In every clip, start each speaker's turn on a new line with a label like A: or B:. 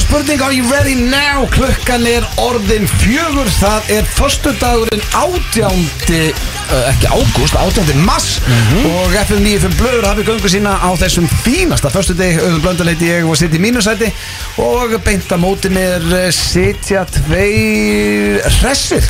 A: spurning, are you ready now? Klukkan er orðin fjögur, það er förstu dagurinn átjándi, uh, ekki ágúst, átjándi mass og FM 95 Blöður hafið göngu sína á þessum fínasta förstu dag, auðvitað blöndarleiti ég og sitt í mínusæti og beint að móti mér eh, sitja tveir hressir.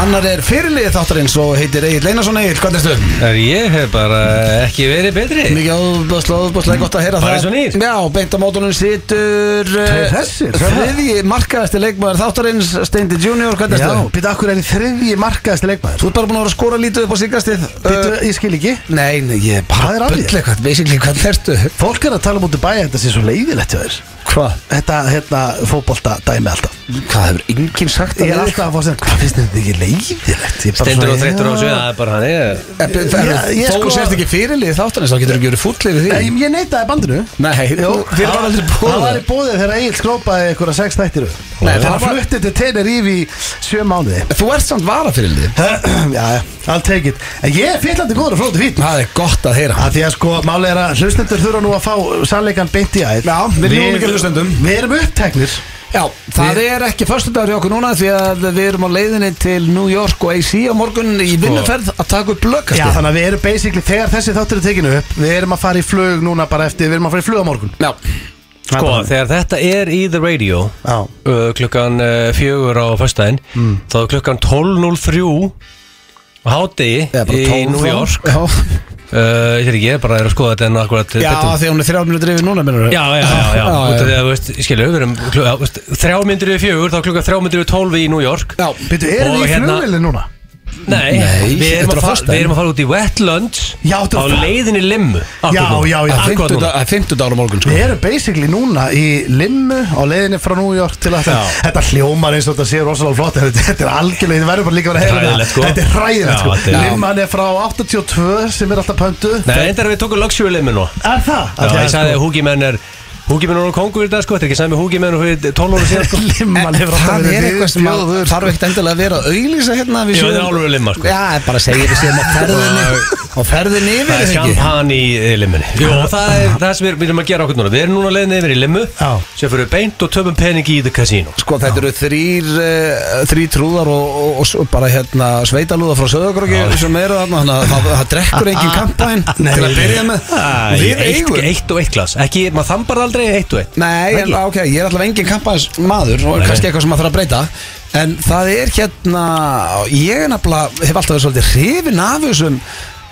A: Annar er fyrirlið þáttarins og heitir Egil Einarsson Egil, hvað er stöðum?
B: Er ég hef bara ekki verið betri
A: Mikið áðbúðslega, áðbúðslega gott að heyra
B: Bara
A: það
B: eins og nýr.
A: Já, beint á mótunum situr eh,
C: Þessir,
A: Þriðji markaðasti leikmaður þáttarins Steindi Junior, hvernig
C: Já,
A: er stöðu?
C: býta, akkur er í þriðji markaðasti leikmaður
A: Þú ert bara búin að vera að skora lítið upp á síkastið
C: Býta, ég skil ekki
A: Nei, nei, ég er
C: Hvað er
A: bara
C: að þér?
A: bull eitthvað Basically, hvernig er stöðu?
C: Fólk er að tala um mútið bæja, þetta sé svo leiðilegt hjá þér
A: Hvað?
C: Þetta, hérna, fótbolta dæmi alltaf
A: Hvað hefur enginn sagt
C: Ég er
A: að
C: alltaf að fá að segja, hvað finnst þér þetta ekki leiðilegt? Ég bara
B: Stendur
C: svona,
B: og þreyttur á
C: já.
B: þessu Það er bara hann ég
A: En, en, en,
C: Ég- ég
A: Eh, Þó
C: sko-
A: þú sért ekki fyrirlið þáttarins þá getur ekki verið fúllið við
C: Nei,
A: því
C: Ég neytaði bandinu
A: Nei,
C: Jú,
A: þú- þér var aldrei
C: Það var
A: búið
C: í bóðið þegar Egil skrópaði einhverja sex þættir upp.
A: Nei,
C: Þegar
A: það
C: hann
A: var-
C: fluttið til Tenerife í sjö mánuði
A: Þú ert samt vara
C: Já, I'll take it En ég er fyllandi góður og flóti fýtn
A: Það er gott að heyra
C: Að því að sko, máli er að hlustendur þurfa nú að fá sannleikan beint í æð
A: Já, við ljúgum ekki að hlustendum.
C: Við erum uppteknir
A: Já, það er ekki förstudagur hjá okkur núna því að við erum á leiðinni til New York og AC á morgun í vinnuferð að taka upp
C: Já,
A: lögkastið.
C: þannig að við erum basically, þegar þessi þáttur er tekinu upp Við erum að fara í flug núna bara eftir, við erum að fara í flug á morgun
A: Já,
B: Sko, þegar þetta er í The Radio
C: Já.
B: uh, klukkan uh, fjögur á föstudaginn þá er klukkan 12.03 á hádegi
A: Eða bara
B: í
A: 12
B: New
A: þá.
B: York
A: Já,
B: uh, Ég er ekki, ég er bara að skoða þetta en akkurat
A: já því að hún er þrjá minútur yfir núna, minnur
B: Já, já, já, já,
A: Já,
B: út
A: já.
B: af því að, þú veist, skilju, við erum klu- já, þú veist, þrjá myndir við fjögur, þá er klukka þrjá myndir við tólf í New York
A: Já,
C: Býttu, erum
B: Og
C: við í
B: hérna-
C: flugvili núna?
B: Nei,
A: Nei,
B: við, erum
A: þetta er
B: að
A: á
B: fara,
A: föstudaginn.
B: við erum að fara út í Wetlands
C: Já, þetta
B: á
C: er það.
B: leiðinni limmu Akkurat
C: Já,
B: núna.
C: já, já.
A: að
B: Akkurat núna.
A: fimmtudag- að fimmtudagur á morgun, sko.
C: Við erum basically núna í limmu á leiðinni frá New York til að þetta hljómar eins og þetta sé rosalega flott en þetta þetta er algjörlega, þetta verður bara líka að vera að heyra
B: Hræðilegt,
C: það.
B: sko.
C: Þetta
B: Já,
C: er hræðilegt
B: þetta
C: sko.
B: er-
C: Limman er frá 82 sem er alltaf pöntu
B: Nei, reyndar við tókum luxury limmu nú
C: Er það?
B: Já,
C: sko. Af því að,
B: ég sagði að húgimenn er Húgimenn er kongur í dag, sko, þetta er ekki sami húgimenn og fyrir 12 ára síðan, sko
C: sko, Limman hefur alltaf
A: Það er eitthvað sem að,
C: viðbjóður.
A: þarf ekkert endilega að vera að auglýsa hérna við
B: Jú,
A: séum-
B: þetta er alveg limma, sko.
A: Já, bara að segja við séum á ferðinni Á ferðinni yfir
B: Það er
A: er það ekki
B: champagne í eh, limmunni Jú, og það er það sem við við erum að gera okkur núna Við erum núna leiðinni yfir í limmu
C: Já.
B: sem fyrir beint og töfum peningi í the casino
A: Sko þetta eru þrýr, uh, þrýr trúðar og, og, og s- bara hérna sveitalúða frá Söðagróki sem eru þarna, þannig að það, það drekkur
C: Ah,
A: engin kampæn
C: Nei. Ah,
A: til að byrja með
B: Æ,
A: Við
B: eitt,
A: eigum
B: eitt og eitt glas Ekki, maður þambar það aldrei eitt og eitt
A: Nei, en, ok, ég er allavega engin kampæns maður og
B: Nei.
A: kannski eitthvað sem maður þarf að breyta en það er hérna ég er nefnilega, hef alltaf verið svolítið hrifin af þessum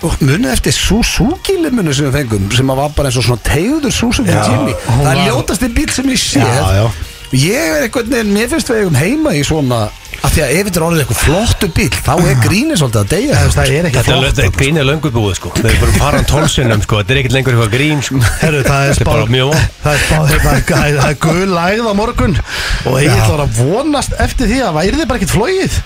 A: og munið eftir Suzuki-limunu sem við fengum sem að var bara eins og svona tegður Suzuki
C: Já,
A: Jimny
C: hún
A: það er
C: var-
A: ljótasti bíl sem ég sé
C: Já, já.
A: Ég er einhvern veginn, mér finnst við eigum heima í svona að því að ef þetta er orðið eitthvað flottu bíl þá er grínið svolítið að deyja
C: Þú veist, Það er ekki
B: Þetta er lögð-
C: flott
B: grín er löngu búið, sko Við erum bara paran tólsinnum, sko Þetta er ekkert lengur eitthvað grín, sko
C: Herru, það
B: Þetta
C: er
B: er
C: spáð
B: bara mjög vont.
C: Það er spáð hérna, það er- það er gul lægð á morgun Og ég ætla að vonast eftir því að væri þið bara ekkert flóið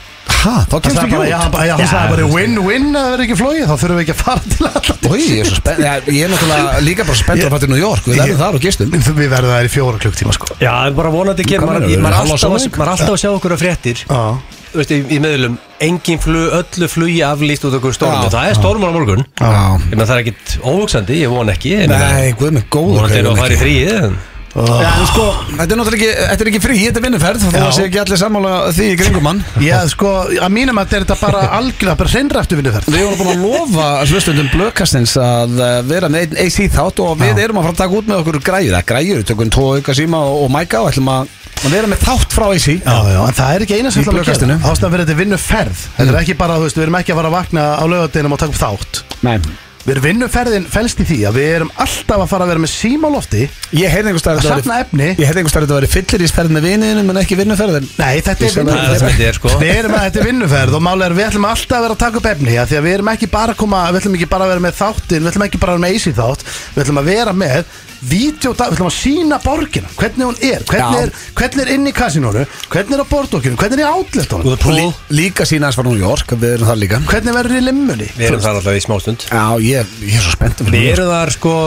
A: Hæ, þá
C: Hann
A: kemst
C: sagði
A: ekki út
C: bara, já, hann bara- já, hann
B: Já,
C: sagði bara
B: þú veist.
C: win-win að það verður ekki flóið Þá þurfum við ekki að fara til allan
A: Új, ég er svo spennt, Já, ég er náttúrulega líka bara spennt að fara til New York, við erum þar og gistum
C: Við verðum það í fjóra klukktíma sko
B: Já, en bara vonandi að gera
A: Hvað
B: Maður
A: meinarðu?
B: maður er
A: Hálfa
B: alltaf að-
A: sólarhring?
B: maður er alltaf að sjá okkur á fréttir
C: Já.
B: Þú veist, í, í meðlum Engin flug, öllu flugi aflýst út okkur
A: Já.
B: stórmur Það er stórmur á morgun
A: Já.
B: Ég meðan það er ekkit óvöksandi, ég von ekki ég meina-
A: Nei, guð með góð
B: Vonandi er að fara í þrýið en...
A: Já, en sko, þetta er náttúrulega ekki, þetta er ekki frí, þetta er vinnuferð Þó
C: Já.
A: að sé ekki allir sammála því í kringum hann
C: Já, sko, að mínum að þetta er bara algjörlega bara hreinræftu vinnuferð
A: Við vorum búin að lofa hlustundum blökkastins að eh, vera með einn AC þátt og við erum að fara að taka út með okkur græjur Það græjur, tökum tvo auka síma og, og mæka og ætlum að að vera með þátt frá AC
C: Já, já, en það er ekki eina sem
A: Í
C: ætlum að
A: blöðkastinu.
C: gera Ástæðan fyrir þetta er vinnuferð Þetta er ekki bara, þú veist, við erum ekki að fara að vakna á laugardeginum og taka upp þátt
A: Nei,
C: Við erum vinnuferðin fælst í því að við erum alltaf að fara að vera með síma á lofti
A: Ég heyrði einhvers staðar
C: Að
A: að þetta
C: safna
A: væri-
C: efni.
A: Ég heyrði einhvers staðar að þetta væri fyllirísferð með vininum en ekki vinnuferðin
C: Nei, þetta
A: Ég
C: er
A: sem
B: Það er það
C: vinnuferð
B: sem þetta er, sko
C: Við erum að þetta er vinnuferð og málega er við ætlum alltaf að vera að taka upp efni af Því að við erum ekki bara að koma, við ætlum ekki bara að vera með þáttin Við ætlum ekki bara að vera með easy þátt Við ætlum að vera með vídeo, við ætlum að sína borgina Hvernig hún er, hvernig,
A: Já.
C: er, hvernig er inn í kasinónu Hvernig er á bordokkinu, hvernig er í
B: Út
C: outletunum
B: af pool
A: Líka sína hans var New York, við erum það líka
C: Hvernig verður í limmunni
B: Við erum þar alltaf í smástund
A: Já, ég, ég er svo spenntur
B: Við
A: fyrir New York.
B: erum þar sko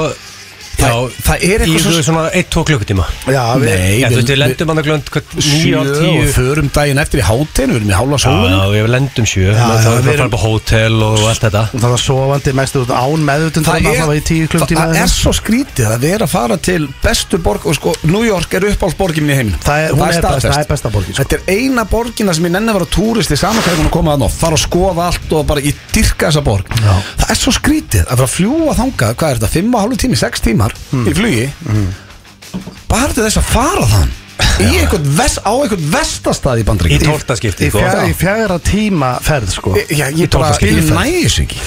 A: Það- það er eitthvað
B: í
A: svo-
B: svo... svona 1-2 klukkutíma
C: Já, við-
A: Nei,
B: Já, þú veist,
A: við-
B: við lendum hann að glönd
A: sjö
B: 9 á
A: og
B: 10
A: förum daginn eftir í hátinn Við erum í hálfa
B: Já,
A: sólunum
B: já, við lendum 7 Það
C: Já,
B: er
C: já, við
B: bara
C: erum-
B: bara hótel og allt þetta
C: Og Það var sofandi mestu út án meðutund
A: Það er,
C: Það var í tíu klukkum tíma
A: það er svo skrítið að vera að fara til bestu borg og sko, New York er uppáhaldsborgin minni í heiminum
C: Það er- hún er best-
A: staðfest.
C: það er besta borgin, sko.
A: Þetta er eina borgina sem ég nenni að vera túristi saman hvernig hún er komað að nótt fara að skoða allt og bara í dyrka þessa borg
C: Já.
A: Það er svo skrítið að vera að fljúa þangað hvað er þetta, 5 og halvu tími, 6 tímar
C: Hmm.
A: í flugi bara til þess að fara þann í einhvern vest, á einhvern vestastað í
B: Í
A: bandryggjum
B: 12. skipti
C: Í,
B: sko.
C: fjara, í fjara tíma ferð sko
A: Já, ég bara,
B: tókst ekki
A: ég
B: í það.
A: næði þessu ekki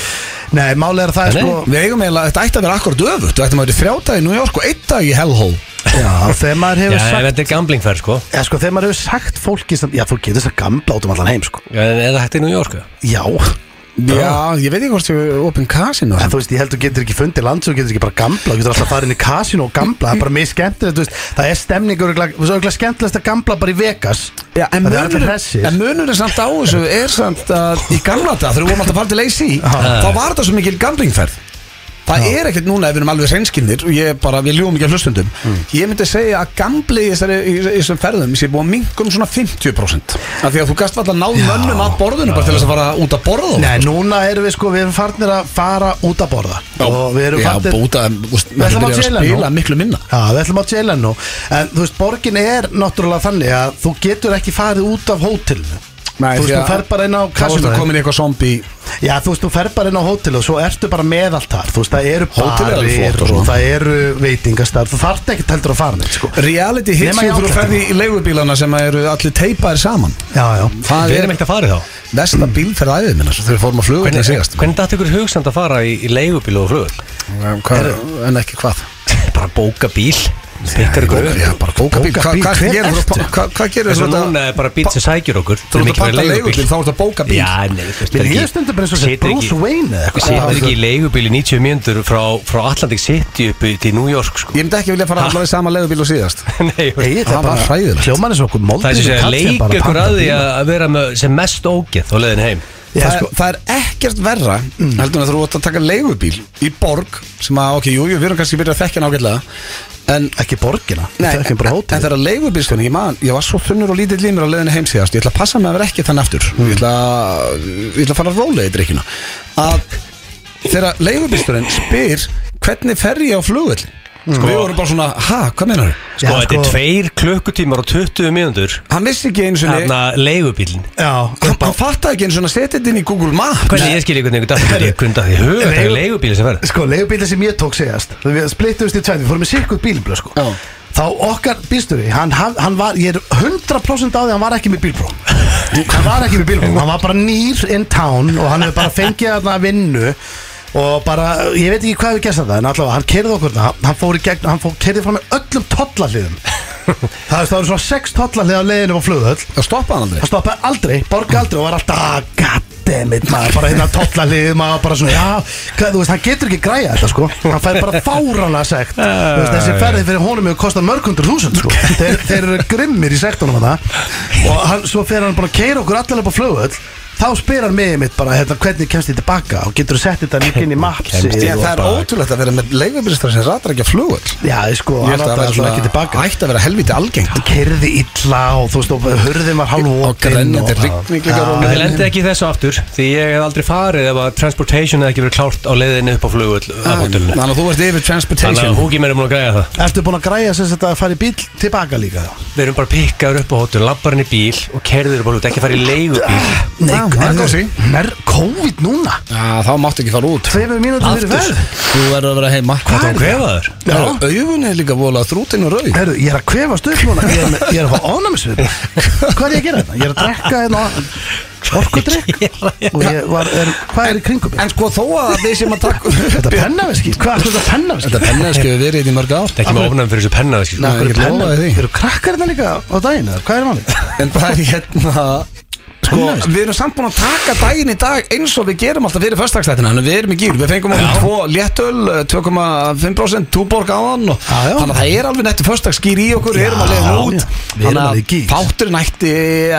C: Nei, máli er að það er
B: Nei,
C: sko
B: nei.
A: Við eigum eiginlega, þetta ætti að vera akkurat öfugt Við ættum að vera í þrjá dag í New York og einn dag í Hellhole
C: Já, þegar maður
B: Já,
C: hefur
B: en
C: sagt
B: þetta er gamblingferð sko
C: Já, sko, þegar maður hefur sagt fólki sem, Já, þú getur þess að gamla út um allan heim sko
B: Já, en er það hægt í New York? eða?
C: Já,
A: Já, ég veit ekki hvort þau eru opinn kasinu
C: en þú veist, ég held þú getur ekki fundið land sem þú getur ekki bara gamla, þú getur alltaf að fara inn í kasinu og gamla, það er bara mjög skemmtilegt, þú veist það er stemning, örugglega- þú veist, örugglega skemmtilegast að gamla bara í Vegas
A: Já, en
C: Það er allir
A: munurinn-
C: hressir.
A: en munurinn samt á þessu er samt að í gamla dag þegar við vorum alltaf að fara til AC þá var þetta svo mikil gamblingferð Það er ekkert núna ef við erum alveg hreinskinnir og ég bara, við ljúum ekki að hlustundum Ég myndi segja að gamli í þessari- í þessum ferðum sé búið að minka um svona 50% af því að þú gast alltaf náð mönnum að borðinu bara til þess að fara út að borða og-
C: Nei, núna erum við sko, við erum farnir að fara út að borða og við erum
A: Já,
C: farnir
A: búta, úst,
C: Við ætlum að chilla nú.
A: spila miklu minna
C: Já, við ætlum á Jalen nú En þú veist, borgin er náttúrulega þannig að þú getur ekki farið út af hótelinu
A: Nei,
C: Þú veist,
A: því
C: þú
A: að-
C: ferð bara inn á
A: Þá ertu
C: kassunum
A: komin í eitthvað zombi
C: Já, þú veist, þú ferð bara inn á hótelinu og svo ertu bara með allt þar Þú veist, það eru
A: Hótel er alveg flott og
C: barir
A: svona.
C: og það eru veitingastar Þú þarft ekki heldur að fara neitt, sko
A: Reality hits
C: Nema í
A: er þú
C: áklæðinu.
A: ferði í leigubílana sem eru allir teipaðir saman
C: Já, já
A: Það
B: Við
A: er
B: erum ekkert að fara í þá
A: besta bílferð æðið minna Þegar við fórum að fluga til
B: Hvernig,
A: sigast
B: hvernig datt ykkur hugsamt að fara í, í leigubíl og flugur?
A: En ekki hvað
B: Bara bóka bíl Pikkar ykkur upp
A: Já, bara bóka bíl Hvað-
C: bíl,
A: hvað
C: hver
A: gerir þú-
C: ertu?
A: hvað- Hvað gerir
B: Þess
A: þú
B: að
A: þetta-
B: núna er bara bíl sem sækjur okkur
A: Þú ert að panta leigubíl Þá ert að bóka bíl
B: Já, nei, þú veist
C: Mér
B: það er
C: líður stundum bara eins og sé
B: situr
C: Bruce
B: ekki-
C: Wayne eða eitthvað.
B: Situr ekki í leigubíl í 90 mínútur frá, frá Atlantic City uppi til New York sko.
A: Ég myndi ekki vilja fara allavega í sama leigubíl og síðast
B: Nei, ég
C: Nei,
B: veist-
C: það
A: Það var
C: er bara
A: hræðilegt.
C: Hljóman er svo okkur
B: Það er sem sé að leika ykkur að því að að vera með sem mest ógeð á leiðin heim
C: Já,
A: Það,
C: sko.
A: er, það er ekkert verra heldur en að þú ert að taka leigubíl í borg sem að, ok, jú, jú, við erum kannski byrjað að þekkja nákvæmlega en
C: Ekki borgina,
A: Nei,
C: það er ekki bara
A: en- En
C: hótelinu
A: þegar leigubílstjóni, ég man, ég var svo þunnur og lítill í mér á leiðinu heim síðast Ég ætla að passa mig að vera ekki þann aftur ég, ætla, að- ég ætla að fara að róla í drikkjuna Að þegar leigubílstjónin spyr hvernig fer ég á flugvill sko, Við vorum bara svona, ha, hvað meinar þau?
B: Sko,
C: Já,
B: þetta er
C: sko.
B: tveir klukkutímar og 20 mínútur
A: Hann vissi ekki einu sinni
B: Þarna leigubílin
C: Já,
A: Hann, hann fattaði ekki einu sinni að setja þetta inn í Google Maps
B: Hvernig ég skil ykkur neikur dag Hvernig ykkur dag Ég höfðu þetta er
C: Leigu-
B: leigubíl sem verð
C: Sko, leigubílinn sem ég tók segjast Við splittumst í tvenn, við fórum í sirkuð bílblöð sko
A: Já.
C: Þá okkar bílstöri, hann, haf- hann var, ég er 100% á því að hann var ekki með bílbróm Hann var ekki með bílbróm, hann var bara nýr in town Og hann hefur bara fengið þarna vinnu Og bara, ég veit ekki hvað við gerst þetta En allavega, hann kerði okkur þarna Hann fór í gegn, hann fór, kerði fram með öllum tollahliðum Það veist, það eru svona sex tollahlið á leiðinu á flugvöll
A: Það stoppaði hann aldrei
C: Það stoppaði aldrei, borga aldrei og var alltaf "Ah, Goddammit maður, bara hérna totla lið maður bara svona, já, hvað, þú veist, hann getur ekki græja þetta sko Hann fær bara fáranlega sekt Þú veist, Þessi ferði fyrir honum hefur kostað mörg hundur þúsund sko þeir, þeir eru grimmir í sektunum hann Og hann, svo fer hann bara að keira okkur allar upp á flugvöll Þá spyr hann mig mitt bara, hérna, hvernig kemst ég tilbaka og getur þú sett þetta líka inn í
A: Hérna,
C: mapsi
A: Ég,
C: og
A: það er
C: bara-
A: ótrúlegt að vera með leigubílstjóni sem ratar ekki að flugvill
C: Já, sko,
A: Ég
C: hann
A: held að það væri
C: átti alltaf ekki
A: svona-
C: tilbaka
A: ætti að vera helviti algengt
C: Hann kerði illa og þú veist, og hurðin var hálf
A: Og grennandi rigning líka
C: Já.
A: róleg.
B: En þið lendið ekki í þessu aftur Því ég hef aldrei farið ef að transportation hefði ekki verið klárt á leiðinni upp á flugull af hotellinu
A: Þannig að þú ert yfir
B: Þannig
A: transportation
B: að húki mér er múin að græja það
C: Ertu búin að græja sem þetta að fara í bíl tilbaka líka þá?
B: Við erum bara pikkaður upp á hotell, labbar hann í bíl og kerður upp á hlut, ekki farið í leigubíl
A: Nei, það er góð sí.
C: er Ah, COVID núna
A: Já, þá máttu ekki fara út
C: Tveimur mínútur
A: Aftur,
C: fyrir verð
A: þú verður að vera heima
B: Hvað er hvefaður?
C: Já.
A: Augun er líka vola þrútin og rauð
C: Herru, ég er að kvefa stöð núna Ég er, ég er að fá ónæmisvið Hvað er ég að gera þetta? Ég er að drekka einn orkudrykk Og ég var, er, hvað er í kringum mig?
A: En sko þó að við sem að taka
C: Þetta er pennaveski, hvað er þetta pennaveski?
A: Þetta pennaðski hefur verið hérna í mörg ár
B: Það er ekki með ofnæmi fyrir þessu penna sko.
A: Nei. ég get lofað þér því.
C: hérna Eru krakkar þetta líka á daginn? eða Hvað er manni?
A: En það er hérna sko, við erum samt búin að taka daginn í dag eins og við gerum alltaf fyrir föstagslætina Þannig að við erum í gýr, við fengum okkur tvo léttöl eh, 2,5% túborg á hann og,
C: Já, já.
A: Þannig að það er alveg nettu föstagsgýr í okkur, við erum
C: Já,
A: að leiða
C: já.
A: út
C: Við erum
A: Þannig
C: alveg í
A: að
C: gír.
A: þátturinn ætti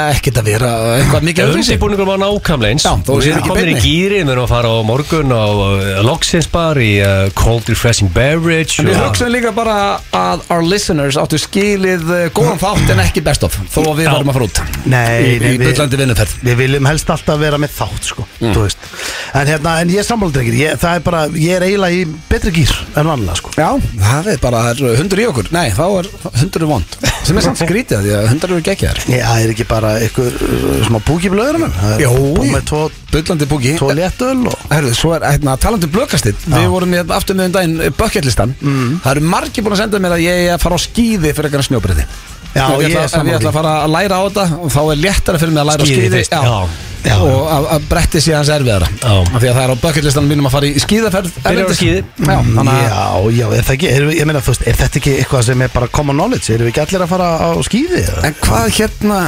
A: ekkert að vera eitthvað mikið öðruvísi.
B: Undirbúningur var nákvæmlega eins
A: Já, þó
B: Við
A: séu
B: erum
A: ekki
B: komin í
A: beinni.
B: gýri, við erum að fara á morgun á uh, Loxins bar í uh, Cold Refreshing Beverage
A: En við
B: og-
A: hugsaðum líka bara að our listeners áttu skilið eh, góðan þátt en ekki best of Þó að við
B: Já.
A: varum að fara út
C: Nei,
A: Í-
C: nei,
A: Í
C: við-
A: byllandi vinnuferð
C: Við viljum helst alltaf vera með þátt sko, þú veist En, hérna, en ég er sammáldrengir ég, Það er bara, ég er eiginlega í betri gýr en vanlega sko
A: Já, það er bara það er hundur í okkur Nei, þá er hundur er vond Sem er samt skrítið því að hundur eru geggjaðar
C: Já, það er ekki bara einhver uh, smá búki blöðurum
A: Jó.
C: Með tvo,
A: Byllandi búki
C: tvo léttöl og
A: Herðu, svo er hérna, talandi um blökastinn Við vorum hérna aftur með um daginn bucketlistan Það eru margir búin að senda mér að ég er að fara á skíði fyrir eitthvað snjóbreyði
C: Já,
A: ég,
C: ég
A: ætla, ef
C: er
A: ég
C: sammála
A: ætla að fara að læra á þetta og þá er léttara fyrir mig að læra á
B: Skíði
A: skíði
B: fyrst, já.
C: Já.
A: og að, að bretti sé hans erfiðara
B: Já.
A: af því að það er á bucketlistanum mínum að fara í skíðaferð erlendis.
B: skíði.
A: Já, þannig að
C: Já, já, er það ekki, er, ég meina þú veist, er þetta ekki eitthvað sem er bara common knowledge? Erum við ekki allir að fara á skýði?
A: En hvað hérna,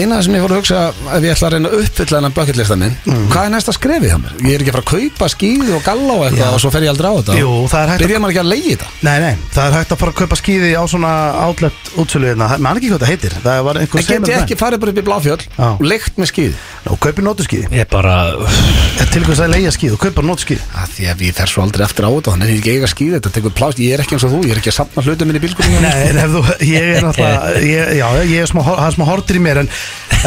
A: eina sem ég fór að hugsa ef ég ætla að reyna að uppfylla hennar bucketlistan minn
C: Mm.
A: hvað er næsta skrefið hjá mér? Ég er ekki að fara að kaupa skíði og galla og eitthvað
C: Já.
A: og svo fer ég aldrei á þetta
C: Jú, það er hægt að-
A: Byrjar maður ekki að leiði þetta?
C: Nei, nei, það er hægt að fara að kaupa skýði á svona outlet útsölu hérna, Það- man ekki hvað það heitir, það var einhver
A: En get ég ekki farið bara upp í bláfjöll
C: Já.
A: og leikt með skíði?
C: Og kaupi nótuskýði,
B: Ég bara
C: til hvers að leiða skýði og kaupa nótuskýði
A: Að því að ég fer svo aldrei aftur á þetta þannig er ég ekki eiga skíði þetta tekur plást ég er ekki eins og þú, ég er ekki að sapna hlutum minni í bílgurinn
C: Nei, en ef þú, ég er náttúrulega ég, Já, ég er smá, það er smá hortir í mér En,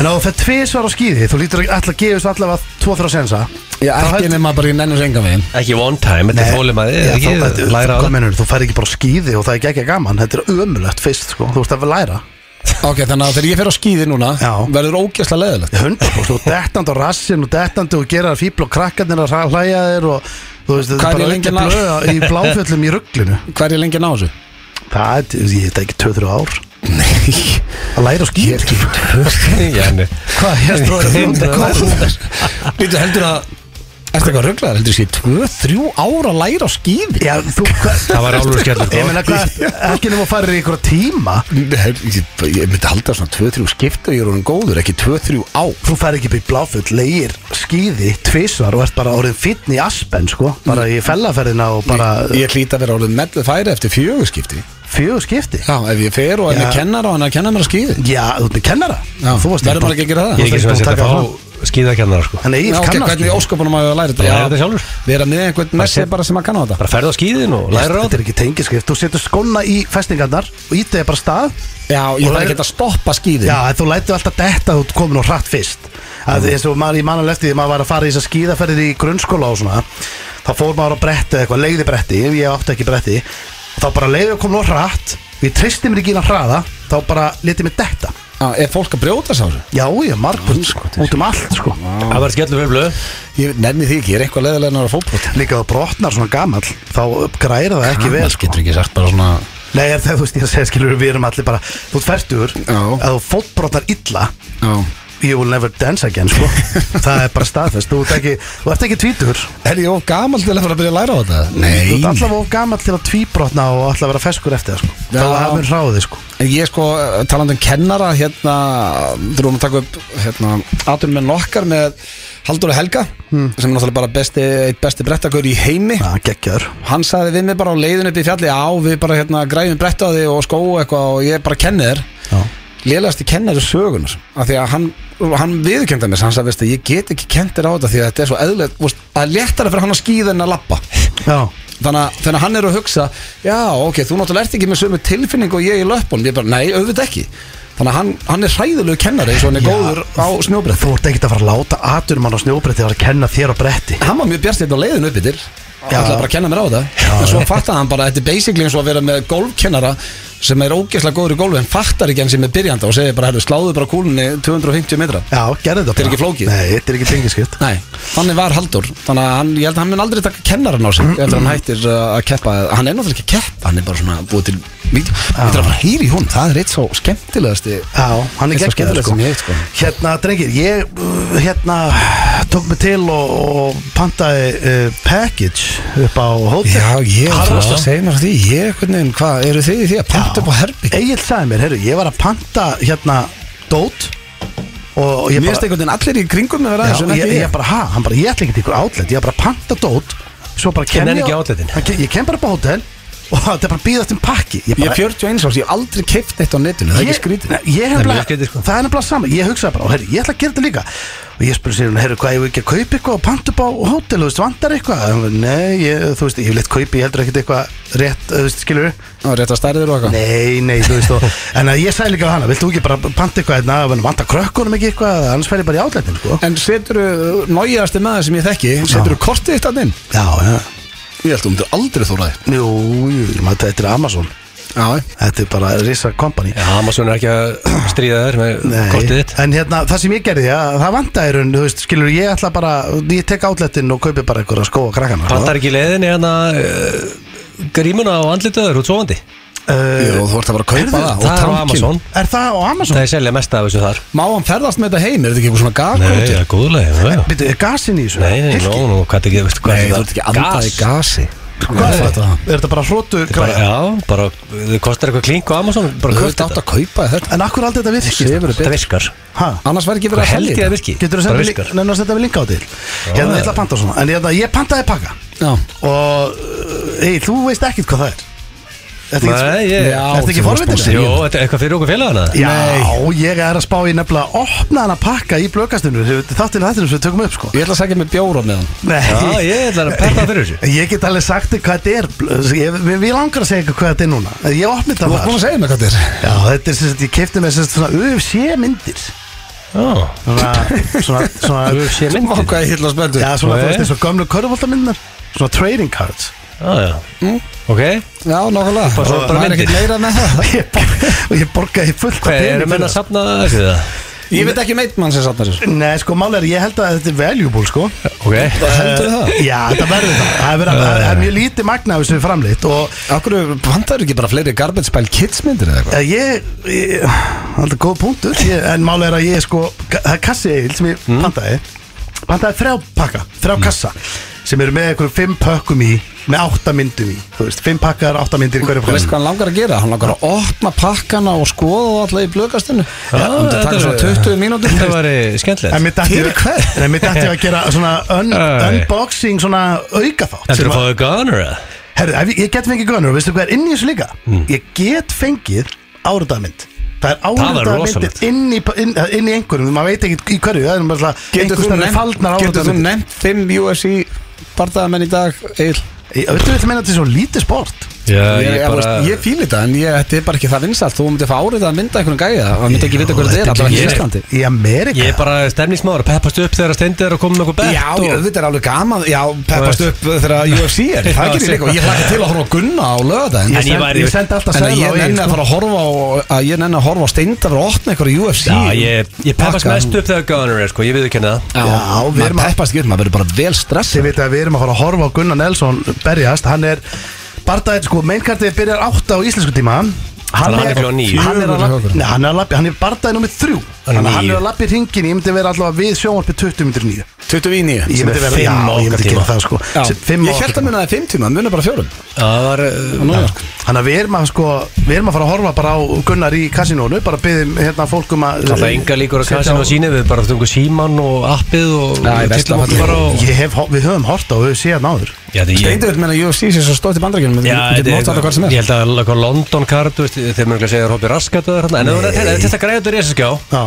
C: en á þetta tvisvar á skýði Þú lítur ekki alltaf að gefa þessu allavega tvo þrjá sensa
A: Já, ekki nema bara í nennus enga veginn
B: Ekki one time, þetta er þólimaði
C: þú,
B: Ekki læra á
C: þú,
B: það
C: menur, sko, þú fær ekki bara á skýði og það er ekki ekki gaman Þetta er ömulegt fyrst, sko, þú veist að við læra
A: Ok, þannig að þegar ég fer á skíði núna
C: Já.
A: verður ógæslega leðilegt
C: 100% og dettandi á rassin og dettandi og gera þær fíbl og krakkarnir að hra- hlæja þér og þú veist, þetta
A: Hvað er
C: er bara
A: ég lengi
C: lengi
A: að ná?
C: blöða í bláfjöllum í rugglinu
A: Hvað er ég lengi að ná þessu?
C: það er, ég veit ekki, 2-3 ár
A: Nei,
C: að læra
A: ég er
C: á skýr
A: ekki
B: Já, uh, nei.
C: hvað, ég stóð að
B: Hundrað
C: það
A: Lítu, heldur að Ertu eitthvað rugglaðar? Heldur þessi 2-3 ára að læra á skíði?
C: já, þú, hvað
B: Það var sko. álfur skellur
C: ég meina, hvað, ekki nema að fara í einhverja tíma
A: Ég, ég myndi halda svona 2-3 skipta Ég er orðin góður, ekki 2-3 á
C: þú fær ekki upp í bláfjöll, leir skýði tvisvar og ert bara orðin fitn í aspen, sko, bara í fellaferðina og bara
A: Ég hlýta að vera orðin mellið færi eftir fjögur skipti
C: fjögur skipti
A: Já, ef ég fer og ef ég
C: Já.
A: kennar á hann að kenna mér að skíði
C: já, þú ert með kennara
A: Já,
C: þú varst
A: verður maður ekki að gera það?
B: Ég er ekki
C: þú
B: svona að
C: varst búin
B: setja
C: taka það
B: fá skíðakennar sko
A: Já,
C: Þannig Egil
A: ok,
C: kannast
A: hvernig í
C: við.
A: ósköpunum að ég læra þetta?
B: Ég læri þetta sjálfur.
A: Vera með einhvern messi bara sem að kanna þetta
B: Bara ferð á skíðin og læra á
C: Þetta
B: það
C: er ekki tengiskrift, þú setur skóna í festingarnar og ítið er bara af stað
A: Já, ég
C: Og
A: þarf
C: læri-
A: ekki að stoppa skíðin
C: Já, en þú lætur alltaf detta að þú ert komin og hratt fyrst að eins og maður í mannuleg eftir því að maður var að fara í þess að skíðaferðir í grunnskóla og svona þá fór maður á bretti eða eitthvað, leiði bretti ég átti ekki bretti og þá bara leiði að komin og hratt og ég tristi mér ekki inn að hraða þá bara letið mér detta
A: Já, Er fólk að brjóta sáru?
C: Já, ég er margvöld, út um allt sko
B: Það var skellur fyrir blöð
A: Ég nefni því ekki, ég er eitthvað leðilega nára fótbrot
C: Líka þú brotnar svona gamall þá græra það ekki vel sko.
A: getur ekki sagt bara svona
C: Nei, er það, þú veist, ég er að segja skilur við erum allir bara, þú ert færtur
A: Já.
C: að þú fótbrotnar illa
A: Já
C: you will never dance again, sko það er bara staðfest, þú ert ekki þú ert ekki tvítur,
A: Er ég of gamal til að fara að byrja að læra á þetta?
C: þú ert
A: Nei
C: alltaf of gamall til að tvíbrotna og alltaf vera feskur eftir það, sko
A: Já.
C: þá hafum við hráðið, sko
A: En ég sko, talandi um kennara hérna, þú erum að taka upp hérna, atur með nokkar með Haldur og Helga, sem er náttúrulega bara besti, eitt besti brettakur í heimi
C: Já, geggjaður
A: hann sagði við mig bara á leiðin upp í fjalli á, við bara hérna græfum brettaði og skó og eitthvað og ég bara kenni þér
C: Já.
A: lélegasti kennari sögunar af því að hann, hann viðurkenda mér hann sagði, veistu, ég get ekki kent þér á þetta því að þetta er svo eðlilegt, þú veist, það er léttara fyrir hann að skýða en að lappa
C: Já,
A: þannig að, þannig að hann er að hugsa já, ok, þú náttúrulega ert ekki með sömu tilfinning og ég í löppunum, ég bara, nei, auðvitað ekki þannig að hann, hann er hræðilegu kennari eins og hann er
C: Já.
A: góður á snjóbrett
C: þú ert ekkert að fara að láta atur mann á snjóbretti að vera að kenna þér á bretti
A: hann var mjög bjartið á leiðinu upp yfir
C: Já.
A: ætlaði bara að kenna mér á það en svo fattaði hann bara að þetta er basically eins og að vera með golfkennara sem er ógeðslega góður í golfi en fattar ekki hann sem er byrjanda og segir bara herru, sláðu bara kúlunni 250 metra
C: Já, gerðu þetta
A: Þetta er
C: bara.
A: ekki flókið.
C: Nei, þetta er ekki tengiskipt
A: Nei, þannig var Haldur þannig að hann, ég held að hann mun aldrei taka kennaran á sig eftir að hann hættir uh, að keppa hann er náttúrulega ekki að keppa, hann er bara svona búið til vídeo, við þurfum að fara að heyra í hún það er eitt svo skemmtilegasti
C: Já, hann er
A: Eitt svo
C: geggjaður
A: skemmtilegt
C: sko.
A: sem ég veit, sko.
C: Hérna, drengir, ég uh, hérna tók mig til og, og pantaði uh, package upp á hótel
A: Já, ég
C: Harra
A: varst
C: það.
A: að segja mér frá því, ég, hvernig, hvað, eru þið í því að panta
C: Já.
A: upp á herbygg?
C: Egil sagði mér, herru, ég var að panta hérna dót og ég
A: Mér finnst
C: bara,
A: einhvern veginn allir í kringum með að vera
C: já,
A: þessu en
C: ég,
A: ekki
C: ég bara, ha, hann bara, ég ætla ekki til ykkur outlet ég er bara að panta dót svo bara kem
B: nenni
C: ég
B: ekki
C: á-
B: outletin.
C: Hann ke- ég kem bara upp á hótel og þetta er bara að býðast um pakki ég
A: Ég er
C: bara,
A: 41 árs, ég hef aldrei keift eitt á netinu, það er ekki skrítið
C: Nei, ég
B: Það er
C: hefla,
B: mjög skrítið, sko.
C: það er nefnilega sama ég hugsaði bara, herri, ég ætla að gera þetta líka og ég spurði sér, herri, hvað, ég ekki að kaupa eitthvað og panta upp á hótel, þú veist, vantar eitthvað Og hún, nei, ég, þú veist, ég vil eitt kaupi, ég heldur ekkit eitthvað rétt, þú veist, skilur
A: Það er rétt að stærðir og eitthvað
C: nei, nei, þú veist, og, en að ég sagði líka á hana viltu ekki bara panta eitthvað, hérna, vantar krökkunum ekki eitthvað, annars fer ég bara í átlætin, sko
A: En setur þú, nájaðasti maður sem ég þekki Setur þú kortið þitt að inn?
C: já, já,
A: Ég held um þú aldrei þóraði
C: jú, jú, maður, þetta er Amazon
A: Já,
C: þetta er bara risa company
B: Já, Amazon er ekki að stríða þér með
C: Nei,
B: kortið þitt
C: En hérna, það sem ég gerði, ja, það vantaði raun, þú veist, skilur, ég ætla bara, ég tek átlettin og kaupi bara einhverja skó og krakkana. sko.
B: Pantar ekki leiðin en að uh, grímuna á andlitaður út sofandi
A: Jú,
C: Uh,
A: þú ert að fara að kaupa
C: Heyrðu,
A: það og
B: Það er á
A: tankinn.
B: Amazon
C: er það á Amazon?
B: Það er selja mest af þessu þar
A: Má hann ferðast með þetta heim, er þetta ekki eitthvað svona gagkvöldi?
B: er góðlega já, já.
C: Bittu, er gasin í þessu?
B: Nei, nei,
C: Hylki?
B: nó, nó, hvað er ekki, veistu hvað
A: Nei,
B: er
A: þú ert ekki andað í gasi
C: Hvað er þetta? Er þetta bara hrótu
B: Þetta er bara, já, bara, þau kostar eitthvað klink á Amazon
A: Þú
B: bara kaup
A: ert átt
B: þetta,
A: að kaupa þetta
C: En akkur aldrei þetta virkist?
A: Sefur
B: þetta virkar
C: Hæ?
A: Annars væri ekki verið
B: Hvað
A: að
B: held ég að
A: þetta.
B: virki?
C: Getur þú
B: Bara
C: sendið link,
B: virkar
C: nennast þetta við linka á til? Hérna, ég ætla að panta svona En hérna, ég pantaði pakka
A: Já,
C: Og, hei, þú veist ekkit hvað það er Þetta er
B: Nei,
C: ekki-
B: ég,
A: Já,
C: Ertu ekki
A: þú varst
C: forvitinn?
A: búin að
B: Jó,
A: segja
B: þetta er eitthvað fyrir okkur félagana
C: Já, ég er að spá í nefnilega að opna hann að pakka í blökastunum Þáttil að þetta sem við tökum upp, sko
A: Ég ætla að segja með bjóra með hann
C: Nei,
B: Já, ég ætla að peppa fyrir þessu
C: Ég get alveg sagt þig hvað þetta er bl- ég, við, við langar að segja ykkur hvað þetta er núna Ég opni
A: Þú
C: þetta
A: ert búin
C: þar
A: að segja mig hvað þetta er
C: Já, þetta er sem sagt, ég kefti með sem sagt svona UFC myndir
B: Já,
C: Svona, svona, svona
B: UFC
A: Má
B: myndir
A: hvað ég hitla að spöldu
C: Já, svona, þú
B: Nei.
C: veist, eins og gömlu körfaldamindar Svona trading cards
B: Já, já,
A: Mm.
B: ok
A: Já, nokkulega
B: Bara svona bara
A: Það er ekkert
B: myndir.
A: meira með það
C: Ég, bor- og ég borgaði fullt af
B: Hvað,
C: pening
B: eru menn að
C: fyrir það.
B: safna þessu það?
A: Ég veit ekki meitt mann sem satt þessu
C: Nei, sko, mál er, ég held að þetta er valuable, sko
B: Ok, Eh.
A: Heldur það?
C: Já, þetta verður það Það er verið að- það er mjög lítið magna af þessu framleitt Og
A: Akkur vantar ekki bara fleiri garbage spæl kidsmyndir eða eitthvað
C: Eh, Ég, ég alltaf góð punktur ég, En máli er að ég sko Það er kassi eil sem ég
A: Mm.
C: pantaði Pantaði þrjá pakka, þrjá kassa Sem eru með einhverjum fimm pökkum í Með átta myndum í, þú veist Fimm pakkar, átta myndir í hverju
A: Þú veist hvað
C: pakka
A: hann langar að gera? Hann langar að opna pakkana og skoða það alltaf í blökastinu Já, um þetta taka svona 20 mínútur
B: Þetta var skemmtilegt
C: En mér dætti
A: Fyrir hvað?
C: En mér dætti að gera svona un,
B: Æ.
C: unboxing Svona auka þátt
B: Heldur þú að fá þau gönur eða?
C: Herru, ef ég, ég get fengið gönur og veistu hvað er inn í þessu líka? Ég get fengið áritaðmynd Það er
B: væri
C: áritaðmyndir
B: rosalegt.
C: inn, í- inn, inn í einhverjum Maður veit ekki í hverju Það er bara
A: Getur þú nefnt, getur þú nefnt 5 UFC barðamenn í dag Egil?
C: Ég auðvitað vil meina þetta er svo lítið sport
B: Já,
A: Ég,
B: ég
A: ég,
B: bara
A: veist, ég fíl þetta en ég, þetta er bara ekki það vinsalt Þú myndir fá árið að mynda einhvern gæja og það myndi ekki vita hverju þetta er,
C: Þetta
A: allavega ekki í
B: ég-
A: Íslandi
C: Í Amerika
B: Ég er bara stemningsmáður að peppast upp þegar að stendir er að koma með okkur bett
A: Já, ég,
B: og...
A: auðvitað er alveg gaman Já, peppast
B: Þú
A: upp þegar UFC er Það
B: Já,
A: gerir ég líka og ég hlakka til að horfa á Gunna á löða
B: En ég væri-
C: Ég sendi
A: En
C: alltaf
A: að
C: sæla á
A: ég
C: eigin
A: nenni að
C: sko.
A: fara að horfa á að ég nenni að horfa á steindar og opna einhverju UFC
B: Já, ég, ég peppast
A: Pakka-
B: mest upp þegar gönur er sko, ég viðurkenni það
A: Já,
C: Já, við
A: maður
C: erum að-
A: peppast ekki upp, maður verður bara vel stressið
C: Þið veit að við erum að fara að horfa á Gunnar Nelson berjast Hann er Bardaðið sko Meinkartið byrjar átta á íslensku tíma
B: Þannig að hann er klukkan níu.
C: Hann er að
A: Fjögur.
C: lappi Nei, hann er að lappi Hann er bardaðið nummið þrjú
B: Hann er
C: Þannig að hann
B: níu.
C: er að lappi hringin Ég myndi vera allavega við sjónvarpi 20 myndir nýju
A: 29
C: Ég
B: Sem er
C: myndi vera
B: fimm á
C: Já, ég
B: okkar
C: myndi
B: tíma.
C: gera það sko
A: Já,
C: Sem- fimm á
A: ég
C: okkar
A: held að muna það 5 tíma, það muna bara 4
B: Það var uh,
C: Þannig að við erum að sko Við erum að fara að horfa bara á Gunnar í kasinónu Bara byggðum hérna fólk um að
B: alltaf enga líkur á
C: setja
B: kassin og síni Við bara áttum einhver síman og appið og
A: Já, ég veist
B: tillum
A: það
B: okkur bara á
C: Ég hef, við höfum hort á og við séð náður
B: Já, þetta ég-
A: Steindur vil meina UFC sé svo stótt í bandarækjunum
B: Já,
A: Við getum mótt
B: þetta
A: alltaf hvað sem
B: er- ég
A: er
B: held að eitthvað London kart, þú veist, þeir mjög að segja að Robby Raskat og þarna, en ef þú- ef þetta græði þetta er þessi skjá,
C: Já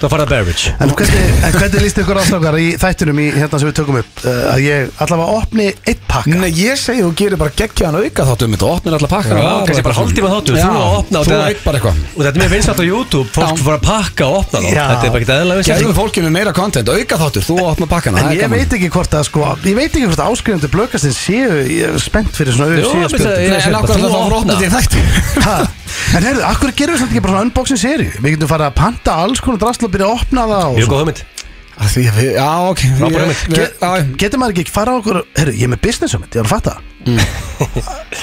B: þá farið það beverage.
C: En hvernig, en hvernig líst ykkur ástrákar í þættinum í hérna sem við tökum upp uh, að ég allavega opni eitt pakka
A: Nei, ég segi þú gerir bara geggjaðan auka þáttum þetta og opnir alla
B: Já,
A: pakkana og-
B: kannski bara hálftíma þáttu,
A: Já,
B: þú að opna og
A: Þú
B: þetta-
A: veit bara eitthvað
B: Og þetta er mér finnst alltaf á YouTube, fólk
A: Já.
B: fór að pakka og opna þá
C: Já.
B: Þetta er bara ekki eðla
A: Gerðum fólkinu meira content, auka þáttur, þú opna pakkana
C: En
A: það er
C: ég
A: gaman.
C: veit ekki hvort að sko Ég veit ekki hvort að áskrifendur blökastinn séu Ég er spennt fyrir svona
B: Jú, ég
C: UFC spjöldum
A: Nei,
B: meina, ég-
A: En
B: bara,
A: akkur
B: þú
A: alltaf
B: að
A: að
B: opna.
A: opna þig þætti
C: Ha, En heyrðu, akkur gerum við samt ekki bara svona unboxing seri Við getum fara að panta alls konar drasl og byrja að opna það og
B: Mjög
C: svona.
B: góð hugmynd
A: Að því að við- Já, ok
B: Robert
A: ég-
B: Emmitt.
A: við- já, já.
C: Ge- Getur maður ekki fara á okkur Heyrðu, ég er með business summit, ég var að fatta mm.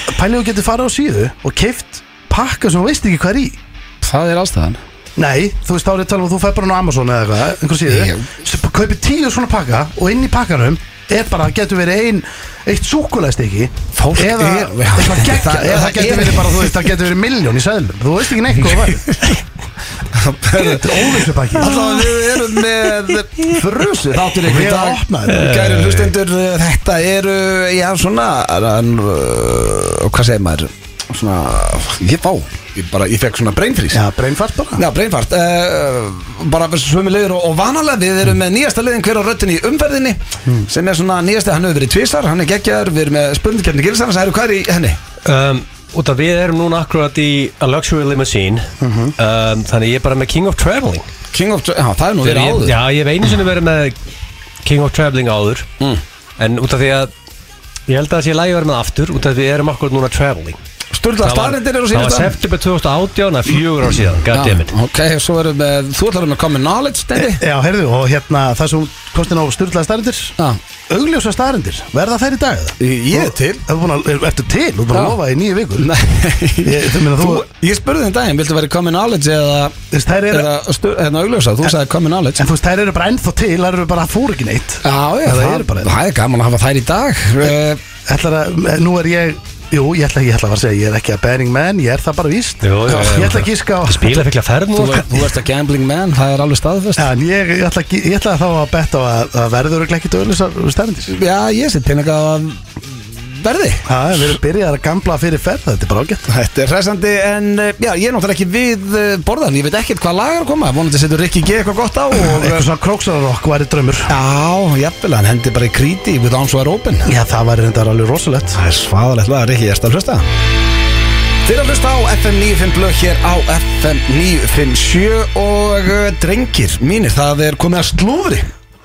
C: Pælið og getur fara á síðu og keift pakka sem þú veist ekki hvað er í
A: Það er allstæðan
C: Nei, þú veist árið tala um að þú fær bara á Amazon eða eitthvað, einhver síðu
A: Jú.
C: Kaupi tíu svona pakka og inn í pakkanum er bara, getur verið ein, eitt súkulæst ekki
A: Fólk
C: eða,
A: er- já,
C: eitthvað geggjað,
A: það-
C: eða
A: það
C: það getur
A: er-
C: verið bara, þú veist, það getur verið miljón í sæðlum, þú veist ekki neitt hvað það væri Þetta er óvissupakki
A: Alltaf við erum með frusu þáttur ykkur í
C: Ég
A: dag
C: opnaði þetta.
A: Kæru hlustendur, eh, þetta eru, já svona, en, uh, hvað segir maður, svona, ég fá, ég bara, ég fekk svona breinfrís
C: Já, breinfart bara
A: Já, breinfart uh, Bara svömi leiður og, og vanalega Við erum með nýjasta leiðin hver á röttin í umferðinni Sem er svona nýjasta, hann hefur verið tvisar Hann er geggjar, við erum með spurningkjarni gilsarnas Það eru hvað er í henni?
B: um, Út af við erum núna akkurat í a luxury limousine um, Þannig ég er bara með King of Traveling
A: King of, já, það er nú verið
B: ég,
A: áður
B: Já, ég hef einu sinni verið með King of Traveling áður
A: Mm.
B: En út af því að Ég held að það sé lægi verið með aftur Út af því við erum akkurat núna traveling
A: Sturla, staðrendir eru
B: það var
A: síðast
B: september 2018, það er fjögur ár síðan Goddammit
A: Ok, svo erum við, þú ætlar með common knowledge, Stendi
C: Já, heyrðu, og hérna, það sem kostin á styrlaði starindir
A: Já.
C: Augljósa starindir, verða þær í dag eða?
A: Ég er til.
C: Ertu búin að- Ertu til, þú er búin
A: Já.
C: að lofa í nýju vikur
A: Nei.
C: Ég- þú meina,
A: Þú,
C: þú-
A: ég spurði þinn daginn, viltu verið common knowledge eða,
C: Þess, þær eru
A: eða stu, hérna, augljósa, þú sagði common knowledge
C: En þú veist, þær eru bara ennþá til, þær eru bara að fór ekki neitt
A: Já, já,
C: Það
A: það,
C: eru bara-
A: það er gaman að hafa þær í dag uh,
C: Ætlar að, eh, nú er ég, jú, ég ætla, ég ætla að fara að segja, ég er ekki að bæring menn, ég er það bara víst
B: Jú, jú, jú.
C: Ég ætla að gíska á
B: Spila fyrir að ferð nú
A: þú, þú ert að gambling man, það er alveg staðfest
C: En ég, ég, ætla, að gí- ég ætla þá að betta á að, að verður örugglega ekkert auðlisar stærndis
A: Já, ég set peninga á að verði
C: Það er verið byrjað að gamla fyrir ferð, þetta er bara ágætt
A: Þetta er hressandi en eh, já, ég er náttúrulega ekki við eh, borðan Ég veit ekkert hvað lagar koma Vonandi setur Rikki G eitthvað gott á og,
C: Eitthvað svona króksararokk væri draumur
A: Já, jafnvel, hann hendi bara í kríti Við án svo er open
C: Já, það væri reyndar alveg rosalegt
A: Það er svaðalegt lag, Rikki, ég erst að hlusta Þeir að hlusta á FM 95 blöð hér á FM 957 og eh, drengir mínir, það er komið að slúðri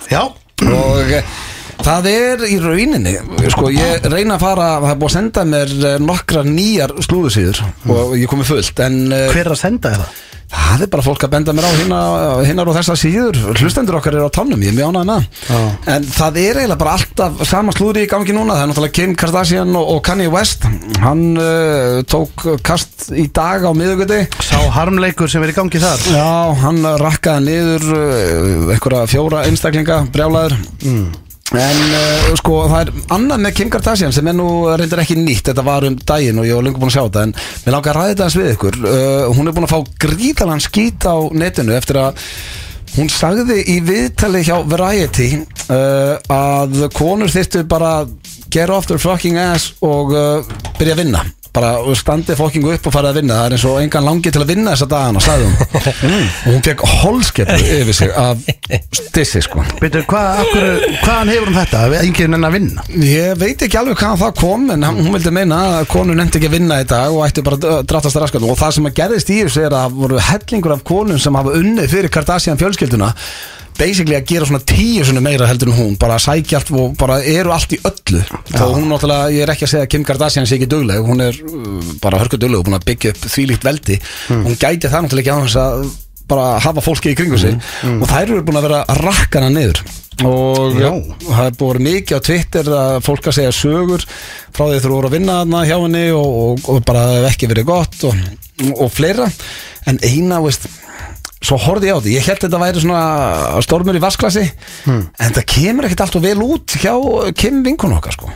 C: Já,
A: og eh, það er í rauninni sko ég reyna að fara það er búið að senda mér eh, nokkra nýjar slúðusíður og ég komi fullt en eh,
C: hver er að senda þér það?
A: það er bara fólk að benda mér á hinna- hinnar og þessar síður hlustendur okkar eru á tannum, ég er mjög ánægð með það
C: Já.
A: en það er eiginlega bara alltaf sama slúðri í gangi núna, það er náttúrulega Kim Kardashian og, og Kanye West hann uh, tók kast í dag á miðugundi
C: Sá harmleikur sem er í gangi þar
A: Já, hann rakkaði niður uh, einhverja fjóra einstaklinga brjálæður En uh, sko, það er annað með Kim Kardashian sem er nú reyndar ekki nýtt Þetta var um daginn og ég var lengur búin að sjá þetta En mér langar að ræða þetta hans við ykkur uh, Hún er búin að fá grítalan skít á netinu eftir að Hún sagði í viðtali hjá Variety uh, að konur þyrtu bara að get off their fucking ass og uh, byrja að vinna bara og standi fucking upp og fara að vinna það er eins og engan langi til að vinna þessa dagana sagði hún Mm. og hún fekk holskeppu yfir sig af stissi sko
C: Beitur, hvað, af hverju- hvaðan hefur hún þetta? Engin enn að vinna
A: Ég veit ekki alveg hvaðan það kom en hann- hún vildi meina að konur nefndi ekki að vinna í dag og ættu bara að drattast raskat og það sem að gerðist í þessu er að það voru hellingur af konum sem hafa unnið fyrir Kardashian fjölskylduna basically að gera svona tíu svona meira heldur en hún bara að sækja allt og bara eru allt í öllu þá hún náttúrulega, ég er ekki að segja að Kim Kardashian sé ekki dugleg, hún er uh, bara hörku dugleg og búin að byggja upp þvílíkt veldi hún gæti það náttúrulega ekki á þess að bara hafa fólki í kringu sig og þær eru búin að vera að rakka hana niður og uh,
C: Já.
A: það er búið að vera mikið á Twitter að fólk að segja sögur frá því þú voru að vinna hana hjá henni og, og, og bara það hef ekki verið gott og, og fleira en eina veist svo horfði ég á því, ég held þetta væri svona stormur í vasklasi en það kemur ekkert alltaf vel út hjá Kim vinkun okkar sko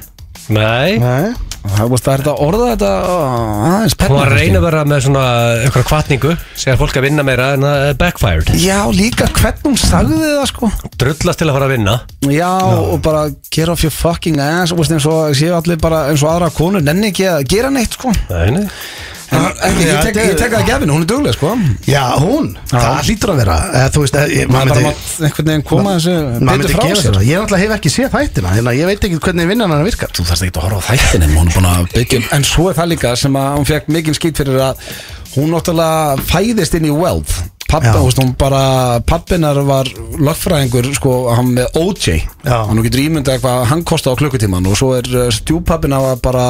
B: Nei,
C: Nei
A: það veist, það er þetta að orða þetta uh, aðeins
B: hún var að
A: peppa
B: reyna að vera með svona ykkur kvartningu Segja fólk að vinna meira en það er backfired
A: Já, líka hvernig hún sagði það sko
B: Drullast til að fara að vinna
A: Já, og bara get off your fucking ass og veist, eins og séu allir bara eins og aðra konur nenni ekki að gera neitt sko
B: Nei, nei
A: En ekki, ég tek- ég tek það að gefinu, hún er dugleg sko
C: Já, hún, það hlýtur að vera eða, Þú veist, eða, ég-
A: Það er
C: maður
A: bara
C: myndi-
A: mátt einhvern veginn koma þessu
C: maður
A: betur
C: myndi
A: frá
C: gefa
A: sér
C: sér það. Ég náttúrulega hef ekki séð þættina hérna, Ég veit ekki hvernig vinnan hann virkar
A: Þú þarfst ekki að horfa á þættinni hún er búin að byggja um- En svo er það líka sem að hún fekk mikinn skýt fyrir að hún náttúrulega fæðist inn í wealth Pappa,
C: Já.
A: þú veist, hún bara pappinar var lögfræðingur, sko, hann með OJ
C: Já.
A: og nú getur ímyndað hvað hann kosta á klukkutíman og svo er uh, stjúpappina bara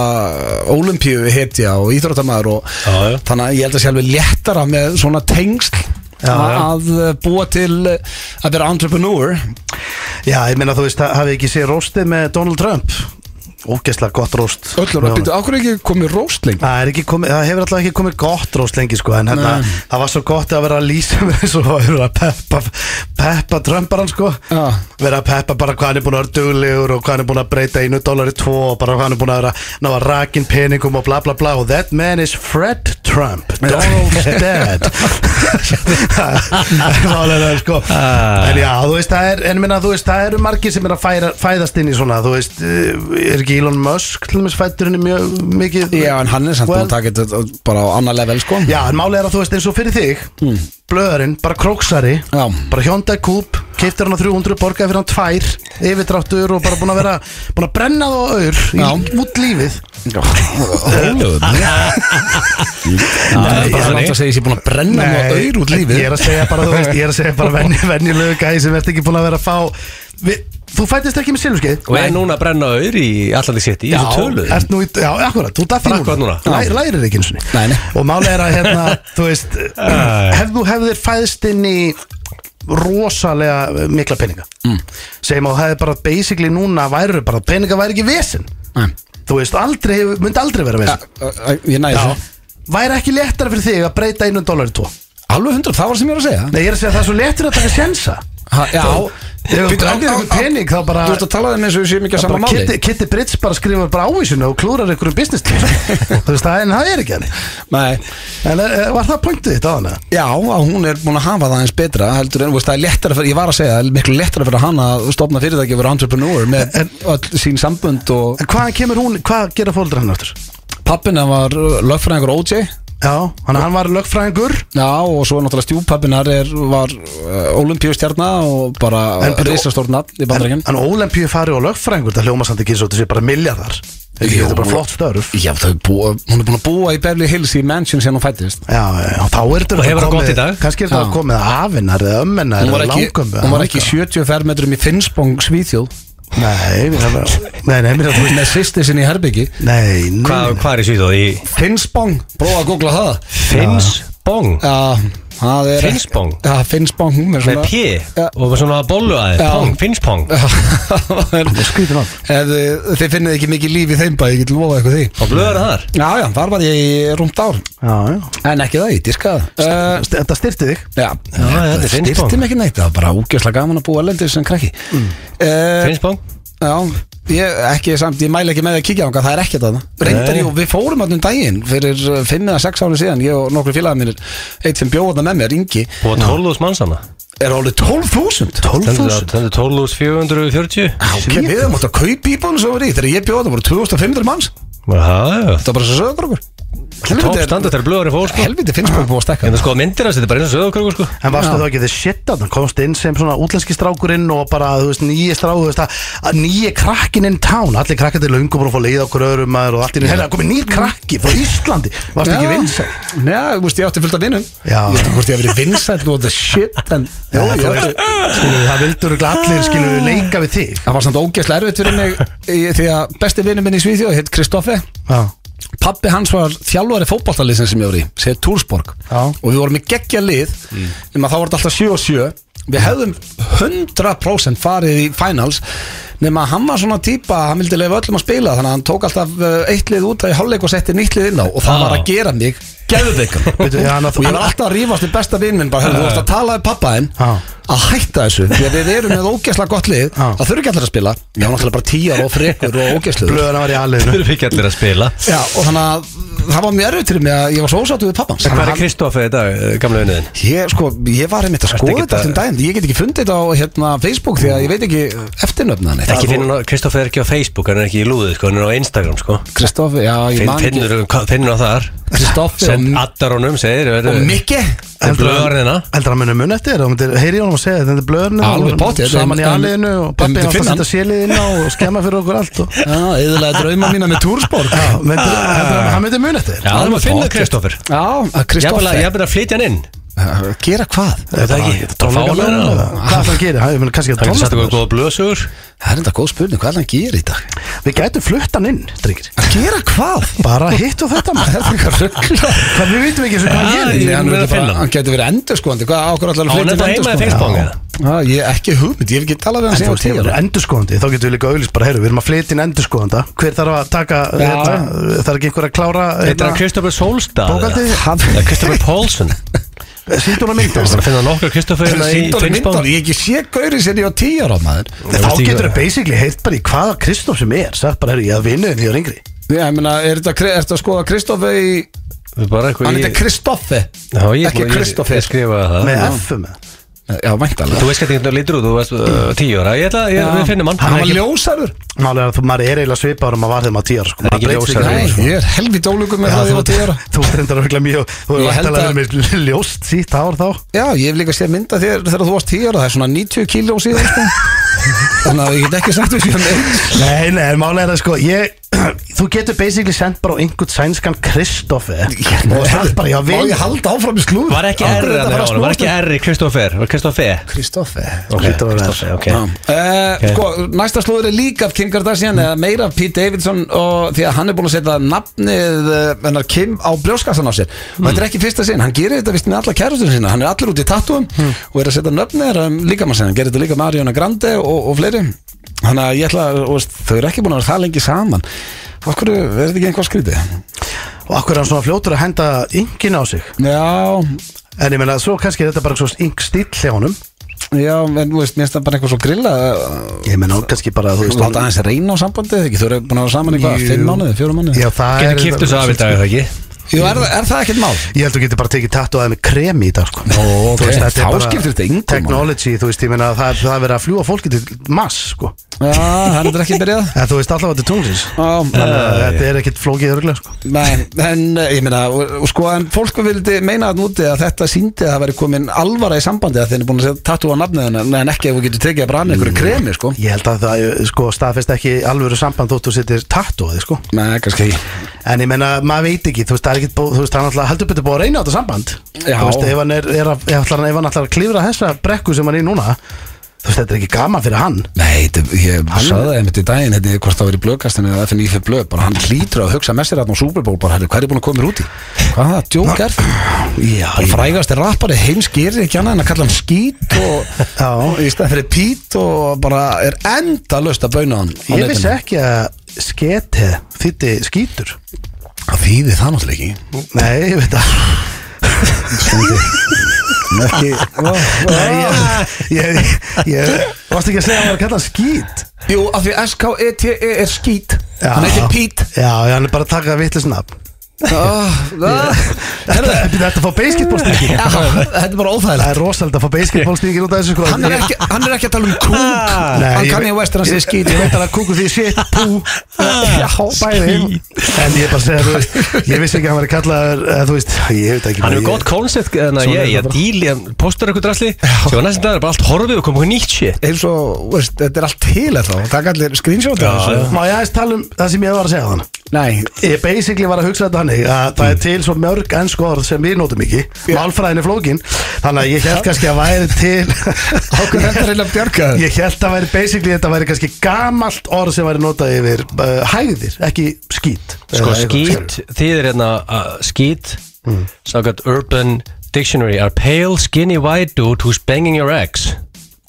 A: olimpíu hetja og íþróttamæður og
B: Já, já.
A: þannig að ég held að sé alveg léttara með svona tengsl
C: Já,
A: að,
C: já.
A: að uh, búa til uh, að vera entrepreneur
C: Já, ég meina þú veist, ha- hafið ekki séð róstið með Donald Trump ógeðslega gott róst
A: Öllur,
C: Með honum.
A: býttu, ákveð ekki komið róstling
C: Það, er ekki komið, það hefur alltaf ekki komið gott róst lengi sko, en hérna, það var svo gott að vera að lýsa með þessu og vera að peppa, peppa trömbaran sko,
A: Já.
C: vera að peppa bara hvað hann er búin að vera duglegur og hvað hann er búin að breyta einu dólar í tvo og bara hvað hann er búin að vera ná að rakin peningum og bla bla bla og that man is Fred Trump Donald's dad Málega, sko. en já, þú veist, það er en minna, þú veist, það eru margir sem er að færa, fæðast inn í svona, þú veist, eh, er ekki Elon Musk, til dæmis fættur henni mjög mikið
A: Já, en hann er samt
C: Well-
A: búin að taka þetta uh, bara á annar level, sko
C: Já, en málið er að þú veist eins og fyrir þig Blöðurinn, bara króksari
A: Hmm. Já.
C: Bara Hyundai Coupe, keiptir hann á 300 Borgaði fyrir hann tvær, yfirdráttur Og bara búin að vera, búin að brenna þá aur í,
A: Já.
C: Út lífið
A: Hólöðum Það er bara langt að segja sér búin að brenna nú að auður út lífið
C: Ég er að segja bara, þú veist, ég er að segja bara venni, Venjulegu gæði sem ert ekki búin að vera að fá við, Þú fættist ekki með silfskeið
B: Og er núna að brenna auður í allan því sitt Í þessu tölu
C: ert nú í, já, akkurat, þú datt
B: Bara akkurat núna.
C: Læ, Lærir ekki eins og
A: Nei, nei.
C: Og málið er að, hérna, þú veist Hefðu, þú hefðir fæðst inn í rosalega mikla peninga mm. sem að þú hefði bara basically núna væru bara, peninga væri ekki vesen
A: Nei.
C: þú veist, aldrei, hefur- myndi aldrei vera
A: Ja,
C: vesen
A: ö, ö, Ah, Ég næði
C: já,
A: þessu
C: væri ekki léttara fyrir þig að breyta einu dólar í tvo
A: Alveg hundur, það var sem ég var að segja
C: nei, ég er að segja að það er svo léttur að taka sjensa
A: Ha, já.
C: þegar þú
A: Bíddu, á-
C: brennir
A: á-
C: einhvern pening þá bara
A: Þú ert að tala þeim eins og við séum ekki að sama
C: bara
A: máli
C: Kitty, Kitty Brits bara skrifar bara ávísinu og klúrar einhverjum business til þú veist, það, en það er ekki hann
A: Nei,
C: en er, er- var það pointið þitt á hana?
A: já, að hún er búin að hafa það eins betra heldur en, þú veist, það er lettara fyrir, ég var að segja það er miklu lettara fyrir hann að stopna fyrirtæki og vera entrepreneur með
C: En-
A: öll sín sambönd og
C: en hvaðan kemur hún, hvað gera fóldur hann aftur?
A: pappina var ö, lögfræðingur OJ
C: já, hann, hann var lögfræðingur
A: já, og svo náttúrulega stjúpappinar er, var olimpíustjarnar og bara
C: En byrju-
A: risastórnat í
C: en,
A: bandaríkjum
C: en ólempíu fari og lögfræðingur það hljóma samt ekki eins og þetta sé bara miljardar þetta
A: Jú.
C: er bara flott störf
A: Já, þau búa, hún er búin að búa í Beverly Hills í mansion sem hún fættist
C: Já, já, þá er þetta
B: Og hefur það
C: komið-
B: gott í dag.
C: Kannski er þetta
A: Já.
C: komið að afinnar eða ömmennar
A: Hún var
C: eða
A: ekki,
C: langömmu,
A: hún var ekki
C: langar.
A: 70 fermetrum í Finnsbong Svíþjóð
C: Nei, mér er bara- nei, nei, mér er bara-
A: með sýsti sinni í herbyggi
C: Nei, nei,
B: Hvað
C: nei.
B: hva er í Svíþjóð? Í
A: Finnsbong, prófa að googla það
B: Finnsbong
A: Já, það er
B: Finnsbong?
A: Já, Finnsbong hún er
B: Með
A: svona
B: P
A: Já.
B: Og með svona bollu aðeins
A: Já.
B: Pong, Finnspong
A: Það er
C: skrýtin orð.
A: Ef þið- eh, Þið finnið ekki mikið líf í þeim bæ, ég get lofað eitthvað því
B: Og blöður þar
A: Já, já, þar var ég í rúmt ár
C: Já, já.
A: En ekki það, ég diskaði uh,
C: St- Þetta styrti þig
A: Já,
B: þetta er Finnsbong.
A: styrti mig ekki neitt Það var bara úkjörslega gaman að búa lendið sem krakki mm.
B: Finnspong
A: Já, ég, ekki samt, ég mæla ekki með því að kíkja á það er ekkert að það Reyndar,
B: Nei.
A: jú, við fórum hann um daginn fyrir uh, fimm eða sex árið síðan Ég og nokkru félagið mínir, eitt sem bjóða með mér, Ingi
B: Og 12.000 mannsana
A: Er alveg 12.000
B: 12.000 Þetta er 12.440
A: Ok, við höfum átt að kaupa íbúðinu sem við erum í Þegar ég bjóða það voru 2500 manns
B: Já, já
A: Það var bara svo sögur okkur
B: Top standard er blöður í fór sko
A: Helviti finnst mér búið að stekka
B: En það sko myndir hans, þetta er bara eins og söðokröku sko
C: En varstu
A: Já.
C: þá ekki þið shit að það komst inn sem svona útlenski strákurinn og bara, þú veist, nýji strákur, þú veist, að- að nýji krakkin inn town, allir krakkar til löngum og fór leið okkur öðrum maður og allt í nýju, hefði það komið nýr krakki frá Íslandi, varstu ekki vinsæl?
A: Já, þú veist, ég átti fullt af vinnum
C: Já.
A: Ég veist, hvort ég hef verið vinsæl og the shit En, já,
C: Já,
A: já,
C: þú veist, skilur, það vildur örugglega allir, skilur, leika við þig.
A: Það var samt ógeðslega erfitt fyrir mig í- Því að besti vinnum minn í Svíþjóð heit Kristoffi
C: Já,
A: Pappi hans var þjálfari fótballtaliðsin sem ég voru í sem er Túrsborg
C: Já. Mm.
A: og við vorum í geggja lið nema þá var þetta alltaf 7 og 7 við hefðum 100% farið í finals nema hann var svona típa hann vildi leifa öllum að spila þannig að hann tók alltaf uh, eitt lið út í hálfleik og setti nýtt lið inn á og það
B: Já.
A: var að gera mig geðveikan og
C: Veitu, já, hann-
A: ég var alltaf að rífast við besta vinn minn bara hörðu þú ert að tala við pappa þinn
C: Já.
A: að hætta þessu því að við erum með ógeðslega gott lið
C: Já.
A: það þurfi ekki allir að spila ég var náttúrulega bara tíjar og frekur og ógeðsluður
C: blöðan var í
B: Þau
C: alliðinu.
B: eru ekki allir að spila
A: Já, og þannig að það var mjög erfitt fyrir mig að ég var svo ósáttu við pappans
B: Hvað er Kristoffi í dag, eh, gamla vinniðin?
A: Ég, sko, ég var einmitt að
B: Ertu
A: skoða
B: ekki
A: þetta
B: að-
A: um daginn Ég get ekki fundið þetta á hérna, Facebook Því að ég veit ekki eftirnöfna hann
B: Ekki finna, Kristoffi er ekki á Facebook, hann er ekki í lúðið sko, hann er á Instagram sko
A: Kristoffi, já, ég
B: Finn,
A: man ekki
B: finnur, hvað- finnur hann þar
A: Kristoffi og,
B: Send addar honum, segir
A: og Mikki
B: En blöðarðina
C: Heldur hann munið mun eftir, þér? þú myndir heyri honum að segja þetta, þetta er blöðan
A: hérna? Alveg pottþétt,
C: saman í
A: en-
C: alliðinu og pappi
A: en-
C: hann
A: finna
C: að
A: hann?
C: setja séliðinu og skemma fyrir okkur allt og...
A: Já, eðlaði drauma mína með túrspor
C: Já, myndir, heldur hann- hann myndir mun eftir þér?
B: Já, það er að finna
A: Pottþétt.
B: Kristoffir
A: Já, að
B: Ég
A: Kristoffi
B: er bara að flytja hann inn
A: Já, Gera hvað?
B: Það er það ekki, þá fá hann hann
C: Hvað ætlar hann gerir? Hann kannski að
B: Hann getur satt
C: tónlistamæður
B: okkur góða blöðsugur
A: Það er enda góð spurning, hvað er hann að gera í dag?
C: Við gætum flutt hann inn, drengir
A: Að gera hvað?
C: Bara hitt og þetta maður
A: Það er eitthvað ruggla
C: Hvað við vitum ekki eins og hvað hann
B: Ah,
C: gerir
B: ég-
A: Hann
B: mun að
A: er ekki
B: finna
A: bara-
B: hann.
A: hann getur verið endurskóandi Hvað ákvörð allar
B: Á
A: að
B: hann
A: flytja
B: þetta
A: til
B: heima í
A: endurskoðanda?
B: Facebook
A: Já.
B: eða?
A: Já, Ég er ekki hugmynd, ég hef ekki talað við hann
C: En þú
A: síðan
C: veist, ef
A: tíu
C: það er
A: ára.
C: endurskoðandi, þá getum við líka auðvist bara, heyrðu, við erum að flytja inn endurskoðanda Hver þarf að taka,
A: Já.
C: hérna, þarf ekki einhver að klára hérna,
B: Þetta er Kristoffer Solstad
C: Bókaldið? Eh,
B: Kristoffer Pálsson
C: Sýndum að mynda
B: Ég var að finna nokkra Kristoffer hérna í
A: Sýndar
B: Finnsbán
A: myndar, ég hef ekki sé gaurið sér ég var tíu ára maður
B: Ég
C: Þá
B: veist ekki
C: getur
B: hvað-
C: við basically heilt bara í hvaða Kristoff sem er Sagt bara, heyrðu, ég að vinnu en því að ringri
A: Já, ég meina, er þetta er þetta að skoða Kristoffi í
B: Við bara eitthvað
A: Hann
B: í-
A: heitir Kristoffi
B: Já, ég-
A: Ekki
B: ég-
A: Kristoffer
B: Ég skrifaði það
C: Með F-um eða?
A: Já, væntalega
B: Þú veist hvernig þetta lítur út, þú veist uh, tíu ára Ég ætla, ég, við finnum hann
A: Hann
B: er
A: var
B: ekki-
A: ljósarur
C: Málega að þú, maður er eiginlega svipaður um að varðið maður tíjar sko.
B: Það er ekki
C: Maður breytir
B: ljósari.
A: Nei,
C: ekki.
A: ég er helvítið ólugum með
C: Já,
A: það þegar ég var tíu ára
C: Þú þú reyndar örgulega mjög Þú
A: Ég
C: er
A: held
C: væntalega
A: að-
C: verið með ljóst sítt hár þá
A: Já, ég hef líka séð mynda þér þegar þú varst tíu ára Það er svona 90 kíló síðan sko. Þannig að ég get ekki sagt því sem
C: Nei, nei, en málega er það sko ég, Þú getur basically sendt bara á einhvern sænskan Kristoffi Og sagt bara, já,
A: Má
C: vinn
A: ég halda áfram í slúður?
B: Var ekki R að það var ekki R í Kristoffer Var Kristoffer
A: Kristoffi
B: Ok,
C: Kristoffer R.
B: Kristoffer, ok
A: Já. Eh, Sko, næsta slúður er líka af Kim Kardashian eða meira af Pete Davidson og því að hann er búin að setja nafnið eh, hennar Kim á brjóskassan á sér og þetta er ekki fyrsta sinn, hann gerir þetta vist með alla kærastunum sína, hann er allir út í tattúum og er að setja nöfnir um líkamann sinna hann gerir þetta líka með Ariana Grande og, og fleiri þannig að ég ætla, að- og veist, þau eru ekki búin að vera það lengi saman okkur er þetta ekki einhvað skrítið
C: Og akkur er hann svona fljótur að henda yngin á sig
A: já,
C: En ég meina, svo kannski er þetta bara svona yng stíl hjá honum
A: já, en þú veist, mér finnst það bara eitthvað svo eh, grilla
C: Ég meina, hún kannski bara, þú veist
A: láta aðeins reyna á sambandið eða ekki, þau eru búin að vera saman í hvað,
C: Jú.
A: fimm mánuði, fjórum mánuði
C: Já, það
B: Getur kýpt þessu af í dag, er það ekki?
A: Jú, er, það- er það ekkert mál?
C: Ég held að þú getur bara tekið tattu aðeins með kremi í dag sko.
A: Ó, ok.
C: Þú þetta er
A: Þá
C: bara
A: skiptir þetta engu máli.
C: Technology, þú veist, ég meina það, það er verið að fljúa fólki til mass sko.
A: Já, það er ekki byrjað
C: En þú veist allavega til tunglins
A: Já,
C: Þannig að þetta er ekkit flókið örglega sko.
A: nei, en eh, ég meina og- og sko, en fólk vildi meina að núti að þetta síndi að það væri komin alvara í sambandi að þeir eru búin að setja tattu á nafnið hennar en ekki ef þú getur tekið að brana einhverju kremi, sko
C: Ég held að það sko, staðfest ekki alvöru samband þótt þú settir tattu aðeins sko.
A: Nei, kannski ekki
C: En ég meina, maður veit ekki, þú veist, það er ekkit búið- þú veist, hann alltaf heldur betur búið að reyna á þetta samband
A: Já.
C: Þú veist, ef hann er, er, að, ef hann- ef hann alltaf að klifra þessa brekku sem hann er í núna Þú veist, þetta er ekki gaman fyrir hann
A: Nei, þetta- ég sagði það einmitt í daginn hérna, hvort það var í blöðkastinu eða FNÍ fyrir blöð bara hann hlýtur að hugsa með sér þarna á Super Bowl bara, herri, hvað er ég búin að koma mér út í? Hvað það, djók er það?
C: Já,
A: Bara frægast er rappari, heims gerir ekki annað en að kalla hann skít og
C: Já.
A: og í stað fyrir pít og bara er enda löst að bauna hann á
C: Ég vissi
A: netinu.
C: ekki að skete þýtti skítur
A: Það þýðir það náttúrulega ekki
C: Nei, ég veit að
A: Ekki, ó,
C: Nei, ég, ég, ég Varst ekki að segja að hann var að kalla hann skít
A: Jú, af því S-K-E-T-E E er skít
C: Já.
A: Hann heitir Pít
C: Já, já, hann er bara að taka vitlisnafn
A: Ah,
C: Þetta
A: Þetta
C: þetta er að fá basketballstíki
A: er bara
C: Það
A: óþægilegt
C: er rosalega að fá basketballstíki út af þessu sko
A: Hann er ekki, hann er ekki að tala um kúk
C: Ah. Nei,
A: Hann
C: ég
A: kann ég
C: veit-
A: vestir hann segir skít Ah,
C: Ég veit alveg að kúku því shit, pú
A: Já,
C: Bæði En ég er bara að segja, þú veist Ég vissi ekki að hann var að kalla Þú veist, ég veit
B: Hann
C: ekki bara,
B: hefur
C: ég-
B: gott koncept, en að
C: Svona
B: ég,
C: er
B: ég
C: það bara.
B: díli, hann postar eitthvað drasli Svo næstum dag er bara allt horfið og komið eitthvað nýtt shit
A: Eins og, veist, þetta er allt til eða þá Takk allir screenshot af þessu.
C: Má ég aðeins tala um það sem ég var að segja þannig
A: Nei,
C: Ég basically var að hugsa þetta hannig að það er til svo mörg ennsk orð sem við notum ekki Málfræðin er flókin Þannig að ég held kannski að væri til
A: ákveð þetta er eiginlega bjargað
C: Ég held að væri basically þetta væri kannski gamalt orð sem væri notað yfir uh, hæðir, ekki skít
B: Sko,
C: Eða eitthvað,
B: skít,
C: skilurðu.
B: þýðir hérna að skít
A: Mm.
B: Sákat Urban Dictionary Are pale, skinny, white dude who's banging your ex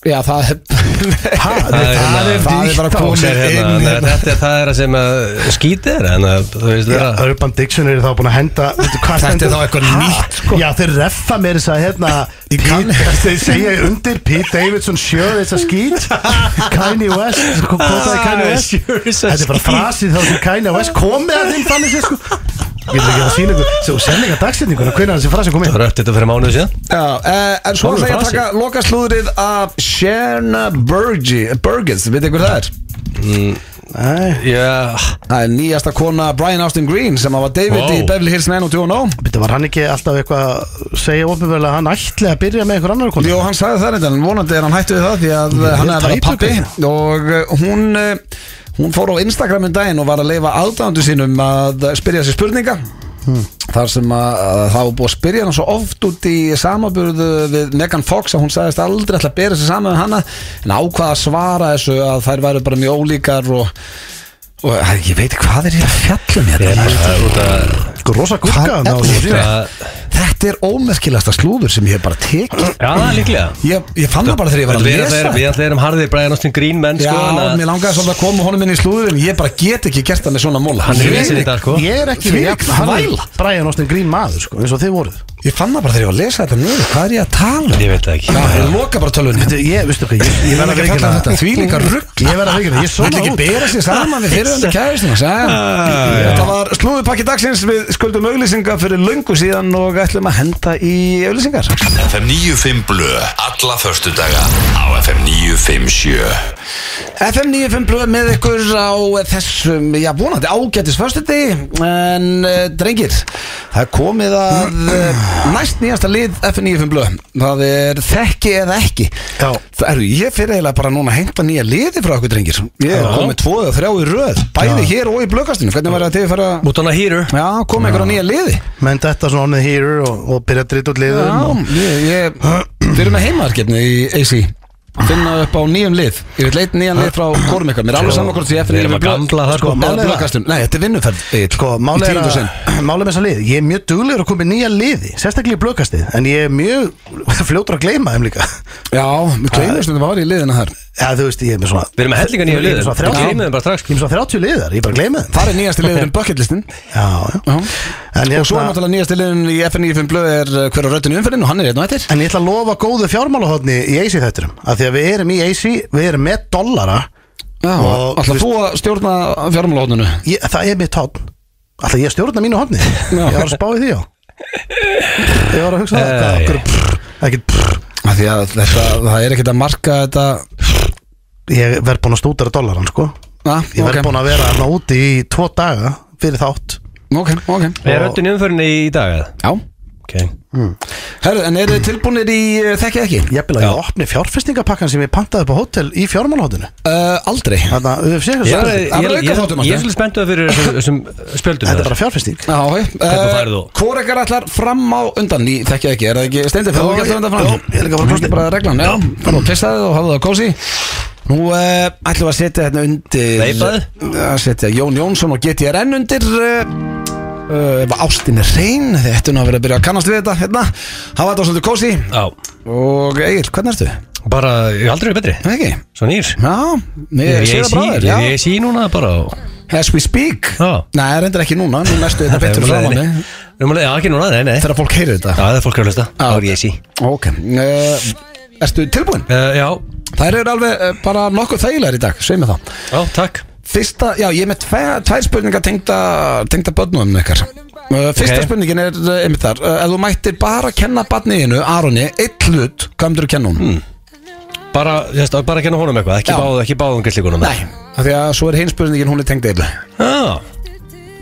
A: Já, það er
C: Ha,
B: Það er
C: það
B: hérna-
A: það er
C: er dýrt
A: bara
C: á
A: komið
C: sér
B: Sér
C: hérna.
B: hérna, þannig að Þetta er það er að sem að skít er En að, þú veist
C: Já,
B: það
C: Urban Dictionary er þá búin að henda veitu, hvað
A: Þetta er
C: stendur-
A: þá eitthvað
C: Ha?
A: nýtt, sko.
C: Já þeir reffa mér þess að hérna
A: kann-
C: Pete- Þeir segja undir Pete Davidson sjöð þess að skít Kanye West sko,
A: Ah,
C: Kvotaði Kanye West
B: Sure is a
C: Þetta er bara
B: skít.
C: frasið þá sem Kanye West komið að þeim þannig sér sko Ég vil ekki að sína ykkur Svo sendinga dagsetninguna, hvernig er þessi frasið komið
B: Það var öll þetta fyrir mánuðu síðan
A: Já, eh, en svo ætla
B: Hvað er
A: ég að
B: frasi?
A: taka loka slúðrið af Sherna Burgi, Burgess, veit þið hver það er?
C: Nei,
B: Mm, Já,
A: Það er nýjasta kona Brian Austin Green sem var David
B: Wow.
A: í Beverly Hills 90210
C: býttu, var hann ekki alltaf eitthvað að segja ofinverðilega að hann ætli að byrja með einhver annar konu?
A: Jó, hann sagði það reyndan, vonandi er hann hættu við það því að eh, hann er að vera
C: tæpur
A: pappi og eh, hún, eh, hún fór á Instagram um daginn og var að leifa aðdæðandu sínum að spyrja sér spurninga
C: Hmm.
A: þar sem að, að það var búið að spyrja hann svo oft út í samaburðu við Megan Fox að hún sagðist aldrei ætla að bera sér saman við hana en ákvaða að svara þessu að þær væru bara mjög ólíkar og, og eh, ég veit ekki hvað er þetta fjallum
B: ég
A: hérna
B: er bara út að
C: Sko, rosa
A: Hvað
C: gurka
A: er
C: hann á
A: þetta?
C: þessu síðan.
B: að-
A: Þetta Þetta er ómerkilegasta slúður sem ég hef bara tekið
B: Já, það er líklega
A: Ég, ég fann það bara þegar ég var að
B: Við-
A: lesa
B: við- Við ætlum erum harðið bræðin ástin grín menn
A: Já,
B: sko en að-
A: mér langaði svolítið að koma honum inn í slúðurinn Ég bara get ekki gert það með svona móla
B: Hann er
A: Ég-
B: vesinn í dag sko
C: Ég er ekki
A: Þvílík
C: jafn- hann er
A: þvæla.
C: Brian Austin Green maður sko, eins og þið voruð
A: Ég fann það bara þegar ég var að lesa þetta niður Hvað er ég að tala um?
B: Ég veit það ekki.
A: Já, ég loka bara tölvunni
C: Þetta- Ég, veistu hvað, ég, ég
A: Ég verði
C: verð
A: ekki
C: að
A: að
C: veikina
A: falla þetta því líka rugg
C: Ég verð að veikina, ég
A: Svona
C: svona
A: ekki
C: út
A: bera sér saman við fyrirhundu kæðistina Þetta var slúðupakki dagsins Við skuldum auglýsinga fyrir löngu síðan og ætlum að henda í auglýsingar
D: FM 95 Blö Alla förstu daga á FM 957
A: FM 95 blöð með ykkur á þessum, já vonandi ágætis föstuti en uh, drengir það er komið að uh, næst nýjasta lið FM 95 blöð það er þekki eða ekki
C: Já.
A: það eru ég fyrir eiginlega bara núna að hengta nýja liði frá okkur drengir ég er
B: Já.
A: komið tvo eða þrjá í röð bæði hér og í blöðkastinu, hvernig var það til að fara
B: Út á hana hýru
A: já, komið ykkur á nýja liði
C: Menn þetta svona onnið hýrur og, og byrja að drita út liðum og,
A: Já, ég, ég, við erum með heimaðargefni í AC finna upp á nýjum lið ég vil leita nýjan lið frá kórum ykkar mér er alveg saman hvort því FN
B: Við erum að gambla þar, sko.
A: eða
C: Málið er
A: blökkastum nei, þetta er vinnuferð Egill,
C: Sko,
A: í
C: málið er
A: tíundu sinn.
C: að Málið með þessa lið, ég er mjög duglegur að koma í nýja liði Sérstaklega í blökastið, en ég er mjög fljótur að gleyma þeim líka
A: já, við gleymum stundum að vara í liðina þar
C: Já, þú veist, ég er með svona
B: Við erum með hellinga nýju
C: Ég er
B: liðum
C: með
B: Við
C: svona þrjátíu-
B: gleymum þeim bara strax sko.
C: Ég er með svona 30 liðar, ég bara gleyma þeim
A: það er nýjasti liðurinn bucketlistin
C: Já, já En ég
A: og svo er náttúrulega nýjasti liðurinn í FN 95 blöð er uh, hver á röttinu umferðin og hann er einn og eittir
C: En ég ætla að lofa góðu fjármálahotni í AC þætturum að Því að við erum í AC, við erum með dollara
A: já,
C: Og-
A: alltaf þú að stjórna fjármálahóðnunu
C: ég, Það er mitt hotn Alltaf ég að stjórna mínu hotni Ég var að spá í því á Ég var að hugsa það
B: Eh,
C: hvað, okkur, prr, ekkert, prr,
A: því að þetta, það er ekkert að marka þetta
C: Ég verð búin að stútara dollaran sko
A: Ah,
C: Ég verð
A: ok.
C: búin að vera þarna úti í tvo daga fyrir þátt
A: ok, ok
B: Er öllin umförinni í dag eða?
A: já,
B: Ok
A: Herru, en eru þið tilbúinir í uh, þekki ekki?
C: Ég vil að ég opni fjárfestingapakkan sem ég pantaði upp á hótel í fjármálahotinu
A: Uh, aldrei Já,
C: Þannig að UFC
B: Ég
C: eitthvað
B: er- ég er-
C: spennandi.
A: Það er
B: ég
A: aukaþáttur,
B: er-
A: Marta.
B: ég er svolítið spenntuð fyrir þessum- þessum spjöldum
C: Þetta er
B: þar.
C: bara fjárfesting
B: Hvernig færðu þú?
A: Hvor ekkert allar Eh, fram á undan í þekki ekki? Er það ekki stendir fyrir
C: Jó,
A: þú ekki allar
C: ég-
A: undan fram?
C: jó, ég er líka bara
A: Nú
C: kosti.
A: bara reglan, já Þannig að pissaði og hafði það kósi Nú uh, ætlum við að setja hérna undir
B: Veipaðu?
A: Að setja Jón Jónsson og GTRN undir uh, uh, Ef ástin er reyn Þetta er nú að vera að byrja að kannast við þetta hérna. Hafa þetta á svolítið kósi
B: Já
A: Og Egil, hvernig ertu?
B: Bara, ég hef aldrei verið betri
A: Það ekki?
B: Svo nýr
A: Já,
B: Ég
A: ég sé það
B: er
A: bráður
B: í sí núna bara og-
A: As we speak
B: Já.
A: Nei, reyndar ekki núna, nú næstu þetta betur
B: Við erum
A: frá
B: leiðinni.
A: manni
B: Við erum að leiða, ekki núna, nei, nei Já,
A: Þegar fólk heyrir þetta
B: það er fólk er að hlusta Þá er ég í sí
A: Ok, uh, erstu tilbúin?
B: Eh, Já,
A: Þær eru alveg uh, bara nokkuð þægilegar í dag, segjum við það
B: já, takk
A: Fyrsta, já, ég er með tve, tvær spurningar tengda, tengda börnum ykkar uh, Fyrsta
B: Ok.
A: spurningin er uh, einmitt þar uh, Ef þú mættir bara kenna barniðinu, Aroni, eitt hlut, hvað myndir þú kenna hún? Hmm.
B: Bara, þú veist, bara að kenna honum eitthvað Ekki
A: Já.
B: báðu, ekki báðu um gæstlíkunum
A: Nei, af því að svo er hinn spurningin, hún er tengd eilu
B: Já,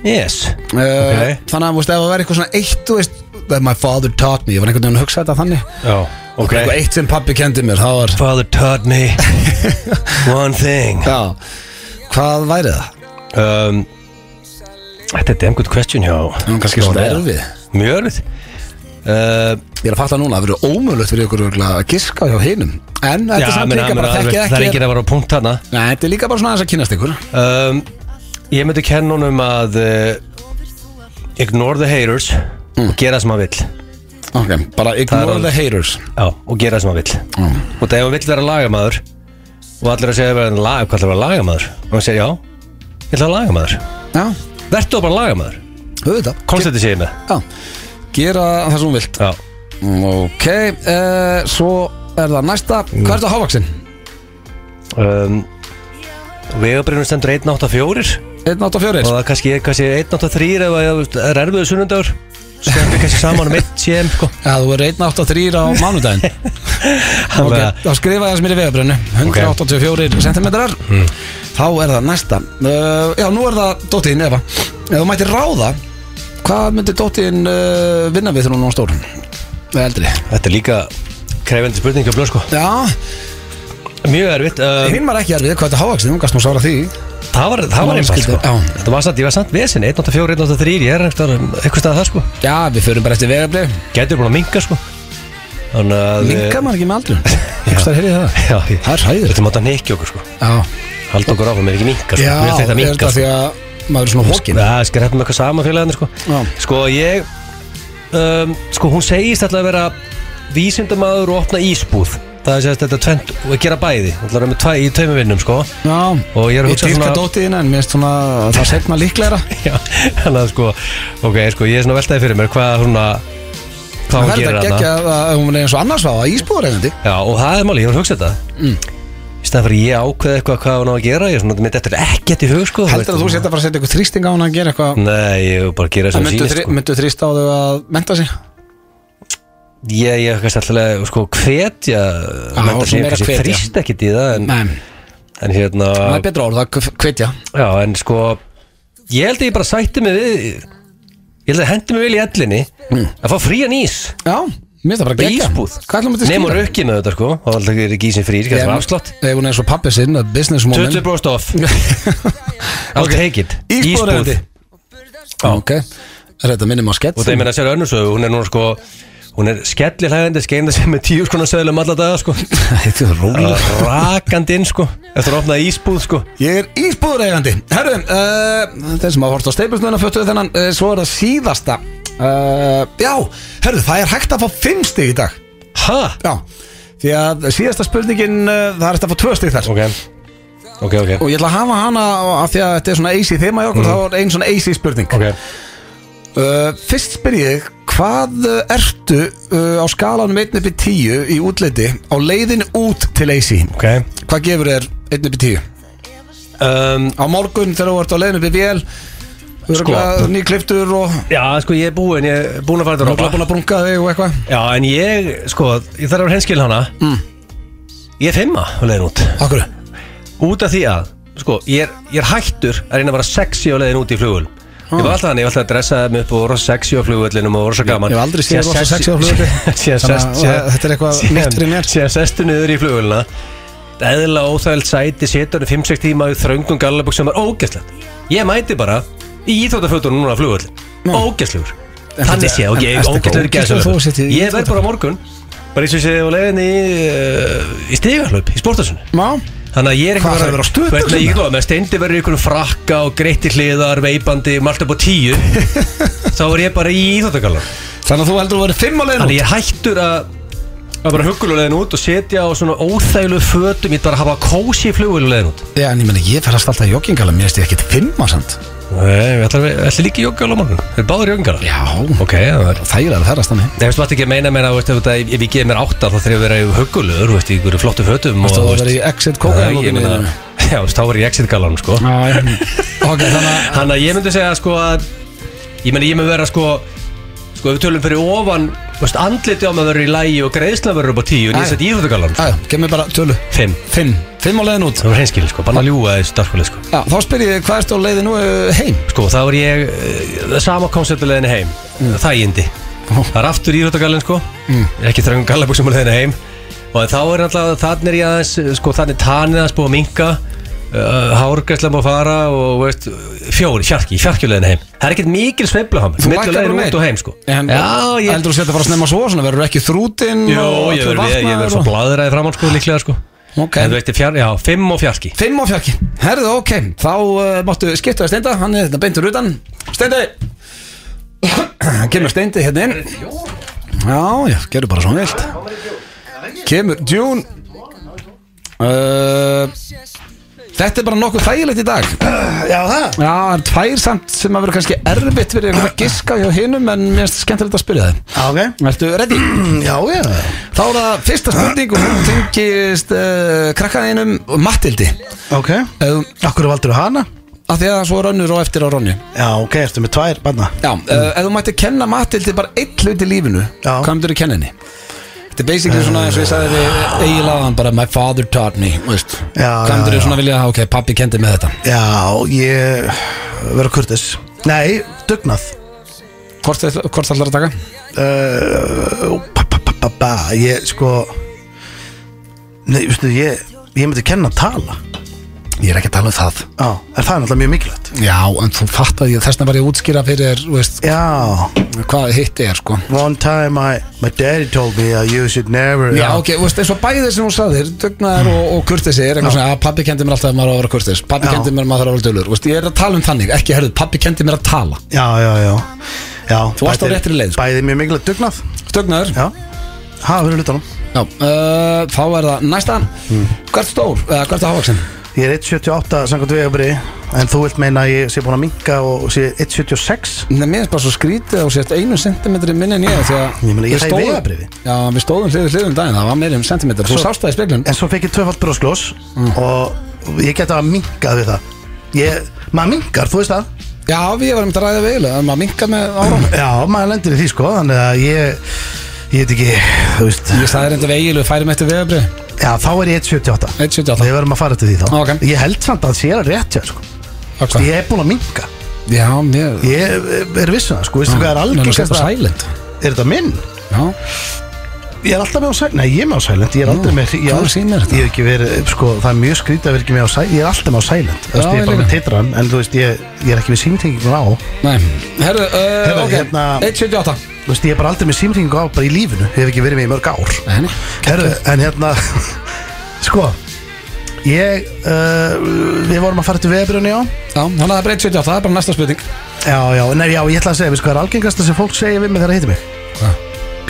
B: yes
A: Uh,
B: Ok.
A: Þannig að þú veist, ef það verður eitthvað svona eitt, þú veist That my father taught me, ég var einhvern veginn að hugsa þetta þannig
B: Já,
A: Eitthvað
B: ok
A: eitt sem pabbi kendi mér, það var
B: Father taught me One thing
A: Já, hvað væri það?
B: um, Þetta er damn good question hjá
A: Nú, kannski svona
B: Lóa.
A: erfið.
B: Mjög erfið uh,
A: Ég er að fatta núna að það verður ómögulegt fyrir ykkur örugglega að giska hjá hinum En þetta
B: já,
A: er samt
B: meina,
A: líka
B: meina,
A: bara
B: alveg,
A: þekkið
B: Það er
A: ekki
B: enginn að vera á punkt hana
A: Nei, þetta er líka bara svona aðeins að kynast ykkur
B: um, Ég myndi kenna honum að uh, Ignore the haters
A: Mm.
B: Og gera það sem hann vill
A: Ok, bara
B: Það er
A: ignore
B: alveg-
A: the haters
B: Já, og gera það sem hann vill
A: Mm.
B: Og það ef hann vill vera lagamæður Og allir að segja að vera, lag, hvað ætlar að vera lagamæður Og hann segir já, ég ætla að vera lagamæður
A: Já,
B: Vertu bara lagamæður,
A: auðvitað
B: konstætti segir mig
A: Já, gera það sem hún vilt
B: Já,
A: Mm, Ok, uh, svo er það næsta Hvað er þetta hávaksin?
B: um, Vegabrinu stendur 184 og
A: 184
B: það er kannski, kannski 183 ef það er erfiðu sunnundagur stendur kannski saman um 1 cm sko.
A: Já, þú er 183 á mánudaginn
B: Þannig
A: Ok,
B: að-
A: þá skrifa ég aðeins mér í vegabrönnu 184 okay. centimetrar
B: Hmm.
A: Þá er það næsta uh, Já, nú er það dóttiðin Eva Ef þú mættir ráða Hvað myndir dóttiðin uh, vinna við þegar hún er stór? Eða eldri
B: þetta er líka krefendi spurning hjá blöð sko.
A: Já,
B: mjög erfitt um,
A: hinn var ekki erfið Hvað er þetta hávaksin? Hún gast nú sára því
B: það var, það var einfalt sko.
A: Já.
B: þetta var samt, ég var samt vesin 184, 183, ég er eitthvað stað það sko.
A: Já, við förum bara eftir vegabröð
B: getur búin að minka sko. þannig að eh,
A: Mingar maður ekki með aldrun Ekstar heyrið það
B: Já, ég-
A: Það er hræður
B: þetta mátt að neykja okkur sko.
A: Já,
B: halda okkur áfram, er ekki minka sko.
A: Já
B: Mér finnst
A: er
B: þetta minka
A: þetta
B: sko.
A: því að maður er svona hókin
B: það er skrætt með eitthvað sama félagarnir sko.
A: Já.
B: sko ég um, sko hún segist alltaf að vera vísindamaður og opna ísbúð það er sérst þetta tvent og að gera bæði alltaf er með tvæ, í tveimu vinnum sko
A: Já,
B: og ég er að
A: ég
B: hugsa
A: dýrka
B: svona
A: dótiðina en mér finnst svona að það setna líklegra
B: Já, þannig að sko ok, sko ég er svona veltaði fyrir mér hvað hún að hvað
A: Það
B: hún
A: er
B: gerir
A: þetta
B: hana
A: geggja að hún er eins og annars var ísbúður einandi
B: Já, og það er máli, ég var að hugsa þetta mm. í stæðan fyrir ég ákveði eitthvað hvað hún á að gera ég er svona, mitt eftir ekkert í hug sko
A: Heldur að þú
B: veist.
A: setja bara að setja eitthvað þrýsting á hún að gera eitthvað
B: Nei, ég er bara að gera
A: En
B: Mm, sem
A: myndu,
B: sýnist
A: þri,
B: sko.
A: myndu þrýsta á þau að menta sig
B: Ég, ég er kannski alltaf að sko hvetja menn
A: og
B: að segja
A: meira
B: kannski
A: hvetja.
B: þrýst ekkert í það en,
A: Nei,
B: en hérna
A: það er betra orð, það er kvetja
B: Já, en sko Ég held að ég bara sætti mig við Ég held að hendi mig vel í ellinni Að fá frían ís
A: Já, mér finnst það bara
B: Bara
A: geggja
B: ísbúð
A: Mm. Hvað ætlum við að
B: Nefnum
A: skýra?
B: rökkinu þetta sko Og alltaf er ekki ísin frír, kannski
A: Ef-
B: var afslátt
A: Ef hún er svo pappi sinn, að business woman
B: 20 bróst off I'll take it
A: Ísbúð er þetta.
B: Já.
A: Ok, er þetta minnum á skett
B: Og það ég meina að sér önnursögu Hún er núna sko Hún er skellir hægandi Skeinda sem með tíu skona söðlum alla daga sko
A: Þetta er
B: Uh.
A: rólega
B: Rakandi inn sko Eftir að opna ísbúð sko
A: Ég er ísbúður eigandi Herru, uh, þeir sem hafa hort á steipusnöðuna föttuðu þennan uh, Svo er það síðasta uh, Já, herru, það er hægt að fá fimm stig í dag
B: Ha?
A: Já, því að síðasta spurningin uh, Það er hægt að fá tvö stig þar
B: Ok Ok, ok
A: Og ég ætla að hafa hana uh, af því að þetta er svona AC þema í okkur, þá er ein svona AC spurning
B: Ok
A: Uh, fyrst spyr ég, hvað uh, ertu uh, á skalanum 1 upp í 10 í útliti á leiðin út til AC?
B: Ok
A: Hvað gefur þér 1 upp í 10?
B: um,
A: Á morgun þegar þú ert á leiðin upp í vél, sko. nýkliftur og
B: Já, sko, ég er búinn, ég er búinn að fara þetta
A: Nú er
B: ropa
A: búin að brunga þig og eitthvað
B: Já, en ég, sko, ég þarf að vera henskil hana mm. Ég er fimma, á leiðin út
A: Akkur
B: Út af því að, sko, ég er, ég er hættur að reyna að vera sexy á leiðin út í flugul Ég var alltaf hann, ég var alltaf að dressa þeim upp og voru rosa sexy á flugullinum og voru rosa gaman
A: Ah. Ég hef aldrei séð rosa sexy á flugvelli. Þannig að þetta er eitthvað nýtt fyrir mér.
B: Sér sestu niður í flugulina Eðla óþægild sæti, setur hann 5-6 tíma í þröngum gallaböks sem er ógæslegt Ég mæti bara í íþrótafötunum núna á flugullin Ógæslegur Þannig sé, ok,
A: en ertu ekki
B: ógæslegur
A: ógeðslegur þó að setja í
B: gæslegur Ég verð
A: íþróttaföt?
B: bara á morgun Bara eins og séð á leiðinni í, uh, í stigarhlaup, í sportasunni
A: Má?
B: Þannig að ég er
A: Hvað, það verður á stöðbuxum?
B: Þú veit, ég get lofa, með steindi verður ykkur frakka og greitti hliðar, veipandi, margt upp á tíu Þá er ég bara í íþóttakallar
A: Þannig að þú heldur að vera fimm á leiðin
B: Þannig
A: út
B: að ég er hættur að að bara huggulegin út og setja á svona óþæglu fötum Ég er bara að hafa kósi í flugvélulegin út
A: Já, en ég menna, ég ferast alltaf í joggingala, mér finnst ég ekkit fimm á samt
B: Nei, við ætlum ætla líka í joggjala á morgun Við erum báður joggjala
A: Já,
B: Ok, það er
A: þægilega að ferast þannig
B: Nei, veistu, maður ekki að meina mér að, veist, ef þetta- ef ég gef mér áttar þá þarf ég að vera í huggulegur, veist, í ykkur flottu fötum og,
A: Þú
B: veist,
A: verður í exit
B: Nei, ég meina-
A: kókaðalókinu
B: Já, veist, þá er ég exit galanum, sko
A: Ok, þannig að
B: Þannig að ég myndi segja sko að Ég meni ég myndi vera sko Sko ef við tölum fyrir ofan þú veist, Andliti á maður verður í lægi og greiðsla verður upp á tíu
A: Æ.
B: En ég seti íþjóttakallan
A: Æja, gef mér bara tölu
B: Fimm
A: Fimm Fimm á leiðin út
B: Það var hreinskilin sko, bara að ljúga þessu darkvölið sko
A: Já, þá spyr ég hvað ertu á leiðin nú heim?
B: Sko þá er ég eh, Sama konceptuleginni heim
A: Mm.
B: Þægindi Það er aftur íþjóttakallin sko Ég er ekki þröngum gallabuxum á leiðinni heim Og þá er náttúrulega Þannig er ég aðeins Sko þannig tanið aðeins búið að minka Uh, hárgæsla má fara og veist, fjóri, fjarki, fjarkjulegin heim það er ekkert mikil sveifla hann
A: Þú lækkar bara meir.
B: út og heim sko
A: En,
B: já, ég,
A: Heldur þú sér að fara snemma svo, svona verður ekki þrútin
B: Jó, ég verður ég, ég verður svo bladraði fram hann sko líklega sko
A: Ok.
B: En þú veitir fjár, já, fimm og fjarki
A: Fimm á fjarki Herðu, ok Þá uh, máttu skipta að steinda Hann er þetta beintur utan Steindi Hann Kemur steindi hérna inn Já, já, gerðu bara svona vilt Kemur Djún uh, Þetta er bara nokkuð þægilegt í dag Já,
C: Já, það
A: það er tvær samt sem að vera kannski erfitt fyrir ykkur að giska hjá hinum en mér finnst skemmtilegt að spyrja þeim
C: Já, ok
A: Ertu ready?
C: Já, já
A: Þá er það fyrsta spurning og hún tengist uh, krakkaðinum Mattildi
C: Ok
A: um,
C: Akkur valdur hana?
A: að því að svo er önnur og eftir á Ronju
C: Já, ok, ertu með tvær banna
A: Já, mm. ef þú mætti kenna Matildi bara einn hlut í lífinu
C: Já.
A: Hvað myndir þú kenna henni? Þetta er basically svona eins og ég sagði þið eiginlegaðan bara My father taught me veist.
C: Já,
A: Hvað
C: já,
A: myndir
C: já.
A: þú svona vilja að ok, pappi kendi með þetta
C: Já, ég Verður kurtis Nei, dugnað
A: Hvort, ætl- hvort ætlar að taka?
C: uh, pa, pa, pa, pa, pa. Ég, sko Nei, veistu, ég Ég myndi kenna að tala
A: Ég er ekki að tala um það
C: Já, en það er náttúrulega mjög mikilvægt
A: Já, en þú fatt að ég þessna var ég að útskýra fyrir þú veist,
C: Já,
A: hvað hitt er sko
C: one time I My daddy told me that you should never
A: Já, ok, þú veist, eins og bæðið sem hún sagðir Dugnaðar og, og kurtesi er eitthvað svona að pappi kendi mér alltaf að maður á að vera kurteis Pappi
C: Já.
A: kendi mér að maður þarf að vera dölur Þú veist, Ég er að tala um þannig, ekki herrðu, pappi kendi mér að tala
C: já, já, já Já,
A: Þú varst á
C: bæði-
A: réttri leið, sko.
C: Bæði mjög mikilvægt dugnað
A: Stögnar
C: Já, hafa verið hlutunum
A: Já, uh, þá er það næstan
C: Hmm.
A: Hvert stór, eða hvert er hávaksin?
C: Ég er 1.78 samkvæmt vegabrið En þú vilt meina að ég sé búin að minka og sé 1.76
A: Nei, mér er bara svo skrítið og sést einu sentimetri minni en ég því að
C: Ég meina, ég
A: við
C: það í
A: stóðum-
C: vegabréfi.
A: Já, við stóðum hliðið hliðum daginn, það var meiri um sentimetri Þú
C: Svo-
A: sást það í speglun
C: En svo fekk ég tvöfald brosklós
A: Mm.
C: Og ég geta að minkað við það ég, Maður minkar, þú veist það
A: Já, við varum að ræða við eiginlega, maður minkar með áram
C: Já, maður lendir í því sko Þannig að ég, ég veit ekki, þú veist
A: Ég sagði reynda við eiginlega, færum eftir vegabri
C: Já, þá er ég 1.78
A: 178,
C: Við verðum að fara til því þá
A: Ok.
C: Ég held samt að sé að rétt hjá sko
A: ok
C: Ég er búin að minka
A: Já, mér
C: Ég er vissun það sko, veistu hvað er
A: Mér er sérst
C: algengast
A: á silent
C: Er þetta minn?
A: Já,
C: Ég er alltaf með á sæl, nei ég er með á sælend Ég er aldrei
A: Nú,
C: með, ég,
A: hvað sýnir þetta?
C: ég hef ekki verið sko, Það er mjög skrítið að vera ekki með á sæl Ég er alltaf með á sælend, þú
A: ég
C: veist, ég er bara
A: líka.
C: með titran En þú veist, ég, ég er ekki með símtengingu á Þú
A: nei Herðu, uh,
C: Herðu,
A: ok,
C: hérna-
A: 178
C: veist, ég er bara aldrei með símtengingu á bara í lífinu Ég hef ekki verið með í mörg ár
A: Nei, nei.
C: Herru, en hérna Sko Ég, uh, við vorum að fara til veðbrunni á
A: Já, þannig að það er bara 178, það er bara næsta spurning
C: Já, já, nei, já, ég ætla að segja, við sko, er algengast sem fólk segja við mig þegar það hittir mig
A: Hvað?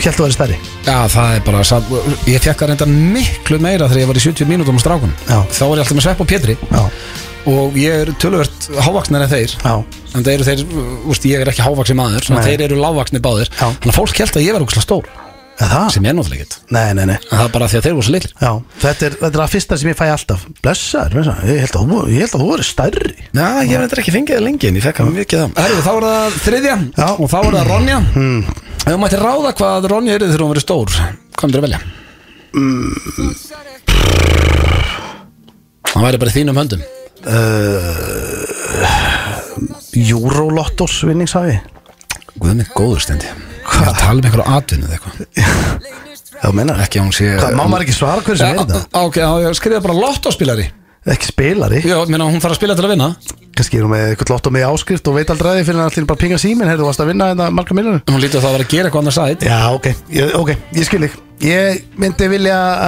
C: Hjælt þú er stærri
A: Já, það er bara satt, Ég fekk það reynda miklu meira þegar ég var í 70 mínútum á strákun
C: Já.
A: Þá var ég alltaf með svepp og pétri
C: Já,
A: Og ég er tölvört hávaksnir en þeir
C: já,
A: En þeir eru þeir, úst, ég er ekki hávaksni maður En
C: Nei.
A: þeir eru lávaksni báðir
C: Já.
A: Þannig að fólk held að ég var úkslega stór
C: er það?
A: Sem ég náttúrulega ekkert
C: Nei, nei, nei
A: En það er bara því að þeir voru svo litlir
C: Já, þetta er, þetta er að fyrsta sem ég fæ alltaf Blessaður, blessaður, ég held að þú, ég held að þú verið stærri
B: Já, ég hef þetta ekki fengið það lengi en ég fekk hann mikið það
A: Herðu, þá er það þriðja
C: Já.
A: Og þá er það Ronja hmm. Ef þú mætti ráða hvað Ronja eru þegar hún verið stór Hvað myndir að velja? Hmm. Það væri bara í þínum höndum
C: Eurolottos vinningshafi
A: Guð mig góður stendi Hvað? Ég er að tala um einhverja atvinnu eða eitthvað
C: Já, menar
A: Ekki að hún sé hérna?
C: Hvað, má maður ekki svara hverju sem
A: Já,
C: er þetta?
A: á- Ok, já, ég skrifa bara lottóspilari
C: Ekki spilari
A: Já, menna hún þarf að spila til að vinna
C: Kannski erum við eitthvað lott og með áskrift og veit aldrei að því fyrir hann allir bara pinga síminn Heyrðu, þú varst að vinna þetta marga miljonum
A: Hún lítið að það að vera að gera eitthvað annars sæt
C: Já, ok, ég, ok, ég skil þig Ég myndi vilja uh,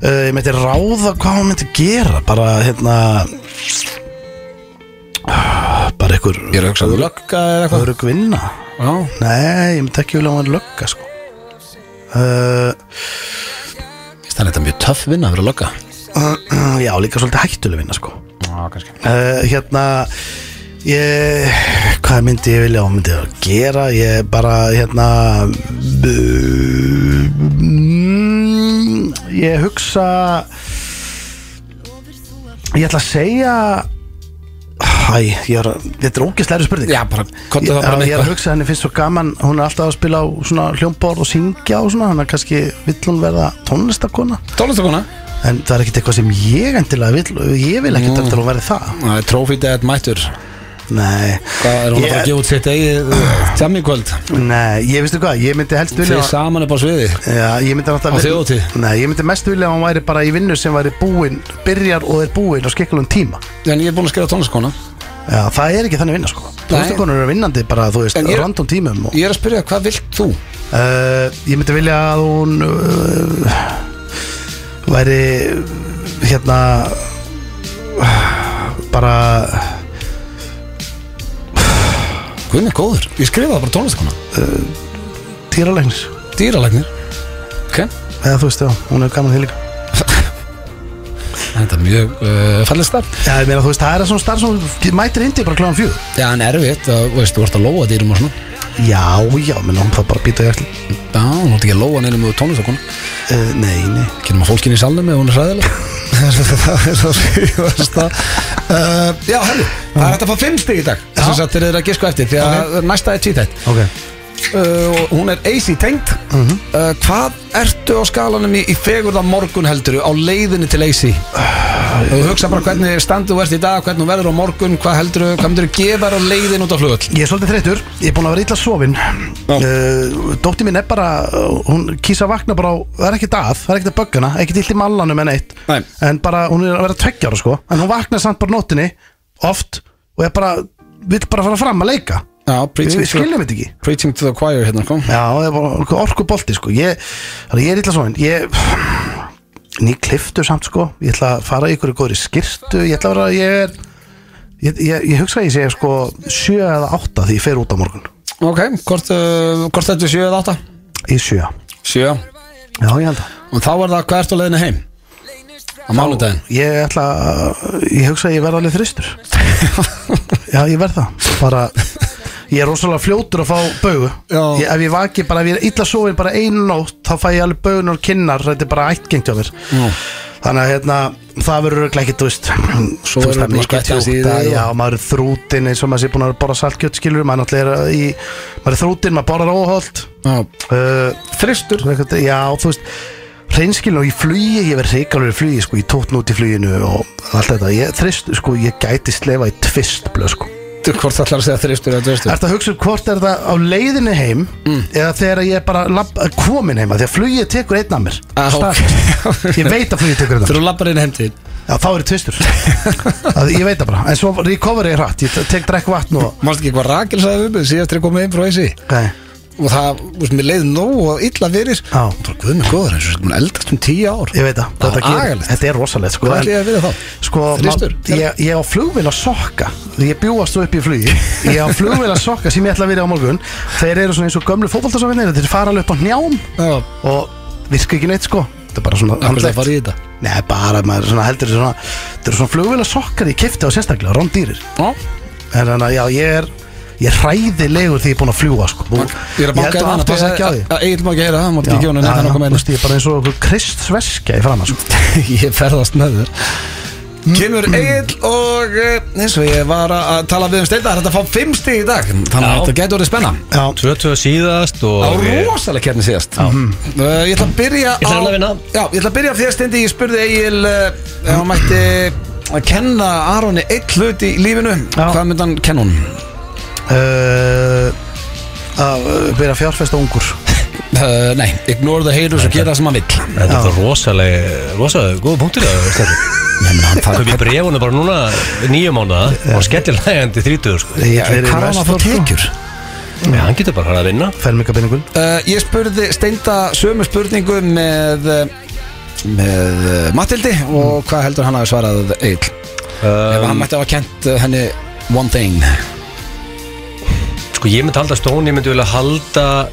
C: uh, Ég myndi ráða hvað hún myndi gera Bara, hérna uh, Bara einhver
A: Ég er að hugsa að þú lögga eða eitthvað
C: örug vinna
A: Já,
C: Nei, ég myndi ekki vilja að hann lögga, sko uh,
A: það er þetta mjög töff vinna að vera að lögga
C: Já, líka svolítið hættuleg vinna, sko
A: Já, kannski
C: uh, Hérna Ég, hvað myndi ég vilja og myndi ég að gera ég bara hérna uh, mm, ég hugsa ég ætla að segja Æ, ég er, að- þetta er ógæstlega spurning
A: Já, bara, komdu þá
C: ég,
A: bara með
C: ég er að
A: eitthvað.
C: hugsa henni finnst svo gaman hún er alltaf að spila á svona hljómborð og syngja og svona, hann er kannski vill hún verða tónlistakona,
A: Tónlistakona
C: en það er ekkit eitthvað sem ég endilega vill, ég vil ekkit eftir að hún verði það
A: Það er Trophy Dead Mættur
C: Nei,
A: Hvað er hún að fara
C: Ég-
A: að gefa út sitt eigið Tjami kvöld
C: nei, ég veistu hvað, ég myndi helst vilja
A: Þið saman upp á sviði
C: Já, ég myndi alltaf
A: Á þjóðhátíð?
C: Nei, ég myndi mest vilja að hann væri bara í vinnu sem væri búinn, byrjar og er búinn á skikkulum tíma
A: En ég er búin að skrifa tónlistakona
C: Já, það er ekki þannig vinna sko Tónstakonur eru vinnandi bara, þú veist,
A: En ég-
C: random tímum og, ég...
A: Ég er að spyrja, hvað vilt þú?
C: ég myndi vilja að hún uh, væri uh, hérna uh, bara
A: Guð mig góður Ég skrifaði bara tónlistakona
C: týralegnis
A: Dýralagnir Ok
C: eða þú veist, já, hún er gaman því líka
A: Þetta er mjög uh, fallið starf
C: Já, ég meina, þú veist, það er svona starf sem mætir hindi bara kláðan fjögur
A: Já, en erfitt, að, veist, þú ert að lóa dýrum og svona
C: Já, já, menn hún þarf bara að býta í allir
A: Já, hún ert ekki að lóa neinum og tónlistakonu
C: uh, Nei, nei
A: Kynum að fólkinni í salnum ef hún er hræðileg Það er það síðast að
C: Eh,
A: uh, Já, herri, það er hægt að fá fimm stig í dag Þess að þetta er að giska eftir Því að næsta er tvíþætt
C: Ok
A: uh, og Hún er AC tengd uh, Hvað ertu á skalanum í, í fegurða morgun heldur Á leiðinni til AC Þú hugsa bara hvernig standu þú ert í dag Hvernig þú verður á morgun Hvað heldur, hvað myndir þú gefa þér á leiðin út á flugöld
C: Ég er svolítið þreytur, ég er búin að vera illa sofin uh, Dóttir mín er bara, uh, hún kýsa að vakna bara á, það er ekkert að, það er ekkert að böggana, ekkert illt í mallanum en eitt
A: Nei.
C: En bara, hún er að vera tveggjára sko, en hún vaknar samt bara á nóttinni, oft, og er bara, vill bara fara fram að leika
A: Já,
C: Við
A: preaching,
C: við
A: to,
C: skiljum þetta ekki
A: preaching to the choir hérna, kom
C: Já, það er bara orku bolti sko, ég, þannig að ég er illa sofin, ég... Ný kliftur samt sko, ég ætla að fara í ykkur góðri skirtu, ég ætla að vera, ég er Ég, ég, ég hugsa að ég segja sko 7 eða 8 því ég fer út á morgun
A: Ok, hvort, uh, hvort þetta er 7 eða 8?
C: Í 7 Já,
A: 7
C: ég held að
A: Og þá er það hvað ertu á leiðinu heim? Á mánudaginn
C: Ég ætla að, ég hugsa að ég verð alveg þristur Já, ég verð það Bara, ég er rosalega fljótur að fá baugu
A: Já.
C: ég, Ef ég vaki, bara ef ég er illa sofin bara einu nótt Þá fæ ég alveg baugunar kinnar, þetta er bara ættgengt hjá mér
A: Já.
C: Þannig að hérna, það verður örugglega ekki, þú veist
A: Svo
C: þú veist,
A: verður
C: það er
A: bara
C: mikið
A: að skvettast í
C: djóta,
A: þig og-
C: Já, maður er þrútin eins og maður sé búin að borra saltkjöt skilur Maður náttúrulega er í, maður er þrútin, maður borrar óholt uh,
A: Þristur
C: Eitthvað, já, þú veist reynskilin og í flugi, ég verð reikalur í flugi sko, ég tókn út í fluginu og allt þetta ég, þrist, sko, ég gæti slefa í tvist blöð, sko.
A: Þú, Hvort ætlar að segja þristur eða þristur?
C: Ertu að hugsa um hvort er það á leiðinu heim
A: Mm.
C: eða þegar ég er bara lab, komin heima, því að flugið tekur einn af mér
A: Ah, ok.
C: Staðfest. ég veit að flugið tekur einn
A: Þegar
C: af mér
A: þú lappar inn heimtíð
C: já, þá er ég tvistur það, ég veit það bara, en svo recovery er hratt ég tek drekk vatn og
A: Mást ekki hvað Rakel sagði við mig síðast þegar ég kom heim frá þessi
C: Nei.
A: og það, þú veist, mér leið nóg og illa fyrir
C: Já.
A: og bara guð mig góður, eins og sem eldast um tíu ár
C: ég veit það, þetta, gerir-
A: Ah, agalegt.
C: þetta er rosalegt sko,
A: Hvað
C: en-
A: ætla ég að við þá?
C: Sko,
A: Þristur?
C: ma- ég, ég á flugvél að sokka Ég bjúast þú upp í flugi Ég á flugvél að sokka sem ég ætla að vera á morgun Þeir eru svona eins og gömlu fótboltasofinir Þeir fara alveg upp á njám
A: Já,
C: Og virka ekki neitt sko Þetta er bara svona
A: hann er að
C: andlegt.
A: fara í þetta
C: Nei, bara maður svona heldur svona Þetta eru svona flugvél að sokka Ég kefti á sérstaklega, rándýrir
A: Já,
C: En þannig að já, ég er Ég er hræðilegur því ég er búinn að fljúa sko. Þú-
A: ég er að banka
C: held
A: hérna
C: að átti þess ekki á því
A: Egil má ekki heyra það, mátt
C: Já,
A: ekki gefa hann
C: já,
A: neitt
C: já,
A: að koma
C: þú veist, Ég er bara eins og okkur kristsveskja í framar sko.
A: inn Ég ferðast með þér Mm. Kemur Egil og eh, eins og ég var að tala við um steina þetta að fá fimm stig í dag þannig að
B: Já.
A: þetta getur orðið spenna
C: Já,
B: 22 síðast
A: á
B: og við-
A: rosalega kefni síðast mm. uh, Ég ætla að byrja
B: Ég þarf
A: á
B: alveg að vinna.
A: Já, ég ætla að byrja á því að stendi ég spurði Egil uh, ef hann mætti að kenna Aroni eitt hlut í lífinu
C: Já.
A: hvað myndi hann kenna hún?
C: uh, að uh, byrja að fjárfesta ungur
A: Uh, nei, ignore the haters og gera það sem hann vill
B: Þetta er það rosalega, rosalega góð punktur það, Stefán. Kaupi brefunum bara núna nýju mánuða og skellir lægandi þrítuður sko.
C: Ég
A: Já,
C: fer í
A: hvað á hann að fá
C: vestur, sko.
A: tekjur?
B: Já, hann getur bara farið að vinna
C: fermingabenningun
A: Uh, ég spurði steinda sömu spurningu með uh, með uh, Matildi og hvað heldur hann hafi svarað Egil?
B: Um,
A: Ef hann mætti að hafa kent uh, henni one thing
B: Sko ég myndi halda Stone, ég myndi vilja halda uh,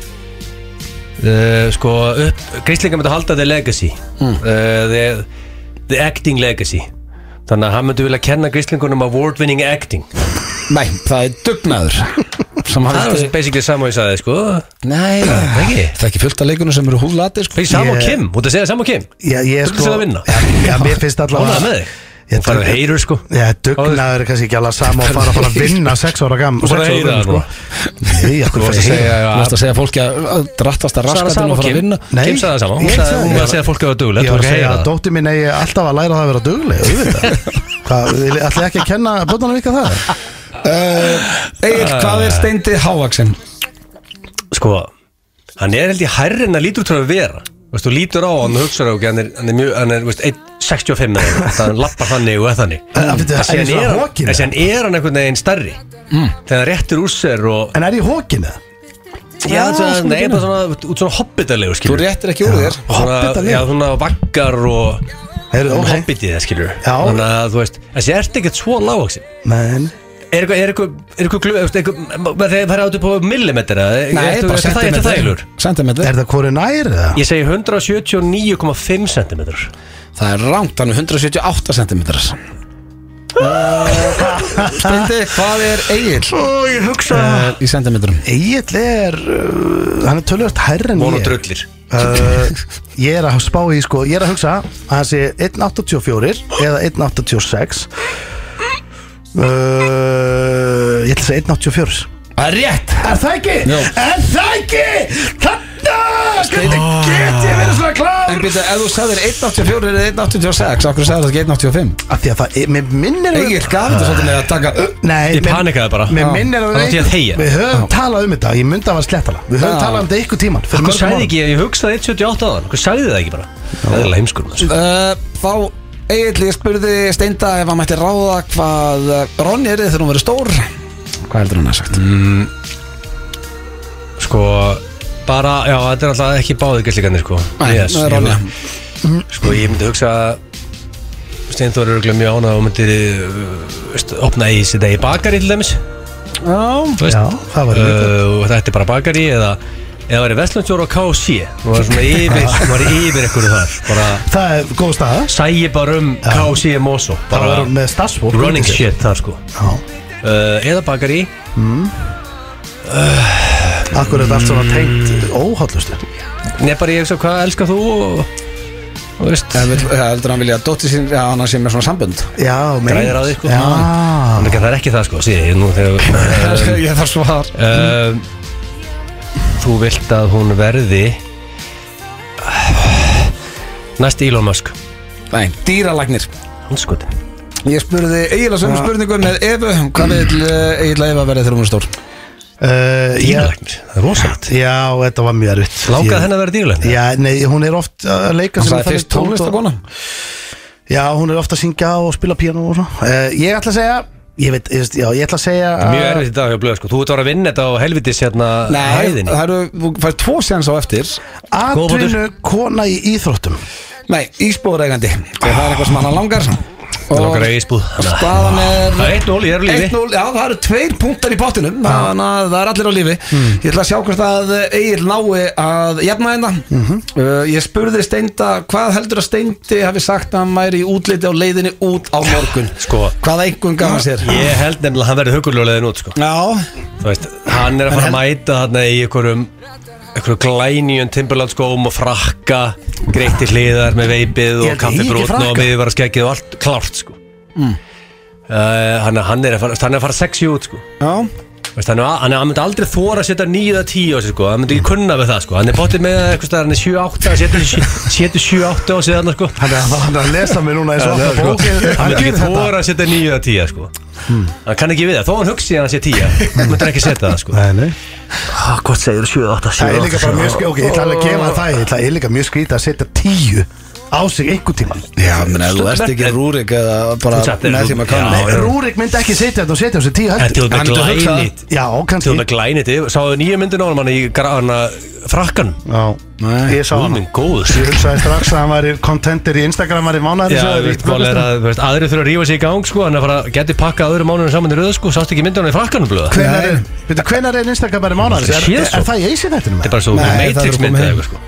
B: Sko upp Gríslinga myndi halda The Legacy
C: Hmm.
B: mm. the, the Acting Legacy Þannig að hann myndi vilja kenna Gríslingunum award winning acting
A: Nei, það er dugnaður sem hann
B: Það er
A: vildi-
B: basically sama og ég sagði sko
A: Nei, það
B: Ekki?
A: er ekki fullt af leikunum sem eru húðlati sko.
B: Fyrir sama og
C: Ég-
B: Kim, út að segja sama og Kim
C: Já, ég er
B: Þú
C: sko
B: ert að vinna.
C: Já, já, mér finnst allavega
B: Ánægður með þig
C: Ég
B: Hún færðu
C: dugna-
B: heyrir sko
C: Já, dugnaður er kannski ekki alveg sama og fara að fara að vinna sex ára gam
B: Þú færðu að
C: sex ára
B: heyra það
C: gömul,
B: núna.
C: Nei, okkur
A: Þú
C: fyrir
A: varst að segja, þú
C: að heyra sko?
A: varst að segja fólki að að drattast að
B: Sagði
A: raskatinn og
B: sama
A: fara
B: og
A: að
B: Kim
A: vinna
C: Nei.
B: Kim sagði það sama,
C: Ég
B: hún sagði
C: sagði
B: hún var
C: það.
B: að segja að fólk hafa duglegt Þú
C: Ég
B: var
C: var að
B: að segja það
C: dóttir mín eigi alltaf að læra það að vera dugleg auðvitað. Hvað, þið ætlaði ekki að kenna bötunum ykkar það?
A: Egil, hvað er steindi hávaksin?
B: Sko, hann er held ég hærri en að lítur út frá að vera Veist, þú lítur á hann og hugsar á ekki, hann er, hann er mjög, hann er, veist, 1.65 eða eitthvað, hann lappar þannig og eða þannig.
C: En, að byrja,
B: En
C: er
B: síðan
C: ég svona
B: er, hann,
C: hókin,
B: en
C: eða?
B: síðan er hann einhvern veginn starri Þegar hann réttir úr sér og
C: En er ég hókin eða?
B: Já, það er bara svona, út svona hobbitalegu
A: Þú
B: skilur
A: réttir ekki úr þér
B: Svona,
C: hobbitalegu?
B: já, svona vaggar og
C: Heyrðu,
B: og
C: ok.
B: hobbitið það skilur
C: Já.
B: Þannig að þú veist, þessi ert ekkert svo lágvaxin
C: Men,
B: Er eitthvað, er eitthvað, er eitthvað, glu- er eitthvað Þegar það er áttu på millimetra eh?
A: Nei,
B: ertu-
A: bara
B: ertu það- ertu það
A: sentimetri.
B: þægilegur?
A: Sentimetri.
C: er það hvori nær eða?
B: Ég segi 179,5 cm
A: Það er rangt, hann er 178 sentimetrar Steindi, hvað er Egil eh,
B: Ó, ég hugsa uh,
A: í sentimetrum?
C: Egil er, uh, hann er tölvöld hærri en
B: Von og
C: ég
B: drullir
C: uh, Ég er að spá í sko Ég er að hugsa að hann sé 1.84 eða 1.86 uh, Ég ætla að segja 1.84
A: Það er rétt
C: Er það ekki?
A: Jú.
C: Er það ekki? Þetta Hvernig get ég verið svona klár
A: En býta, ef þú sagðir 1.84 eða 1.86 Akkur sagðir það ekki 1.85
C: Af því að það, mér minnir
A: Egil, gaf þetta svolítið með að taka
C: Nei,
B: Ég
C: mér-
B: panikaði bara.
C: Mér
B: Já.
C: minnir
B: Það átti ég að þegja.
C: Við höfum talað um þetta Ég myndi að var slettala Við höfum
A: Já.
C: talað um þetta ykkur tíman fyrir
B: Hvað
C: mörgum
B: sagði
C: árum.
B: ekki, ég hugsaði 178 áðan Hvað sagði það ekki bara? Það er leimskur maður.
A: Uh, Þá Egil, ég spurði Steinda ef hann mætti ráða hvað uh, Ronny er þegar hún verið stór Hvað heldur hann að sagt?
B: Sko, bara, já, þetta er alltaf ekki báði gæslingarnir sko
A: Nei, það er Ronja.
B: ég, Sko, ég myndi hugsa Steinþór er örgulega mjög ánað og myndir uh, opna í sér degi bakari til dæmis Þú veist?
C: Já, það var líka
B: uh, og þetta er bara bakari eða eða væri Vestlandsjóra á KC hún var svona yfir, hún var yfir ekkur þar bara
C: Það er góð staða
B: sæi bara um KC Moso
C: Það
B: bara
C: var með starfsfólk
B: running shit þar sko
C: Já,
B: uh, eða bakari
C: akkur er þetta allt svona tengt óhaldlustu
B: nefn bara ég hugsa hvað elskar þú og, og veist
A: Ég vil- ég uh, heldur hann vilja að dóttir sín að hann sé með svona sambönd
C: Já, meint
B: græðir á því sko
C: Já,
B: Þannig að það er ekki það sko sí, nú, þegar,
A: Ég þarf svar
B: um, þú vilt að hún verði næst Elon Musk
A: Nei, dýralagnir
B: hanskoti
A: Ég spurði eiginlega sömu spurningu með Evu Hvað vil eh, eiginlega Eva verið þegar hún er stór?
C: uh, já,
B: dýrlæknir, það er rosalegt
C: já, þetta var mjög erfitt
B: Lákaði
C: Ég-
B: henni að vera dýrlæknir
C: Já, nei, hún er oft að leika
A: Hann
C: sér með
A: sagði
C: þannig
A: fyrst
C: tónlist og-
A: tónlistakona
C: Já, hún er oft að syngja og spila piano og svona uh, Ég ætla að segja Ég veit, ég, veist, já, ég ætla að segja
B: Mjög erfitt í dag hjá blöð sko, þú ert að vera að vinna þetta á helvitis hérna
A: Nei,
B: hæðinni
A: það eru, þú fær tvo séns á eftir
B: Góð
C: Atvinnu
B: punktur.
C: kona í íþróttum
A: Nei, ísbúðureigandi Það er eitthvað sem hann langar
B: Það er okkar eisbúð
A: Og staðan er
B: Það er 1-0 í eru lífi
A: 1-0, já það eru tveir punktar í pottinum þannig að það er allir á lífi ég ætla að sjá hvort að Egil nái að jafna hérna uh, ég spurði Steinda, hvað heldur að Steindi hafi sagt að hann væri í útliti á leiðinni út á morgun
B: Sko.
A: hvað einhvern gaf hann sér
B: Ég held nefnilega að hann verði hugurljóðlegin út sko
A: já,
B: Þú veist, hann er að fara að mæta þarna í einhverjum einhverjum glænýjum Timberland skóm og frakka greitt í hliðar með veipið
C: Ég
B: og
C: held ég Mm. eigi
B: kaffibrotn og
C: frakka.
B: miðvara skeggið og allt klárt sko Uh, hann, er- hann, er að fara, hann er að fara sexy út sko
A: já,
B: Veist, hann, hann, hann myndi aldrei þóra að setja 9 eða 10 á sig sko, hann myndi ekki kunna við það sko hann er bóttið með það eitthvað staðar, hann er 7-8 hann setur- setur 7-8 á sig þarna sko
C: Hann er, hann er að lesa mig núna eins og
B: hann
C: opna bókið sko. Hann
B: myndi ekki
C: gerir þetta
B: þóra að setja 9 eða 10 sko hann kann ekki við það, þó hann hugsi að hann sé 10 hann myndi hann ekki setja það sko
C: Nei, nei. Ah,
B: hvað segir 7-8,
C: Það er líka bara mjög skrítið, ok, ég ætla alveg að gefa það Ég ætla ég er líka mjög skrítið að setja tíu á sig einhvern tíman
A: já menn, ef þú ert ekki rúrik eða bara
B: Þú sagðir
A: með
B: þú-
A: því maður kann
B: Já, já.
C: Rúrik myndi ekki setja þetta og setja á sig tíu
B: en til
C: heldur
B: og með
A: Hann myndi hugsa
B: glænit
C: Já,
B: til og
C: kannski
B: með glænit, sáðu nýju myndin á honum, hann í grana frakkan
C: Já,
A: Nei.
C: ég sá hann
B: Rúmin góður
C: Ég hugsaði strax að hann var contender í Instagram var í mánuðar
B: Já, þú veist, mál er að, þú veist, aðri þurfa að rífa sig í gang sko, en að fara, geti pakkað öðru mánuðin saman í röðu sko, sást ekki myndunum í frakkanum blöða
C: Hvenar er, veitu, hvenar er Instagram var í mánuðar
B: Það
C: er,
B: sé
C: er,
B: svo.
C: er það í eisi þetta
B: Þetta er bara svo
A: Nei, það
B: Matrix
A: er
B: myndið
A: komið
B: eða
A: heim.
B: eitthvað sko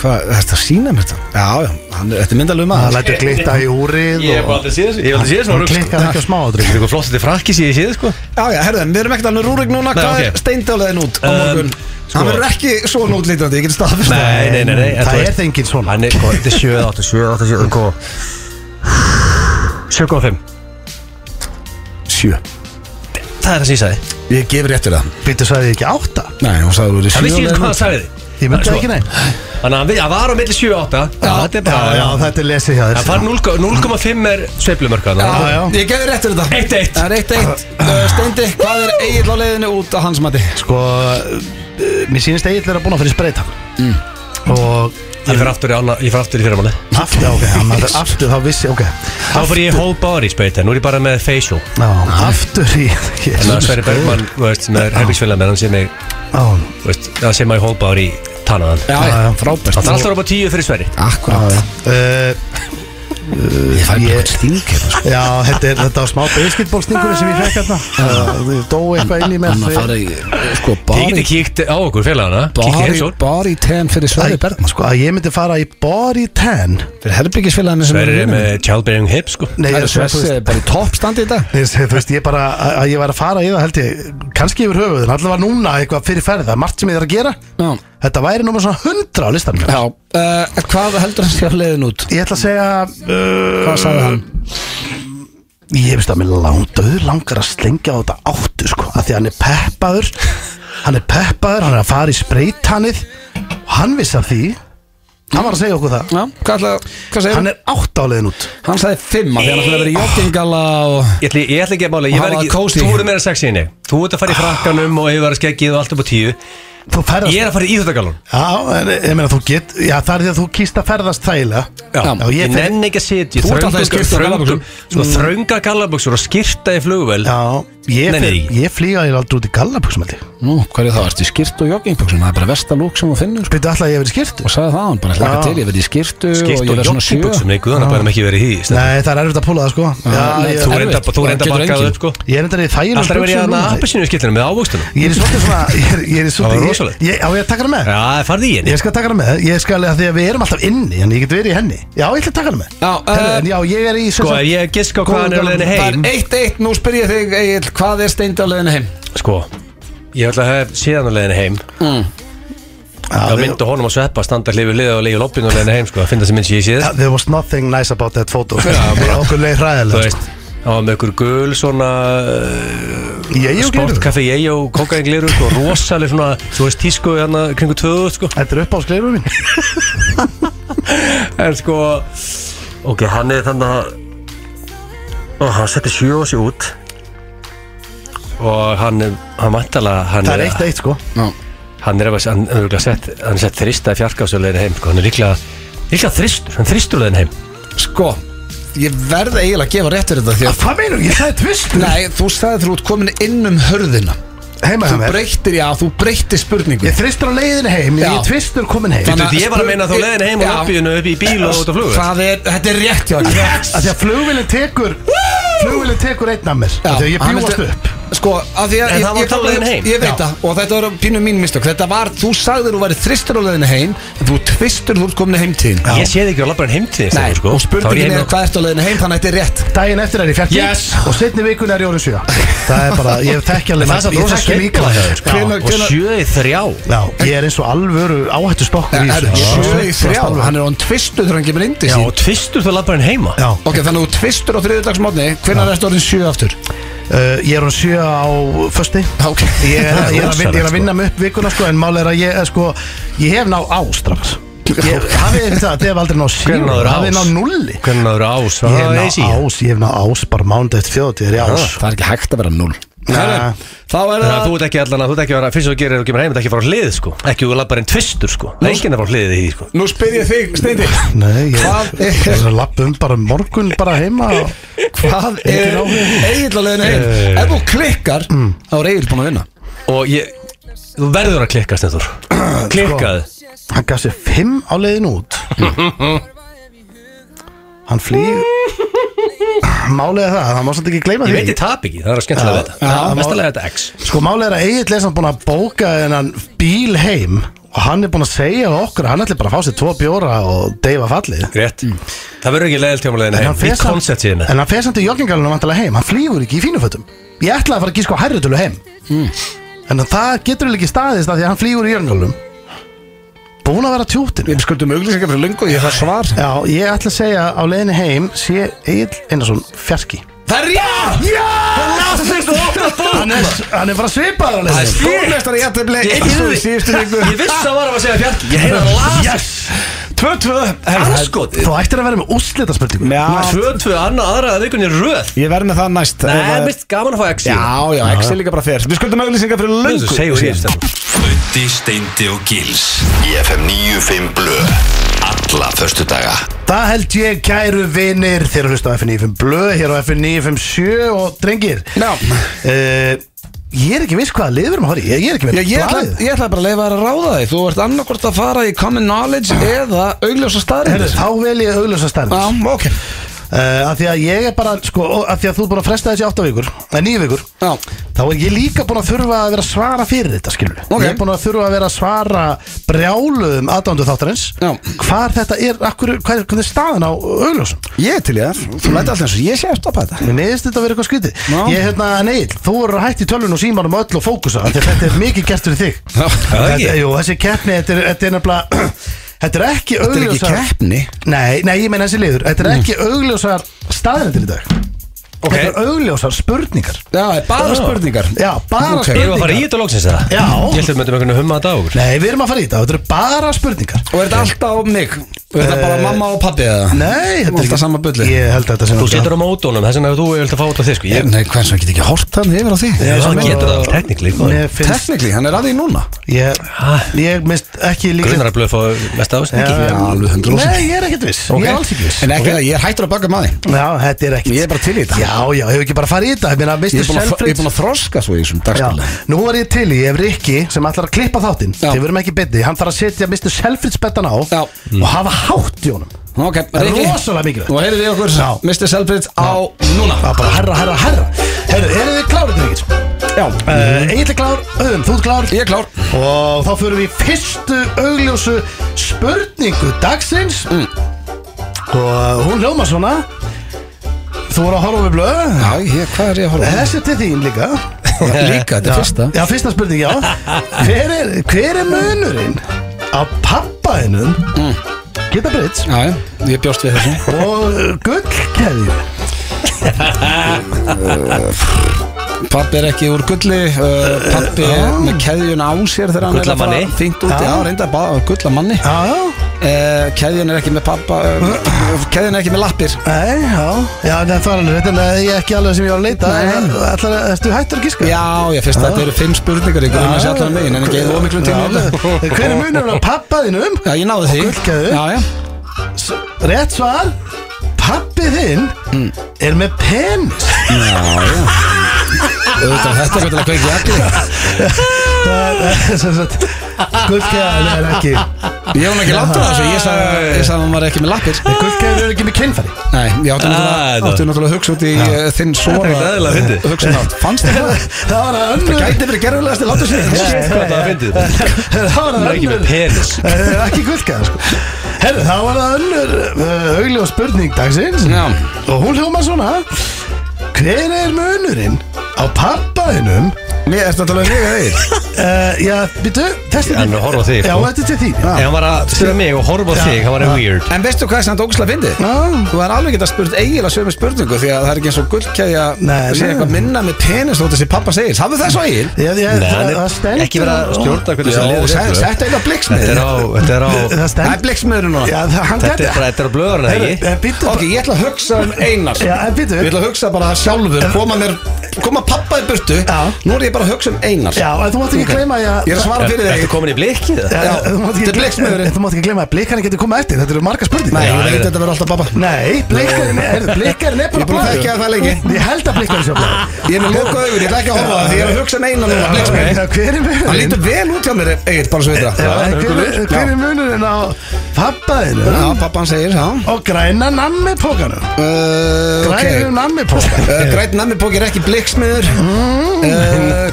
A: hvað, þetta sína mér þetta já, já, hann, þetta er myndalög
C: Það
A: maður
C: lætur glitta í úrið
B: séð
C: og-
B: þessu Ég hef aldrei séð
C: Hann klikkar ekki á
B: Þetta
C: smáadrygg
B: er eitthvað flott þetta frakki séð ég séð sko
A: já, já, herðum, við erum ekkert alveg rúrik núna
B: Nei,
A: hvað
B: ok.
A: er steindálegin út á
B: Um,
A: morgun
B: sko.
A: hann verður ekki svona útlítandi, ég get staðfist
B: Nei, nei, nei, nei en þú
C: Það
B: veist,
C: er enginn svona
B: Hann er sko, þetta er 7, 8, 7, 8, 7, 8 7, 5
A: sjö
B: Það er það sem ég sagði
A: Ég gef rétt fyrir það
C: Býttu sagði ég ekki átta
A: Nei, hún sagði þú eru
B: Það vissi ekki hvað það sagði
C: Ég myndi
B: Svo-
C: ekki neinn
B: Þannig að hann vi- hann var á milli 7, 8 Þetta er
C: Já, já,
B: bara
C: þetta er lesið hjá
B: Það far
C: þér
B: 0,5 er sveiflumörka
A: Já,
C: Já, já.
A: Ég gef rétt fyrir það
B: 1-1.
A: Það er 1-1 uh, Steindi, hvað er Egil á leiðinu út á hans mati?
C: Sko, uh, mér sýnist Egil er að búin að fyrir spreita
B: Mm.
C: Og
B: Ég fer aftur í ána- ég fer aftur í fyrramáli
C: aftur, ok, hann er aftur, þá vissi, ok
B: Þá fyrir ég whole body speita Nú er ég bara með facial
C: Já, aftur í
B: Þannig að Sverri Bergman, þú veist, sem er herbyggsfélag með hann sé mig,
C: Já,
B: þú veist, hann sé mig whole body tannaðan
A: Já,
C: já,
A: frábært
B: Það er alltaf upp á tíu fyrir Sverri
C: já,
A: Akkurat
C: já Uh,
A: Ég fæ
C: ég-
A: bara eitthvað stík hérna, sko.
C: Já, þetta, er, þetta var smá basketballstingur sem ég fekk hérna Það uh, dó eitthvað inn í mér
A: Hann að fara í Sko,
B: Ég geti
A: bari
B: kíkt á okkur félagana Kíkt í
A: Bari,
B: heimsól
A: bari ten fyrir Sverri Bergman
C: Sko, að ég myndi fara í body 10
A: Fyrir herbyggisfélaginu sem
B: Sverri er
A: vinum.
B: með childbearing hips sko
C: Nei,
A: Það
C: ég,
A: er
C: þú veist,
A: Sverri er bara í toppstandi í dag
C: Nei, þú veist, ég bara, að að ég var að fara í það held ég, kannski yfir höfuðin, allavega núna eitthvað fyrir ferð, það er margt sem ég er að gera
A: Já.
C: Þetta væri númer svona 100 á listanum
A: Já uh, Hvað heldur hann sé á leiðinu út?
C: Ég ætla að segja uh,
A: Hvað sagði hann?
C: Ég veist að mér langt, auður langar að slengja á þetta áttu sko, að því hann er peppaður Hann er peppaður, hann er að fara í spreytanið og hann vissi af því Hann var að segja okkur það
A: Já, hvað ætla, hvað segir hann?
C: Hann er átt á leiðin út
A: Hann sagði fimm af því hann ætlaði að vera í joggingala og
B: Ég ætla, ég ætla ekki að mála, ég
A: Og
B: verð
A: hafa
B: ekki
A: kósí.
B: Þú eru meira sexy en ég Þú ert að fara í frakkanum og hefur verið skeggið og allt upp á tíu
C: Þú ferðast
B: Ég er að fara í íþjóttagalun
C: Já, en ég meina þú get Já, það er því að þú kýst að ferðast þægilega
B: Já,
C: ég
B: ég
C: fer-
B: nenni ekki að setja
A: Þú ert alltaf í skyrtu og gallabuxum.
B: Sko þrönga gallabuxur og skyrta í flugvel
C: Já, Ég,
B: Nei,
C: fer,
B: nei.
C: ég flýga ég aldrei út í gallabuxum held ég
A: Nú, hvað er það? Ertu í skýrt og joggingbuxum? Það er bara versta lúk sem þú finnur sko.
C: Byrðu alltaf að ég verið skýrt
A: Og sagði það, hann bara hlaka
C: Já.
A: til, ég verði í skýrtu
B: Skipt
A: og ég
B: og
A: verði svona sjö
B: joggingbuxum, nei, guðan að bæðum ekki verið í því Stefán.
C: Nei, það er erfitt að púla það sko Já,
A: nei,
C: ég,
B: Þú
A: erfitt.
B: reynda þú reynda
A: Það getur
B: að
A: enginn.
B: bakkaðu upp sko
C: ég er endar í þægilegum
B: Alltaf er verið í
C: buxum
B: þarna
C: núna.
B: appelsinu skillinu með ávöxtunum
C: Ég er í svolítið svona Ég er, ég er í
B: var
C: svolítið
B: rosalegt.
C: ég- ég- Á ég að taka hana með?
B: Já, það farði í henni
C: Ég skal taka hana með, ég skal að því að við erum alltaf inni en ég get verið í henni Já, ég ætla að taka hana með
A: Já,
C: Herru,
A: eh,
C: en já, ég er í sem
B: Sko,
C: sagt-
B: ef ég giska á hvað
C: Góðan
B: hann er á
C: gamlan-
B: leiðinni
A: Það er
B: heim
A: 1-1, nú spyr ég þig, Egil, hvað er steindi á leiðinu heim?
B: Sko, ég ætla að hef síðan á leiðinni heim
C: Já,
B: Það
C: við-
B: myndu honum að sveppa, standa hlifið liða og leiði loppinu á leiðinni heim Sko, að finna sem minn sé ég séð
C: Yeah, There was nothing nice about that photo Bara Okkur leið
B: Þú
C: hræðilega sko.
B: veist, það var með ykkur gul svona uh,
C: Ég ég og gleru
B: sportkaffi, ég og kókaðingliru sko, rosaleg svona, þú veist, tísku hérna kringu tvöðu, sko
C: Þetta er upp á skleirum mín
B: En sko, ok, hann er þannig að og hann setti sjö og sér út og hann hann vantalega, hann
C: Það er eitt eitt sko
B: hann er að hann er örugglega sett, hann er sett þrista í fjarkásöleðin heim sko, hann er líklega, líklega þristur, hann þristur leðin heim
A: Sko, ég verði eiginlega að gefa rétt fyrir þetta því að
C: Hvað meinum, ég sagði tvist
A: Nei, þú sagði þú ert komin inn um hörðina Þú
C: Heima hjá mér
A: breyttir, já, þú breyttir spurningu
C: Ég þristur á leiðinu heim, ég
A: Já.
C: er tvistur komin heim
A: Þannig
B: Þú veit, ég var að meina þá leiðin heim og
A: Já.
B: loppíðinu upp í bíl og út á flugur
A: Það er, þetta er rétt hjá þér.
C: Af því að flugvillin tekur Flugvillin tekur einn af mér
A: Já,
C: Af Því að ég
A: hann
C: bjúast
A: vildi-
C: upp
A: Sko, af því að
B: En
A: ég-
B: það var
A: ég-
B: þá leiðin heim.
A: Ég veit
C: Já.
A: það, og þetta var pínu mín mistök Þetta var, þú sagðir þú væri þristur á leiðinu heim En þú tvistur þú ert komin heim til þín.
B: Ég séð ekki á labbarinn heimtíðin
A: Nei,
B: sko.
A: og
B: Þá ég
A: spurningin
B: heima-
A: er hvað ertu á leiðinu heim Þannig að þetta er rétt
C: Dæin eftir er ég fjarki
B: Yes.
C: Og setni vikun er ég orðin sjö Það er bara, ég þekki alveg
B: Það er satt
C: Ég
B: rosa
C: þekki líka
B: skemmtilega hjá þér sko.
A: Hvenær-
B: Og
A: hvenær-
B: sjö í þrjá
C: Já, ég er eins og alvöru áhættu stokkur í
A: Er
C: þessu Ég er
A: sjö í
C: alvöru
A: þrjá,
C: alvöru.
A: hann er án tvistur þegar hann kemur indi
B: Já,
A: sín
B: og tvistur þú labbarinn heima
C: Já,
A: Ok, þannig að þú tvistur á þriðudagsmótni Hvernig ertu orðin sjö aftur?
C: uh, ég er orðin sjö á fösti
A: Ok
C: Ég er,
B: Það er
C: ég, er að vinna, ég er
B: rosalegt,
C: að vinna mig upp vikuna sko, en mál er að ég, eh, sko, ég hef ná á strax Ég- Hafið þið það, þið hef aldrei ná
B: Hvenær
C: síru
B: náður ás?
C: Hafið þið ná nulli
B: Hvernig náður ás?
C: Ég
B: Ah,
C: hef
B: easy.
C: ná ás, ég hef ná ás bara mánuð eftir fjóðið er ég ás
A: Það er ekki hægt að vera null
C: Nei.
A: Þá er
B: Þannig að þú
A: það
B: ert ekki allan að þú ert ekki að vera fyrst og gerir og kemur heim, þú ert ekki að fara á hlið sko ekki úr labbarinn tvistur sko, það er enginn að fara á hlið í því sko
A: Nú spyr ég þig, Steindi
C: Nei, ég
A: Hvað er-
C: ég er að lappa um bara morgun bara heima og-
A: Hvað er Egil á leiðinu heim? Mm. Ef þú klikkar, þá er Egil búin að vinna
B: og ég, þú verður að klikka stendur klikkað
C: Hann gaf sér fimm á leiðin út Hann flýg Málið er það, hann má svolítið ekki gleyma
B: ég
C: því
B: veit ég tap ekki, það er að skemmtilega
C: Já.
B: þetta
C: Já,
B: það er mestalega
C: má-
B: þetta X
C: Sko málið er að Egil er samt búin að bóka hennan bíl heim og hann er búin að segja við okkur að hann ætli bara að fá sér tvo bjóra og deyfa fallið
B: rétt, Mm. það verður ekki leiðilt hjá mér leiðin
C: en hann
B: heim
C: fer
B: í koncept síðan
C: en hann fer samt í joggingalunum vantilega heim hann flýgur ekki í fínufötum ég ætlaði að fara að gíska á hærri tölu heim
B: Mm.
C: en það getur ekki staðist að því að hann flýgur í joggingalunum búin að vera tjóttinu
A: Við skuldum auglýsingar fyrir lungu, ég það svar
C: já, ég ætla að segja á leiðinni heim sé Egil Einarsson fjarki
A: Það er já! Já!
C: hann er, hann er bara svipaður á
A: Það er
C: leiðinni
A: stórmestari jættefli
B: Ég-
A: eins og í síðustu viku
B: ég vissi að var að segja fjarki, ég heyrði að lasa
C: yes
A: 2-2
B: anskotið
C: þú ættir að vera með úrslita spurningu
A: Já,
B: 2-2 annað aðra að vikunni röð
A: ég verð með það næst Ef
B: Nei,
A: að-
B: mist gaman að fá X í
A: Já, já, X er líka bara fyrst Við skuldum auglýsingar fyrir
B: það
A: lungu
B: segjum
A: síðan.
B: síðan
D: Bötti, Steindi og Gils Í FM 95 Blö Alla föstudaga
C: Það held ég, kæru vinnir Þeir eru hlusta á FN95 Blöð Hér á FN957 og drengir
A: Já.
C: Eh, Ég er ekki viss hvaða lið við erum að horfa í Ég ég er ekki með
A: Já, ég, ætla,
C: blaðið.
A: ég ætla bara að leifa þér að ráða þig Þú ert annarkvort að fara í common knowledge eða augljósa
C: Herðu,
A: staðrindir
C: Þá vel ég auðlösa stærn
A: Já,
C: uh,
A: ok
C: Af því að ég er bara sko, og Af því að þú er búin að fresta þessi 8 vikur Nei, 9 vikur
A: Já,
C: Þá er ég líka búin að þurfa að vera að svara fyrir þetta skilur
A: Ok.
C: Ég er búin að þurfa að vera að svara Brjáluðum aðdándu þáttarins
A: Já.
C: Hvar þetta er, akkur, hvað, hvað er staðan á auðlösum
A: ég er til ég það Þú læti alltaf eins og ég sé að stoppa þetta
C: Mér neðist þetta að vera eitthvað skrítið
A: Já.
C: Ég, hérna, Neil, þú eru hætt í tölvun og símanum öll og fókusa Þegar þetta er mikið gert fyrir þig
A: Já,
B: það er
C: þetta,
B: ekki.
C: jú, Þessi keppni, þetta er, þetta er nefnilega Þetta er ekki
A: Þetta er ekki Mm.
C: augljósar
A: keppni
C: Nei, nei, ég meina þessi liður Þetta er ekki augljósar staðrendir í dag
B: Ok.
C: Þetta er augljósar spurningar
A: Já, bara spurningar
C: Já, bara
A: Ok.
B: Erum við
C: spurningar
B: að fara í þetta loksins eða?
C: Já.
B: Ég held að við myndum einhvern veginn að um humma þetta á okkur
C: Nei, við erum að fara í þetta, þetta eru bara spurningar
A: Og er þetta alltaf á mig? Er þetta bara mamma og pabbi eða?
C: Nei,
A: Eh, Þetta er alltaf sama bulli
C: Ég held að þetta sem
B: Þú situr á mótónum, þess vegna þú vilt að fá út af þig sko Ég,
A: Nei, hvernig sem getur ekki hort þannig yfir á því
B: ég,
C: sem
B: hann
C: er-
B: getur það alveg sko. teknikli
C: Mér finnst
A: Teknikli, hann er að því núna
C: Ég, ég mist ekki líka
B: Grunnar að blöð fá mest af
C: Já,
B: þess
A: alveg 100%.
C: Nei, ég er ekkert viss
B: Ok.
C: Ég er alls ekki viss
A: En ekki það, ég er hættur að baka maður
C: Já, þetta er ekkert
A: Ég er bara til í þetta.
C: Já, já, hefur ekki bara farið í þetta Ég meina,
A: Ég er
C: Mr.
A: búin að- ég er
C: Selfridge
A: búin að þroska svo í þessum
C: Já,
A: dagskóla
C: nú var ég til í ef Rikki sem ætlar að klippa þáttinn
A: Já.
C: þegar við erum ekki bytti, hann þarf að setja Mr. Selfridge bettan á
A: Já.
C: og hafa hátt í honum
A: Ok,
C: Það er
A: Riki,
C: rosalega mikilvægt.
A: Nú heyrið þið okkur,
C: Já.
A: Mr. Selbrit á núna
C: Það er bara herra, herra, herra Herru, eru þið klárið þetta ekki?
A: Já,
C: Uh, Egil er klár, auðum, þú ert klár
A: ég er klár
C: Og þá fyrir við í fyrstu augljósu spurningu dagsins
A: Mm.
C: Og hún hljóma svona Þú voru að horfa við blöð
A: Já, ég, hvað er ég að horfa? á?
C: Þessi er til þín líka
A: Já, Líka, þetta er fyrsta
C: Já, fyrsta spurning, já Hver er, hver er munurinn á pappaðinum mm. Geta breytt
A: Já, já, ég bjóst við þessu
C: og gullkeðju
A: Pappi er ekki úr gulli uh, Pappi er með keðjun á sér þegar hann er að
B: Gullamanni.
A: fara fínt út Já,
C: Já.
A: reynda bara gullamanni uh,
C: Já, já,
A: Keðjun Eh, er ekki með pappa uh, Keðjun er ekki með lappir
C: nei, já Já, nei, það er alveg rétt en eh, ég er ekki alveg sem ég var að leita
A: Nei.
C: Ætlar, ertu hættur að gíska?
A: Já, ég finnst að
B: Ah.
A: þetta eru fimm spurningar Ég grunna sér allan megin en ekki eða ómiklum tíma í þetta.
C: Hver er munurinn á pappaðinum?
A: Já, ég náði því
C: Og gullkeðju.
A: Já, já
C: S- Rétt svar Pappi þinn er með penis
A: Auðvitað, þetta er hvernig að kveikja allir
C: Það er sem sagt Gullkeðan er ekki
A: Ég hef hún ekki langt á þessu, ég sagði ég sagði að hún var ekki með lappir
C: Gullkeðan er ekki með kynfæri
A: Nei, ég átti
B: Ah,
A: náttúrulega,
B: þetta-
A: átti náttúrulega að hugsa út í eh, þinn
B: Þetta er
A: svona
B: ekkert eðlilega fyndið.
A: Hugsa nátt, fannst þér það?
C: Það var að önnur
A: Það gæti verið gerðulegast í látur sér
B: Shit, hvað það fyndið.
C: Það var
B: Hún
C: að
B: er ekki með
C: önnur
B: penis
C: Eh, Ekki gullkeðan sko Herru, það var að önnur uh, augljó spurning dagsins
A: Já.
C: Og hún hljóma svona Hver er munurinn á pappaðinum
A: Mér ertu að tala um mig að því
C: uh, Já, býtu, þessi
B: Hann er að horfa á þig,
C: Já,
B: sko.
C: þetta er til þín
B: Ef hann var að spyrja mig og horfa á
C: Já.
B: þig, hann var að weird
A: En veistu hvað sem þetta ógæslega fyndið?
C: Já.
A: Þú er alveg getað spurt eiginlega sömu spurningu Því að það er ekki eins og gullkæði að
C: Nei,
A: sé
C: nei.
A: eitthvað minna með penis Þótt þessi pappa segir, hafðu það svo eigin?
C: Já, já,
B: Nei, hann
C: það, það
B: er
C: stendur
B: ekki verið að stjórna hvernig
A: Já,
B: þessi liður
A: se-
B: er,
A: settu eitthvað blikksmiður
B: sko. Þetta er á, þetta er á
C: Það
A: Það er
C: stendur
A: blikksmiður núna
C: Já, það, hann
B: Þetta er bara, þetta er á blöðurinn, eða ekki?
C: Býtu
A: Ok, ég ætla að hugsa um einar
C: Já, en bíddu.
A: Ég ætla að hugsa bara sjálfur Koma, mér, koma pappa í burtu
C: Já.
A: Nú er ég bara að hugsa um einar
C: Já, en þú mátt ekki
A: Ok.
C: gleyma því að
A: Ég er að svara fyrir
B: Ertu
A: þig
B: komin í blikkið?
C: Já,
A: Já,
C: þú mátt ekki
A: þetta er
C: gleyma-
A: blikksmiðurinn.
C: en Þú mátt ekki gleyma að blikarinn getur komað eftir Þetta eru marga spurningar
A: Nei,
B: Já,
A: ég veit
B: ég-
A: að þetta verður alltaf pappa
C: Nei, blikarinn er, blikarinn er
A: Ég
C: bara
A: er búin að þekkja það lengi
C: Ég held að blikarinn sé að blaða
A: Ég er með loka augur, ég ætla ekki að horfa á það Því ég er að hugsa um einar núna blikksmiður.
C: Hver er
A: Hann
C: munurinn?
A: lítur vel út hjá mér, Egil, bara svo við
C: Já,
A: það
B: það
C: en
B: er
C: Hver er-
B: huggulegur.
C: hver er munurinn á pappaðinu
A: Já, pappa hann segir, já
C: og græna nammi pókanum?
A: Uh, ok.
C: Græna nammi pókanum
A: Uh, Grænn nammibók er ekki blikksmiður uh,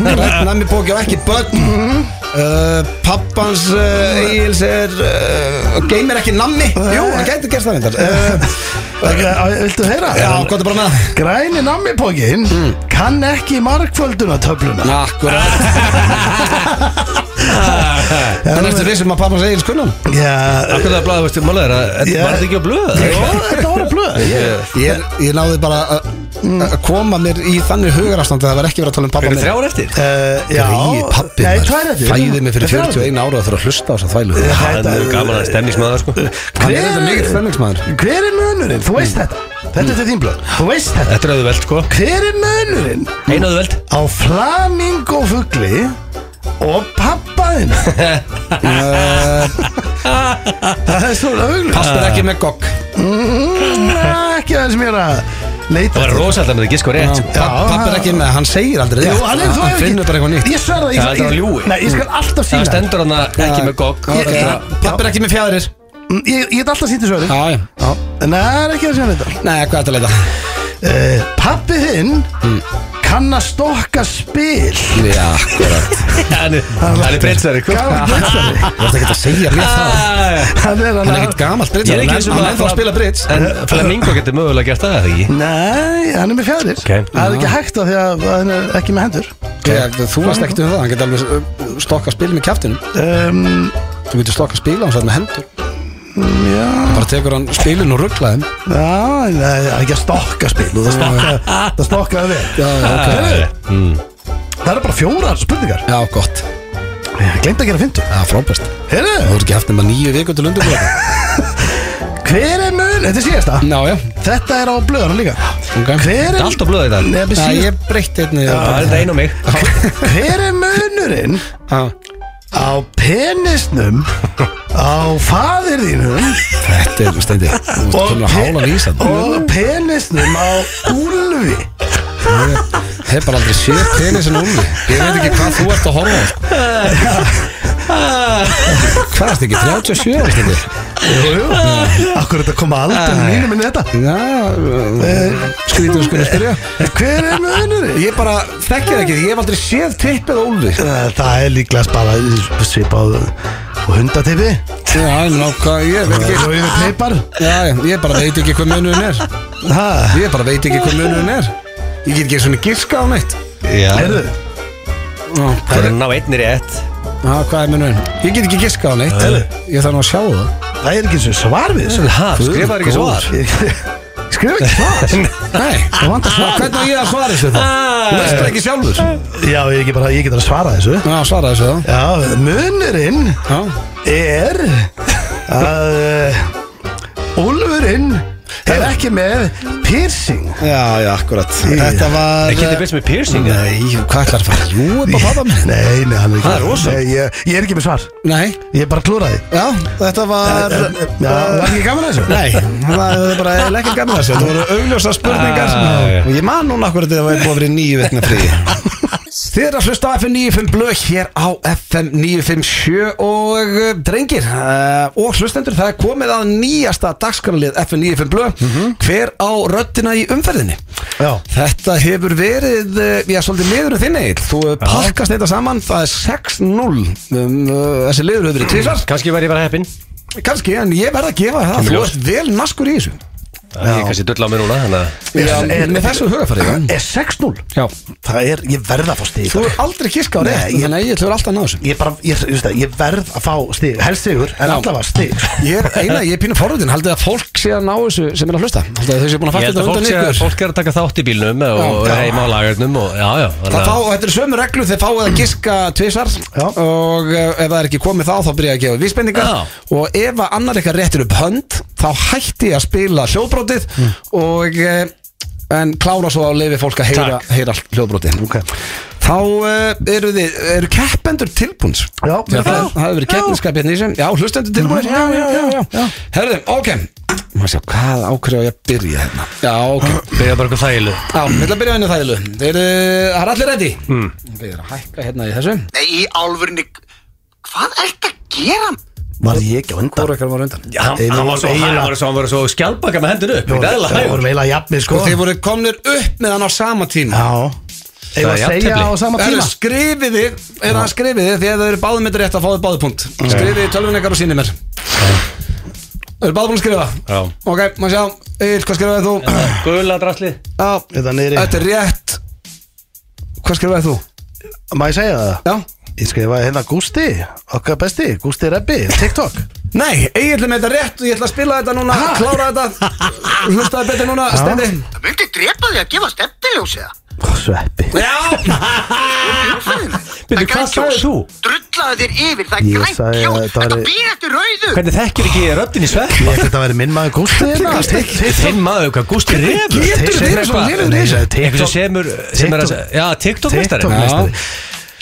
A: Grænn nammibók er ekki börn uh, Pappans uh, Egils er uh, Geimir ekki nammi Jú, hann gæti gerst það vindar uh,
C: Viltu heyra?
A: Já, gott er bara með
C: Græni nammipókin
B: Mm.
C: kann ekki markfölduna töfluna
A: Akkurat Þannig ertu vissum að pappans Egils kunnan
C: Já,
B: Akkur það er blæðið, veistu, málega er að,
C: Já.
B: var þetta ekki á blöðu?
C: Jó, þetta voru blöð
B: Ég-
A: Eh, Ég, ég náði bara að- að koma mér í þannig hugarastand að það var ekki verið að tala um pappa
B: Eru
A: minn
B: þrjár eftir?
C: Uh, já,
A: Gríi pappi
C: nei,
A: maður.
C: tvær eftir.
A: Fæði mig fyrir
C: Tvær eftir.
A: 41 ára að þurfa að hlusta á þess að þvælu Eh.
C: Já.
B: Það er
C: Þetta-
B: mjög gaman að stemningsmaður, sko
A: Hann er þetta mikill stemningsmaður
C: Hver er munurinn? Þú
B: Mm.
C: veist þetta Þetta er til þín blöð Þú veist þetta
B: Þetta er auðveld, sko
C: Hver er munurinn
B: Einu auðveld
C: á flamingofugli og pappaðin? það er svo auglur
A: Pastur ekki með gogg
C: Ekki það sem ég er að leita
B: Það var rosalega með þið gisk og rétt, sko
A: Pappi er ekki með, hann segir aldrei
C: Jú,
A: rétt.
C: hann er þú hefur
A: finnur bara eitthvað nýtt Mm.
C: Ég sverða
B: Það er bara ljúgi.
C: Nei, ég skal alltaf
B: Það
C: sína
B: stendur hann ekki með gogg
A: Já,
B: Þetta er
A: já.
B: að-
A: Pappi er ekki með fjæðrir
C: Mm, Ég, ég get alltaf sínt í svöru
A: Já, já
C: Nei, það er ekki að segja þetta
A: Nei, hvað er þetta að leita?
C: uh, Pappi þinn
A: Mm.
C: kann að stokka spil
A: Já, akkurat
B: Hann er- hann er breytsari, sko
C: Gamall britsari.
A: Þú ert ekki að segja mér það
B: Ah,
C: Hann er
A: Hann er
C: hann
A: ekkert gamalt britt
B: Ég er ekki eins og Eh,
A: Hann er ennþá að spila britt
B: En Flamingo getur mögulega gert það, eða ekki?
C: Nei, hann er með fjæðir
B: Ok.
C: Það er ekki hægt að því að að hann er ekki með hendur
A: Þú varst ekkert um það Hann getur alveg uh, stokkað spil með kjæftinu
C: um,
A: Þú getur stokkað spil á hans með hendur
C: Já,
A: Bara tekur hann spilin og rugglaðum
C: já nei, það er ekki að stokka spil og Það stokka, það stokka það við
A: Já, já, ok
C: Heyrðu, Það eru bara fjórar spurningar
A: Já, gott
C: Ég glemt að gera fyndu
A: Já, frábært
C: Heyrðu,
A: Þú ert ekki haft nema nýju vikur til undirbúið
C: Hver er mun? Þetta er síðasta
A: Ná, já
C: Þetta er á blöðunum líka
A: Ok.
C: Hver
B: Þetta
C: er
B: er allt á blöðu í dag.
C: Nei,
A: Já,
C: síðast-
A: ég breytti einni
B: Það er þetta einu á mig
C: Hver er munurinn
A: Já.
C: á penisnum á faðir þínum
A: Þetta er stendi Þú ert komin að hála vísa
C: og penisnum á úlfi
A: Ég hef bara aldrei séð penis en úlfi Ég veit ekki hvað þú ert að horfa á, sko. Hvað erst ekki, 37 ára stendi?
C: Akkur þetta koma aldrei mínum inn í þetta
A: Já, eh, skrítið að skoða spyrja
C: Hver er munurinn?
A: Ég bara þekki það ekki, ég hef aldrei séð tippið á úlfi
C: Eh, Það er líklega bara svipað og hundatipi
A: Já, nákvæm, ég veit ekki
C: og yfir peipar
A: Já, já, ég bara veit ekki hvað munurinn er
C: Það
A: Ég bara veit ekki hvað munurinn er Ég get ekki svona giska á neitt
C: Heyrðu,
A: Já,
B: Það er að ná einni rétt
A: Já, hvað er munurinn? Ég get ekki giska á neitt Ég þarf nú að sjá það
C: það er ekki eins og svar við þessu
B: Ha, skrifaðu ekki svar?
C: Skrifa ekki svar
A: Nei, það vantar svar Hvernig á ég að svara þessu þá? Þú veist það ekki sjálfur
C: Já, ég get bara, ég get bara að svara þessu
A: Já, svara þessu þá
C: Já, munurinn
A: Já,
C: er að uh, Úlfurinn er ekki með piercing
A: já, já akkurat Þetta var eh,
B: Ekki þetta byrst með piercing eða?
A: Nei, hvað ætlar að fara? Jú, upp á faðam
C: Nei, nei, hann er ekki
B: Það er rosa.
C: Nei, ég, ég er ekki með svar
A: Nei,
C: Ég er bara að klúra því
A: já, þetta Eh, var
C: Já, var ekki gaman að þessu?
A: Nei, það er bara eiginlega ekki gaman að þessu Þetta voru augljósa spurningar
B: Ah, já.
A: Og ég man núna akkur að þetta var búið að vera í nýju veitna frí Þið eru að hlusta á FM 95 blöð hér á FM 957 og uh, drengir uh, og hlustendur það er komið að nýjasta dagskanalið FM 95 blöð hver á röddina í umferðinni
C: Já.
A: Þetta hefur verið uh, já, svolítið liður um þinn eigin þú uh, pakkast þetta saman, það er 6-0 um, uh, þessi liður hefur verið tvisar
B: Kanski var ég bara heppin
A: kannski, en ég verð að gefa þér það
B: Kemur
A: þú
B: ljós.
A: ert vel naskur í þessu
B: Það er kannski dull á mér núna Þannig að
A: Já,
C: er-
A: með þessu hugafarið já.
C: Er 6-0?
A: Já.
C: Það er, ég verð að fá stig í
A: Þú
C: dag.
A: er aldrei kiska á
C: Nei,
A: rétt
C: ég-
A: Þannig að ég ætlur alltaf að ná þessu
C: Ég bara, ég, ég, það, ég verð að fá stig Helst sigur, en
A: Já.
C: allavega stig
A: Ég er eina, ég er pínu forröðin Haldið að fólk sé að ná þessu sem er að hlusta Haldið að þau sé búin að fatta
B: Ég held að
A: þetta
B: fólk,
A: undan
B: sé,
A: ykkur
B: fólk er að taka þátt í bílnum og
A: Já.
B: heima á lagarnum og, já, já, þannig
A: Það
B: að-
A: fá, og þetta er sömu reglu þegar fáið að giska tvisar og eh, ef það er ekki komið þá þá byrja ég að gefa vísbendingar
B: Já.
A: og ef að annar eitthvað réttir upp hönd þá hætti ég að spila hljóðbrótið og eh, en klára svo að leifi fólk að heyra, heyra hljóðbrótið okay. Þá uh, eru þið, eru keppendur tilbúns
C: Já,
A: Já, það,
C: já.
A: það hefur verið keppniskap hérna í sem Já, hlustendur tilbúinir Já, já, já, já, já. Herðu, ok Má sjá, hvað ákveðu á ég að byrja hérna Já, ok
B: Byrja bara eitthvað þægilu
A: Já, við ætlum að byrja henni þægilu Þeir eru, það er allir ready mm. Við erum að hækka hérna í þessu
E: Nei, í álfurinni Hvað ert að gera?
C: Var ég ekki á undan?
A: Hvor okkar var undan
B: Já, hann, hann var svo, hann var svo, hann var svo skjálpaka með hendur upp
C: Við
B: Ég er eðla hægur
C: vorum eiginlega jafnir, sko
A: Og þeir voru komnir upp með hann á sama tíma
C: Já Eða að
B: er
C: segja
B: jafntefli.
C: á sama
A: Eru
C: tíma
A: skrifið þið, er það skrifið þið því að þau eru báðum með rétt að fá þið báðu punkt Skrifið þið tölvun ykkar og sýnir mér Eru báðu búin að skrifa?
B: Já.
A: Ok, maður sjá, Egil, hvað skrifaði þú?
B: Gula drasli
A: Já,
C: Þetta niðri.
A: Þetta er rétt Hvað skrifaði þú?
C: Má ég segja það?
A: Já
C: Ég skrifaði hérna Gústi, okkar besti, Gústi Rebbi, TikTok
A: Nei, ég ætla með þetta rétt og ég ætla að spila þetta núna Klára þetta Hlustaði betur núna, Stendi
E: Það myndi drepa því að gefa stefniljósið
C: Sveppi
A: Já
B: Byrju, hvað sagðir þú?
E: Drullaði þér yfir, það er
C: Ég
E: grænt
C: sagði að
E: ljós
C: þetta
E: Þetta
C: væri-
E: býr eftir rauðu
B: Hvernig þekkir ekki röddin í svepp?
C: Ég ætti að vera minn maður Gústi hérna
B: Þinn maður, hvað gústi reyfur
A: getur
C: Sem
A: verið
C: eitthvað-
A: svona lélegur í
C: Nei,
A: þessu?
C: TikTok-
B: Eitthvað sem semur sem er að,
C: TikTok-
B: Já, TikTok-mestari
C: TikTok-meistari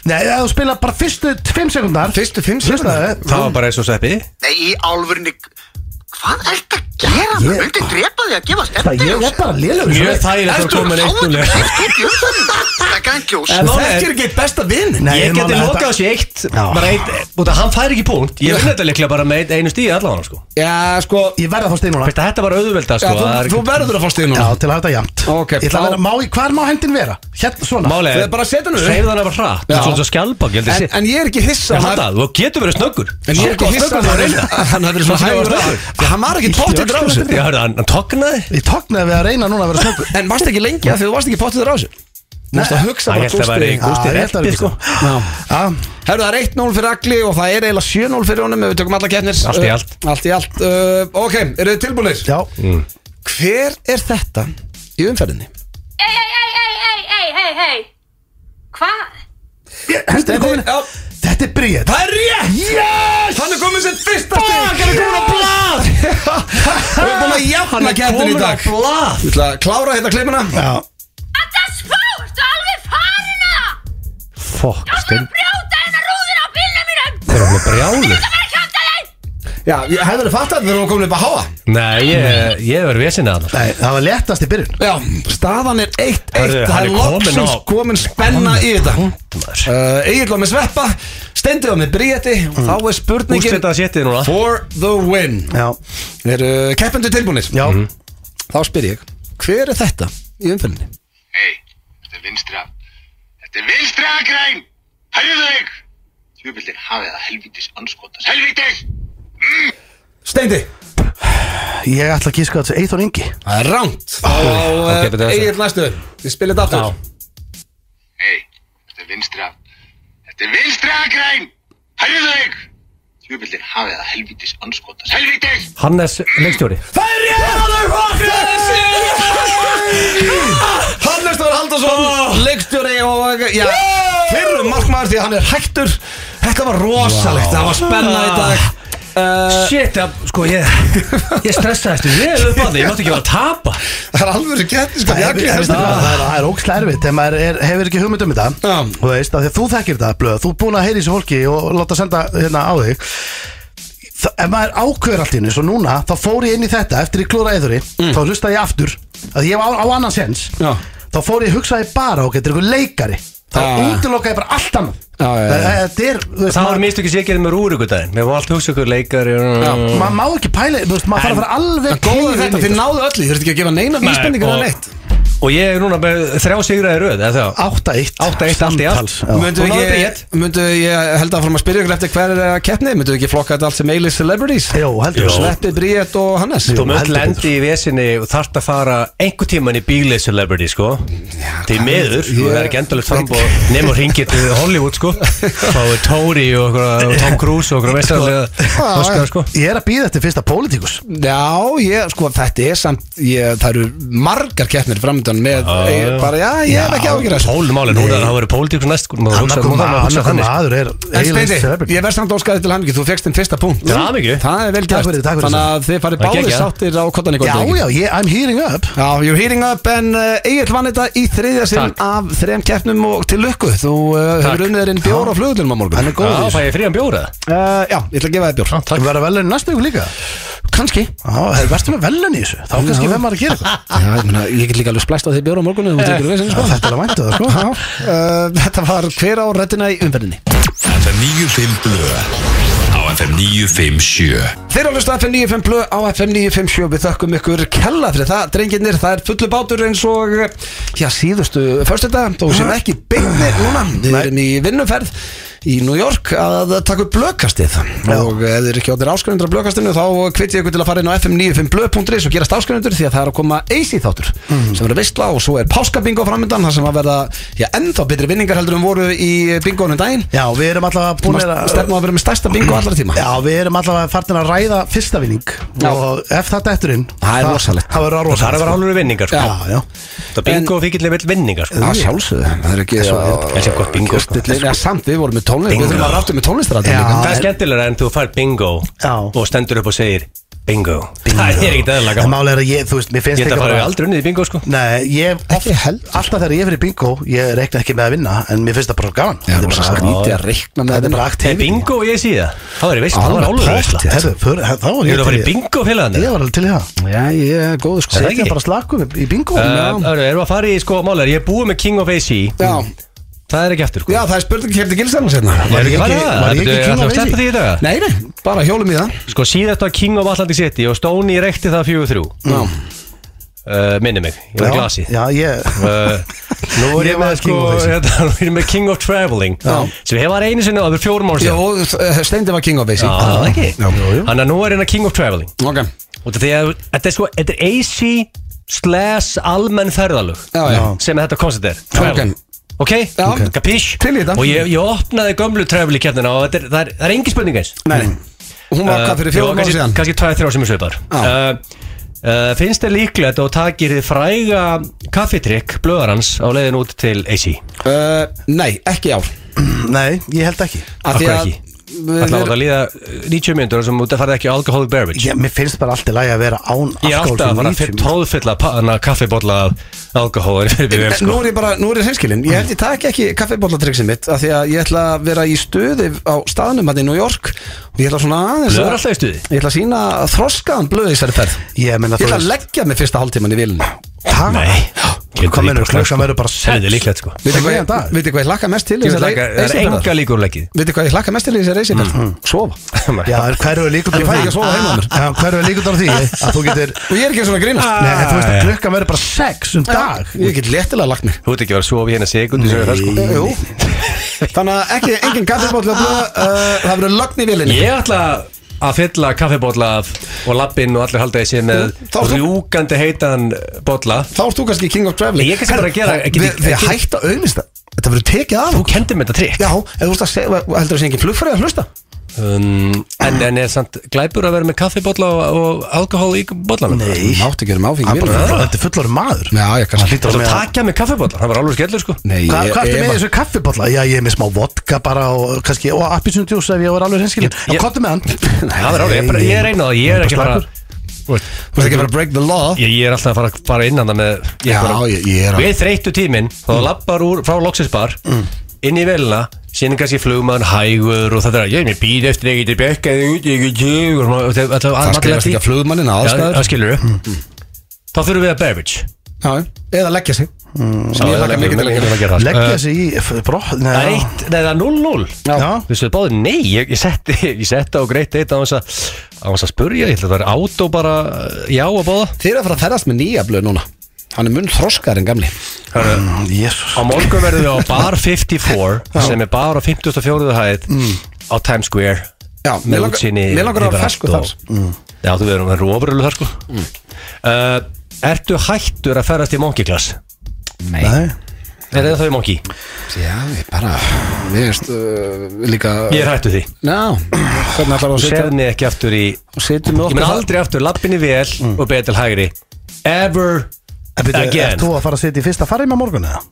C: Nei, ef þú spila bara fyrstu 5 sekundar eh,
A: Fyrstu fimm sekúndurnar?
B: Það var bara eins og sveppi
E: Nei, í álfurinni Hvað ert að gera? Það
C: Ég-
E: myndi drepa því að gefa
C: Það ég er
E: stefniljósið
C: bara lélugur
B: Mjög þægilegt að koma neitt úr leik
E: Það er grænt ljós
B: En-
A: Þú þekkir ekki eitt besta vinn
C: Nei,
B: Ég
C: ég
B: geti
C: mála þetta-
B: lokað þessi eitt
C: Já.
B: Bara eitt Búið að hann fær ekki punkt Ég vinn þetta líklega bara með einu stíði allan sko
A: Já, sko
C: Ég verða þá stið núna
B: Veist að Þetta var
A: já,
B: auðvelda sko
A: þú,
B: það er-
A: þú verður að fá stíð
C: Já,
A: núna
C: til að hafa þetta jæmt
A: Ok,
C: Ég ætla að
A: þá-
C: vera, má, hvar má hendin vera? Hérna, svona
B: Málið
A: Þið bara setja hann upp.
B: Segðu hann bara hratt
A: Já.
B: Þú ert svo skjálpaka Ég held að
A: en,
B: sé
A: en ég er ekki hissa
B: Já,
A: að-
B: þetta, þú getur verið snöggur
A: En ég er ekki hissa að hann-
B: Snöggur að reyna
A: að Hann hafði verið svona
B: Snöggur
A: hægur
B: að
A: á
B: reyna.
A: því Hann var ekki pottið
B: Já,
A: dráð
B: hörðu, hann, hann tognaði
C: Ég tóknaði við að reyna núna að vera snöggur
A: En varst ekki lengi að því þú varst ekki pottið dráð Þú varst að hugsa
B: Hann
A: bara
B: held að væri
A: Gústi-
B: Gústi
C: Já, ég held
B: Reppi
C: að væri
B: sko
A: Já.
C: Já,
A: Herru, það er 1-0 fyrir Agli og það er eiginlega 7-0 fyrir honum ef við tökum alla keppnir
B: Allt í allt.
A: uh, Allt í allt uh, Ok, eru þið tilbúinir?
C: já
A: Hver er þetta í umferðinni?
F: Ei, ei, ei, ei, ei, ei, ei, ei Hvað?
C: Hendin er komin
A: Já,
C: Þetta er bríð
A: Það er rétt! Yes! Hann er komið sem fyrsta stig Hann er komin á blad nafna
B: Hann
A: kettin
B: er
A: í dag
B: kominn á blað.
A: Ég ætla að klára hérna klippina
C: Já,
F: Þetta er spórt og alveg farin að
B: Fokk,
F: Það er að
B: stein
F: brjóta hérna rúðin á bílnum mínum
B: Það er hún að brjálu
F: Það var að kjönda þeim
A: Já, ég hefði verið fatt að þegar hún komin upp að háa
B: Nei, ég, ég verður vesinn að hann
C: nei, það var léttast í byrjun
A: Já, staðan er 1-1
B: Hörðu,
A: Það
B: hann
A: er
B: er kominn
A: loksins
B: á-
A: komin spenna í þetta
B: maður.
A: uh, Egil var með sveppa Steindið var með bríeti og Þá er spurningin
B: Úrslitaða séttið núna.
A: For the win
C: Já,
A: Er uh, keppendur tilbúinir?
C: já,
A: Þá spyr ég Hver er þetta í umfyrinni?
G: Hei, þetta er vinstra Þetta er vinstra græn Hæriðu þig Tjöfildin hafið það helvítis anskotas Helvítis
A: Steindi
C: ég ætla að kíska þetta Eithor Ingi
A: Það er ránt Þá á
B: ok, betur þessu.
A: Egil næstu Við spilum þetta aftur
G: Hei, þetta er vinstra Þetta er vinstra græn Hæriðu þig Tjöfildin hafið það helvítis anskotas Helvítis
B: Hannes, leikstjóri
A: Það er rétt Hannes Þór Haldarsson Leikstjóri og já, Fyrrum markmaður því að hann er hættur Þetta var rosalegt, það var spenna í dag Uh,
B: Shit, ja, sko, ég, ég stressaðist Ég er upp að því, ég mátti ekki vera að tapa
A: það er alveg gett sko,
C: Það er-
A: jakli,
C: það er-
A: þessi-
C: það er- það er ókslega erfitt þegar maður er, hefur ekki hugmynd um þetta
A: Já.
C: og veist að því að þú þekkir þetta blöð, þú er búin að heyri þessu fólki og láta senda hérna á þig Þa, ef maður ákveður allt í henni, svo núna þá fór ég inn í þetta eftir ég klúra eðuri þá hlusta ég aftur, að ég var á, á annan sens
A: Mm. Já.
C: þá fór ég hugsaði bara og getur ykkur leikari þá
A: Já.
C: útilokaði ég bara allt annað
A: Já, já, já.
C: Það- þetta er, þú veist,
B: Það var
C: maður-
B: mistökið sem ég gerði með rúrugudaginn Mér var allt hugsa ykkur leikar
C: maður má ekki pæla, þú veist, maður þarf að fara alveg
A: sko. Góða
C: clear
A: þetta,
C: inn í
A: þið náðu öllu Þið þurfti ekki að gefa neina vísbendingar að neitt
B: Og ég er núna með þrjá sigraði röð eða þá?
C: 8-1
B: 8-1 allt í allt.
C: Samtals, já.
A: Möndu
B: Hún náði
A: ekki,
B: bríett.
A: möndu ég held að fórum að spyrja ykkur eftir hver er að keppni Möndu ekki flokka þetta allt sem eilig celebrities
C: Jó, heldur þú
A: Sveppi, Bríett og Hannes
B: Þú möll
C: heldur
B: lendi í vesinni og þarft að fara einhver tíman í bílið celebrity sko Því miður, þú
A: ég-
B: verður ekki endalegt frambóð Nefn og ringið til Hollywood sko Fáðu Tóri og okkur, og Tom Cruise og okkur veistarlega Óskar sko
C: Ég er að býða eftir fyrsta pólitíkus
A: Já, ég, sko, þetta er samt ég, Það eru margar keppnir framöndan með, ég, bara, já, ég hef ekki ágjur þessu
B: Pólmálin, hún er að það verður pólitík næst sko Maður hugsa-
C: Annarkum
B: maður þarf að hugsa
C: annarkum
B: þannig, sko.
C: maður er
A: En Steindi,
C: eiginlega celebrity
A: ég verð samt óskaði til hamingju, þú fegst þinn fyrsta punkt
B: Til hamingju.
A: Það er vel
C: Takk
A: gert,
C: fyrir, takk fyrir
A: þannig
C: þessu.
A: að þið farið
B: Það er
A: báðir
B: geggjað.
A: sáttir á kottan í
C: Já,
A: kvöld
C: já, ég, I'm hearing up
A: Já, you're heating up en uh, Egil vann þetta í þriðja sinn
B: Takk.
A: af þrem keppnum og til lukku Þú uh, hefur
B: Takk.
A: unnið þér inn bjór á flugulunum á morgun
C: Hann er góður
B: Já,
C: í
B: fæ
C: þessu.
B: ég frían bjóra
A: uh, Já, ég ætla að gefa þér bjór
C: Þú verður að velun næstu ykkur líka
A: Kanski
C: Já, það verður með velun í þessu Þá kannski hvem maður að gera eitthvað
A: Já, ég, meina, ég get líka alveg splæst á því bjór á morgun ef þú tekur við sinni,
C: Já,
A: sko.
C: Þetta er að væntu það, sko
A: Já, uh, Þetta var hver á röddina í umferðinni
D: FM 95 Blö Á FM 957
A: Þeir eru að hlusta á FM 95 blöð á FM 957 Við þökkum ykkur kella fyrir það Drengirnir, það er fullu bátur eins og Já, síðustu Förstu dag, þó sem ekki beignir núna Við erum í vinnuferð í New York að taka upp blöðkastið og ef þið eru ekki áttir áskrifendur á blöðkastinu þá hvet ég ykkur til að fara inn á fm95blöð.is og gerast áskrifendur því að það er að koma AC þáttur
C: Mm.
A: sem verður veistla og svo er páskabingo framöndan þar sem að verða já, ennþá betri vinningar heldur en voru í bingonum daginn
C: Já, við erum allavega búin að
A: stefnum að vera með stærsta bingo allra tíma
C: Já, við erum allavega farin að ræða fyrsta vinning
A: Já.
C: Og ef það dettur inn
A: Það er rosalegt.
C: Það verður að
B: Það er að vera
C: rosalegt
B: hálfur vinningar sko
A: Já,
C: já.
B: Það bingo fíkilega vill vinningar sko
A: að sjálfsögðu, það er ekki svo
B: Það er sem gott bingo, sko.
A: Nei, nei, samt, við vorum með tónlist
B: Bingo.
A: Við þurfum að ráttu með tónlistrættum
C: Já.
A: líka
B: Það er skemmtilega en þú fær bingo
C: Já.
B: og stendur upp og segir bingo, Það er ekkert eðalega
C: En
B: gaman
C: málega er að ég, þú veist, mér
B: Ég ætla
C: finnst ekki
B: að fara við
C: bara-
B: aldrei unnið í bingo sko
C: Nei, ég, oft,
A: Ekki heldur.
C: alltaf þegar ég fyrir bingo Ég reikna ekki með að vinna, en mér finnst það bara svo gaman
A: Já, það
C: Þetta er
A: er
C: bara-
A: skrítið að reikna með
C: Þetta er bara
B: Er
C: aktivity
B: bingo ég sé það? Það var ég veist, það var
A: Alveg
B: álur
A: pott,
B: veist
A: já.
C: Herðu, för- her- þá var
B: Ég er að
C: ég til
B: fara í
C: í-
B: bingo félagandir
C: Ég var alveg til í það
A: Já, ég er góð, sko
B: Segðu-
A: Já,
B: ekki? Uh,
C: Þetta er bara slakum í- í bingo
B: Það eru að fara í sko málar Ég er búið með King of AC
A: já
B: Það er ekki aftur sko
A: það er spurning um hér til gilsarna sérna
B: Ég er
C: Var ég
B: ekki farið
C: ekki-
B: það
C: var ég
B: Ertu-
C: ekki King
B: ætlum
C: of
B: að sleppa
C: AC?
B: því í dag?
A: hérna. Nei, nei, bara hjólum í það
B: Sko síðast var King of Atlantic City og Stoney rekti það 4-3
A: Já,
B: Uh, Minni mig, ég var í glasi
C: Já, ég
B: Uh, Nú er
C: Ég
B: ég
C: var
B: með sko
C: King of AC.
B: hérna, Nú er ég með King of Traveling sem hefur var einu sinni og það er fjórum ára
A: já
B: síðan
A: og eh, Steindi var king of basic
B: Já, það er ekki
A: Já, jú, jú.
B: Þannig að nú er hérna King of Traveling
A: Ok,
B: og því að þetta er sko þetta er AC slash almenn ferðalög
A: já, já
B: sem þetta koncept er Traveling. Ok,
A: Já.
B: okay. kapís
A: Til í þetta.
B: Og ég, ég opnaði gömlu travel í kjarnina og þetta er, það, er, það er engin spurning eins
A: Nei, nei Hún var hvað fyrir fjórum ára
B: Eh, kannski-
A: síðan
B: Kannski 2-3 sem er svipar
A: Já.
B: uh, uh, Finnst þér líklegt og takir þið fræga kaffitrykk blöðarans á leiðin út til AC
A: Eh, Nei, ekki í ár
B: uh,
C: Nei, ég held ekki
A: Af því
B: Akkur
A: að
B: ekki?
A: við-
B: Það var að líða eh, 90 myndur sem það farið ekki á alcoholic beverage
C: Ég, mér finnst bara allt í lagi að vera án
B: Ég er alltaf að fara að fyrir tróðfylla panna kaffibotla alkohóður fyrir
A: En Nú
B: byrjum sko
A: er ég bara, nú er ég hreinskilinn Ég held ég taki ekki kaffibóllatryksin mitt af Því að ég ætla að vera í stuði á staðnum hann í New York og ég ætla svona aðeins
B: Blöð er
A: að-
B: alltaf í stuði.
A: Ég ætla að sína þroskaðan blöð í þessari ferð
C: Ég meina
A: Ég
C: þú
A: ætla að
C: veist
A: leggja mig fyrsta hálftíman í vilinu
C: Ha?
B: Nei.
C: Hvað mennur, klukkan verður bara
B: Það er
C: sex
B: líklegt sko
A: Vitið hvað,
C: Góðan dag.
A: ég- vitið hvað ég hlakka mest til í
B: Ég vil
A: þessari
B: taka- Það er
A: reisingferð?
B: enga líkur um leggið
A: Vitið hvað ég hlakka mest til í þessari reisingferð? Sofa
C: Já, en hverju er líkundur
A: Ég fæ ekki að sofa heima hjá mér.
C: Hverju er líkundur á því að þú getur
A: Og ég er ekki svona að grínast
C: Nei, en þú veist
B: Ah,
C: að
B: já.
C: klukkan verður bara sex um dag
A: Ég get léttilega lagt mig
B: Þú ert ekki að vera að sofa í hérna segundu sem er það sko
A: Jú Þannig að ekki, engin kaffibóll að blöða uh, Það verður lagn í vilinni
B: Ég ætla að fylla kaffibotla af og lappinn og allir halda þessi með
A: Þá ert þú-
B: rjúkandi heitan botla
A: Þá ert þú kannski king of traveling
B: Nei, ég er kannski bara að gera- ekki-
A: Við, við
B: ekki-
A: hætta að auðvist það Þetta verður tekið af
B: Þú
A: okkur.
B: kendir mér þetta trikk
A: Já, ef þú ert að segja Heldur þú sé engin flugfæri að hlusta
B: um, en, en er samt glæpur að vera með kaffibotla og, og alkohól í botlanum?
A: Nei Máttu ekki verið með áfengi í
C: Bara,
A: vilinni
C: Þetta er fullorinn maður
A: Já, ég
C: Það
A: kannski
C: hlýtur
B: Það er
C: að með
B: að taka með kaffibotla, það var alveg skellur sko
A: Nei,
C: Hva,
A: ég-
C: hvað ertu
A: ég-
C: með í þessu kaffibotla? Já, ég er með smá vodka bara og kannski, og appisundjús ef ég var alveg hinskilin
B: Ég-
C: Já, kottu með hann
B: Það var alveg, ég, bara- ég er einað, ég er ekki bara Þú veist,
A: Þú ert ekki að fara að break the law
B: Ég, ég er alltaf að fara, fara innan það með ég
A: Já,
B: bara,
A: ég- ég er að-
B: Við þreyttu tíminn, þá lappar úr frá loksinsbar inn í velina, síðan kannski flugmann hægur og það er að ég er mér býð eftir ég geti bekkað út, ég geti og svona- og það- það-
A: Það
B: allir að
A: skrifast
B: því-
A: ekki að flugmannin
B: Já,
A: aðstæður
B: Það skilur við Þá þurfum við að beverage
A: Já, eða leggja sig Sem ég hlakka mikið til að gera.
B: leggja
C: Leggja sig í f- bró-
B: Það er
C: Nei, já.
B: sko. Eh, eitt, nei það er 0-0
C: Já.
B: Þú veist, við báðum, nei, ég, ég setti ég setti á greitt eitt á þess að á þess að spurja, ég ætla að það er át og bara uh, já að báða
A: Þið eru að fara að ferðast með nýja blöð núna Hann er mun þroskar en gamli
C: Mm, Jesús
B: Á morgun verðum við á Bar 54 sem er bar á 54. hæð á Times Square
A: Já, mér
B: með
A: langar-
B: útsýni
A: mér langar að vera
B: yfir allt
A: ferskur
B: og-
A: þar.
B: Já, þú verður verður ofurölu þar sko uh, Ertu hættur að ferðast í monkey class?
C: Nei.
B: Er það þá í monkey?
A: Já, ég bara Mér veist uh, líka
B: Ég er hættur því
A: Já, hvernig ætlar þú að
B: Þú
A: setja
B: serni ekki aftur í
A: og setjum við
B: Ég
A: okkur
B: menn
A: það-
B: aldrei aftur lappinni vel og betur til hægri Ever
C: En Eh, byrju,
B: again
C: Ert þú að fara að setja í fyrsta farið með morgun eða?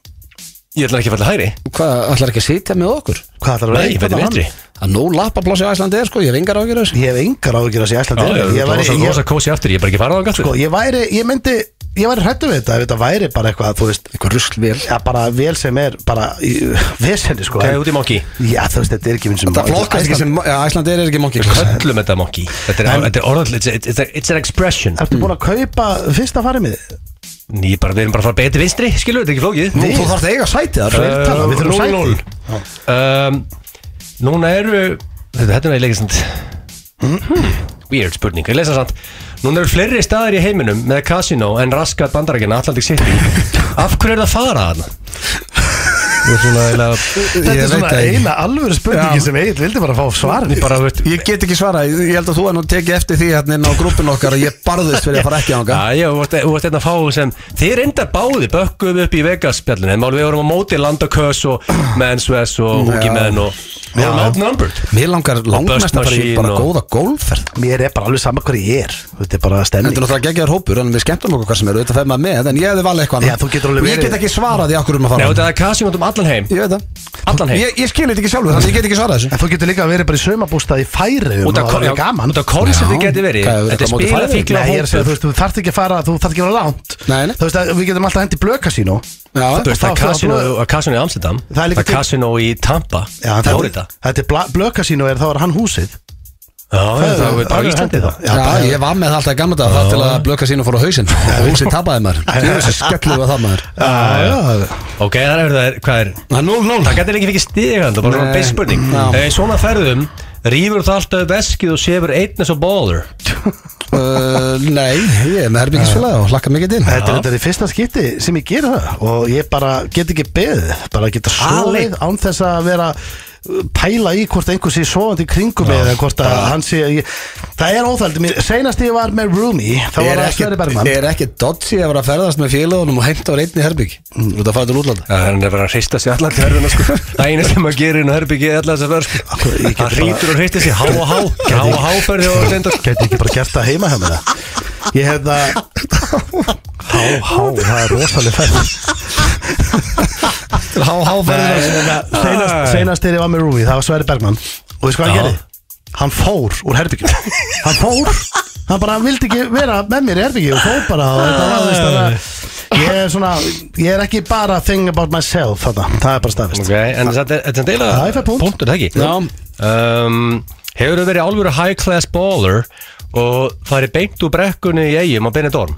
B: Ég ætla ekki að falla hægri
A: Hvað, ætlar ekki að sitja með okkur?
C: Hvað ætlar að
B: Nei, ég
C: veita
B: fætti
C: þarna?
B: vinstri
A: Það er nóg lappaplási á Íslandi er sko, ég hef engar ágjur þessu
C: Ég hef engar áhyggjur að sé æsla
B: Já, já,
C: til
B: þú
C: Ég
B: ert rosa,
C: væri-
B: rosa
C: ég-
B: kósi aftur, ég er bara ekki farað á galt
C: sko, ég væri, ég myndi Ég væri hrættu við þetta, ef þetta væri bara eitthvað, þú veist
A: Eitthvað ruslvél
C: Já, bara vel sem er, bara í, Vesendi, sko
B: Það er út í monkey
C: Já, þú veist, þetta er ekki minn sem
A: Það flokkast ekki sem, já, Íslandi er ekki monkey class
B: Köllum þetta monkey Þetta er, þetta er orðall, it's, it's, it's, it's an expression
C: Ertu búin að kaupa fyrsta farið með þið?
B: Ný, bara, Við erum bara að fara betur til vinstri, skilur, þetta er ekki flókið
A: Nú, þú
B: Uh,
A: þarf að eiga sæti þar
C: Tveir tala, við þurfum sæti.
B: um, Núna eru Þetta þetta er eiginlega sant
A: Mhm.
B: Weird spurning, ég lesa samt Núna eru fleiri staðir í heiminum með casino en raskat bandarækina Atlantic City Af hverju er það að fara þarna? Þú ert svona eiginlega
C: Þetta
A: Ég
C: er
A: veit
C: svona
A: það ekki.
C: eina alvöru spurningi sem Egil vildi bara fá svar
B: Ég bara, þú veist,
A: Ég get ekki svara, ég ég held að þú er nú tekið eftir því hérna inn á grúpin okkar að ég barðist fyrir að fara ekki ánga
B: Já, já, þú varst- þú varst einn að fá sem Þið reynda báði bökkuðum upp í Vegas-spjallinu En málum við vorum á móti Landakös og Mansves og Húki Menn og Við vorum outnumbered
A: Mér langar langmest að fara í
B: Machine
A: bara
B: og-
A: góða gólferð
C: Mér er bara alveg sama hver ég er Þetta er
A: Þetta
C: bara
A: er
C: stemning
A: náttúrulega geggjaður hópur, en við skemmtum okkur hvað sem eru, þetta fer maður með, en ég hefði valið eitthvað
C: Já, þú getur alveg
A: verið Ég
C: verið-
A: get ekki svarað í okkur um að
B: Nei,
A: fara
B: þetta er kasinótum allan heim
A: Ég veit það
B: Allan heim
A: Ég, ég skilir þetta ekki sjálfur, þannig að ég get ekki svarað þessu
C: En þú getur líka verið bara í saumabústað í færiðum
B: Út af
C: það er gaman
B: koncepti
A: Já.
B: geti verið
A: Hvað,
B: Þetta
A: þetta
B: er
A: móti
B: spila
A: fæðingu?
B: fíkla
C: Nei, ég er að segja, þú
B: hópur
C: veist, þú þarft ekki að fara, þú þarft ekki að vera langt
A: Nei, nei.
C: Þú veist að við getum alltaf hendi blöðkasínó
A: Já.
B: Þú veist, það er kasinó að kasinó í Amsterdam
C: Það er líka
B: Það er
C: til-
B: kasinó í Tampa
C: Já,
B: Það er
C: þetta
B: þetta
C: Þetta er blöðkasínó er, þá er hann húsið
B: Já, já, það er bara
C: alveg
B: Íslandi
C: hendi
B: þá
C: Já,
A: Já,
C: bara-
A: ég var með það alltaf í gamla dag þar til að blöka sín og fór á hausinn og húsið tapaði maður Ég veist að skellu við það maður
C: Já, já,
B: Ok, það er, það er, hvað er
A: Það er 0-0
B: Það gæti ekki fikið stíðan, hérna, það var bara
A: Nei.
B: best spurning
A: Já.
B: Þegar í svona ferðum, rýfur það alltaf upp veskið og séfur einn eins og baller
A: Uh, Nei, ég er með herbyggisfélag og hlakka mikið til
C: Þetta er þetta er í fyrsta skipti sem ég gera það og ég bara get ekki beðið bara geta sofið
B: Aleinn.
C: án þess að vera uh, pæla í hvort einhver sé sofandi í kringum mig eða hvort að hann sé ég, það er óþældi mér, seinast ég var með Roomy þá
A: Er
C: var það
A: ekki,
C: Sverri Bergman
A: er ekki dodgy að vera að ferðast með félagunum og heimta að vera einn í herbygg Hm, Þú ert að fara til útlanda
B: Það er bara að hrista sér allar til verðina sko Það eina sem maður gerir inn á herbyggi er allar þess að verð sko
C: Ég get
B: Það
C: bara-
B: hrítur og hristir sér há og há Há og há ferði og senda sko
C: Gæti ekki bara gert það heima hjá mér það Ég hef það Há, há, það er rosalega færð
A: Há, há, ferðina
C: Seinast, seinast þegar ég var með Rúi, það var Sverri Bergman Og veist hvað hann
B: Já.
C: gerði? Hann fór úr herbyggjum Hann fór Hann bara vildi ekki vera með mér í herbyggjum Og fór bara og þetta var veist þannig að Ég er svona Ég er ekki bara thing about myself þarna Það er bara staðvist
B: Ok, en þetta er- þetta er deila
C: Já, ég fæ punkt.
B: Punktur, það ekki?
A: Já.
B: um, Hefur þú verið álfur high class baller og farið beint úr brekkunni í eigum á Benidorm?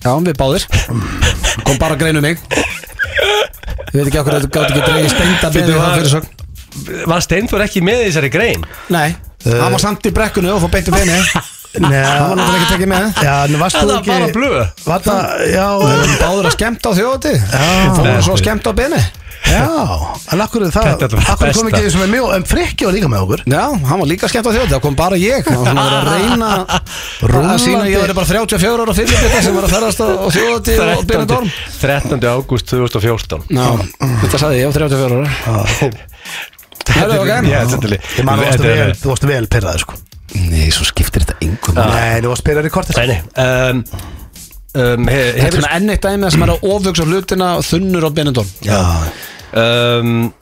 A: Já, við báðir Kom bara að greinu mig Ég veit ekki okkur að þú gátt ekki að dreigja steinda
B: Bíddu,
A: beðið það
B: var-
A: fyrir sögn
B: Var Steindur ekki með í þessari grein?
A: Nei, hann var samt í brekkunni og fór beintu beinni Hann
C: Nei,
A: var náttúrulega ekki tekið með
C: Já, en varst
B: Það
C: þú
B: var
C: ekki
B: bara blöð
C: Var það, já
A: Við erum báður að skemmta á þjóti Það var svo skemmta á beinni
C: Já, en akkur er það
B: Þetta er það
C: Akkur kom
B: besta.
C: ekki eins og með mjög En Frikki var líka með okkur
A: Já, hann var líka skemmt á þjóti, það kom bara ég Hann var svona að reyna að
C: Rúllandi.
A: sína að ég væri bara 34 ára fyrir þetta sem var að ferðast á á þjóti og byrja
B: 13.
A: dorm
B: 13. ágúst 2014
A: Já, þetta sagði ég á 34 ára Herðu, ok.
B: Já, þetta er-
C: Ég man, þú varst
B: þetta er-
C: vel- þú varst vel pyrraði sko
A: Nei, svo skiptir þetta engum
C: Nei, þú varst pyrraði í kortet
B: Nei, nei um, um, he,
A: Þetta er
B: hefur,
A: svona hérna enn eitt dæmi sem er að ofugsa hlutina þunnur á Benidorm
C: Já,
B: um,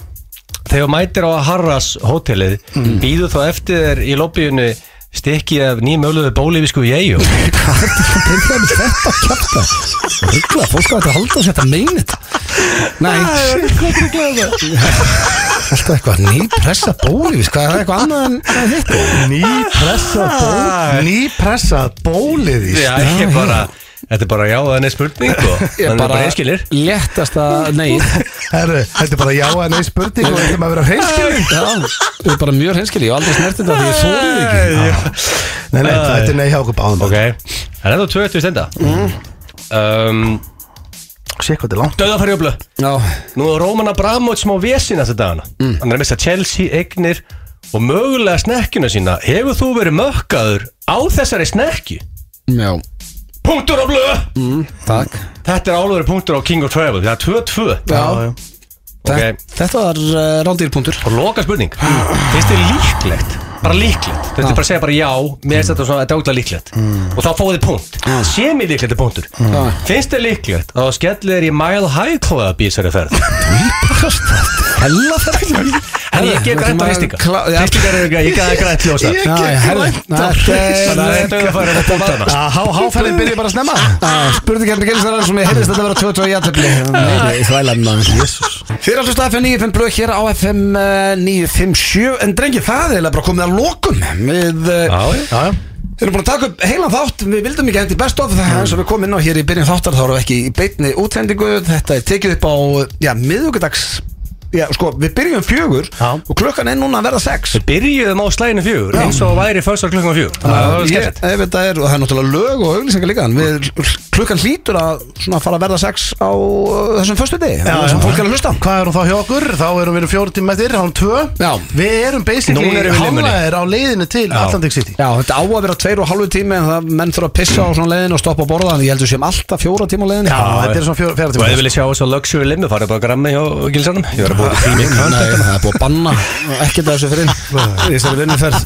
B: Þegar þú mætir á Harras hótelið mm. býður þá eftir þér í lobbyinu stikki af nýmöluðu bólífisku jæju
A: Byrjaði með þetta að kjapta Ruggla, fólk að þetta halda sér þetta meina þetta Nei, alltaf eitthvað ný pressa bólífis Hvað er það eitthvað annað en en hitt?
B: Ah.
C: Nýpressað ból, nýpressað bólið í
B: Já, ég er bara Þetta er bara já, þannig spurning og
A: Ég
B: þannig er bara einskilir
A: léttasta nei
C: Herru, þetta er bara já að nei spurning og þetta maður vera hreinskilning
A: Já, þú er bara mjög hreinskili Ég hef aldrei snert þetta því ég þórið ekki
C: Nei, nei, þetta er nei hjá okkur báðum
B: Ah. Ok, það er ennþá 20 stenda um,
C: Sér hvað þetta er langt
B: Döðafæri og blöð
A: Já,
B: Nú er Róman Abramovic smá vesina þetta dagana Hann er að missa Chelsea, eignir og mögulega snekkjuna sína Hefur þú verið mökkaður á þessari snekki?
A: já,
B: Punktur á blöð!
A: takk
B: Þetta er álveri punktur á King of Travel Það er 2-2
A: Já,
B: okay.
A: þe- þetta var uh, rándýrpunktur
B: Og loka spurning Finnst þið líklegt? Bara líklegt Þetta er bara að segja bara já Mm. Mér finnst þetta svona Þetta er ótrúlega líklegt Og þá fóðu þið punkt Sé mér líklegt er punktur Finnst þið líklegt að þú skellir þér í Mile High Club í þessari ferð?
A: Hella þetta
B: En ég get grænt á hristinga Hristingar eru ekki Ég get grænt ljósa
C: Ég
A: Já, já,
C: gekk
A: herðu,
C: langt á
A: þetta er-
B: Þannig að þetta er bara þetta punktana
C: Há, háferðin byrja bara að snemma
A: Ah, Spurði kemni Gilsar sem ég heyrðist að þetta vera 22 jættöfli Nei, þvælan maður Jesus Þið er alltaf FM 95 blöð hér á FM eh, 957 En drengi, það er eiginlega bara komið að lokum Við eh,
B: Já, já.
C: Já, já
A: Við erum búin að taka upp heilan þátt, við vildum ekki hendi best of það eins og við komum inn á hér í byrjun þáttar þá erum við ekki í beinni útsendingu, þetta er tekið upp á eh, já, miðvíkudags já, sko, við byrjum fjögur
C: Já.
A: og klukkan er núna að verða sex
B: Við byrjuðum á slæðinu fjögur eins og væri förstar klukkan fjögur Þannig að það var
A: Ég-
B: skemmt
A: ef þetta er, og það er náttúrulega lög og auglýsingar líka en við, klukkan hlýtur að svona fara að verða sex á uh, þessum föstu degi þessum fólk er að hlusta
C: Hvað erum þá hjá okkur? Þá erum við fjóru tíma eftir, hálf tvö
A: Já.
C: Við erum basically
B: Núna erum við í limunni.
C: hálfaðir á leiðinu til Atlantic City
A: Já, þetta á að vera tveir og halvu tími en það menn þurfa að pissa á svona leiðin og stoppa að borða en ég heldur sem alltaf fjóra tíma á leiðin
C: Já, þetta er svona fjör- fjara
B: Og ef þið
C: tíma
B: viljið sjá þess að luxury limmu farið bara að grammi hjá Gilsanum Ég var að búið tími í kvöld
A: Nei, það er búið að banna ekkert að þessu fyrir inn í þessari vinnuferð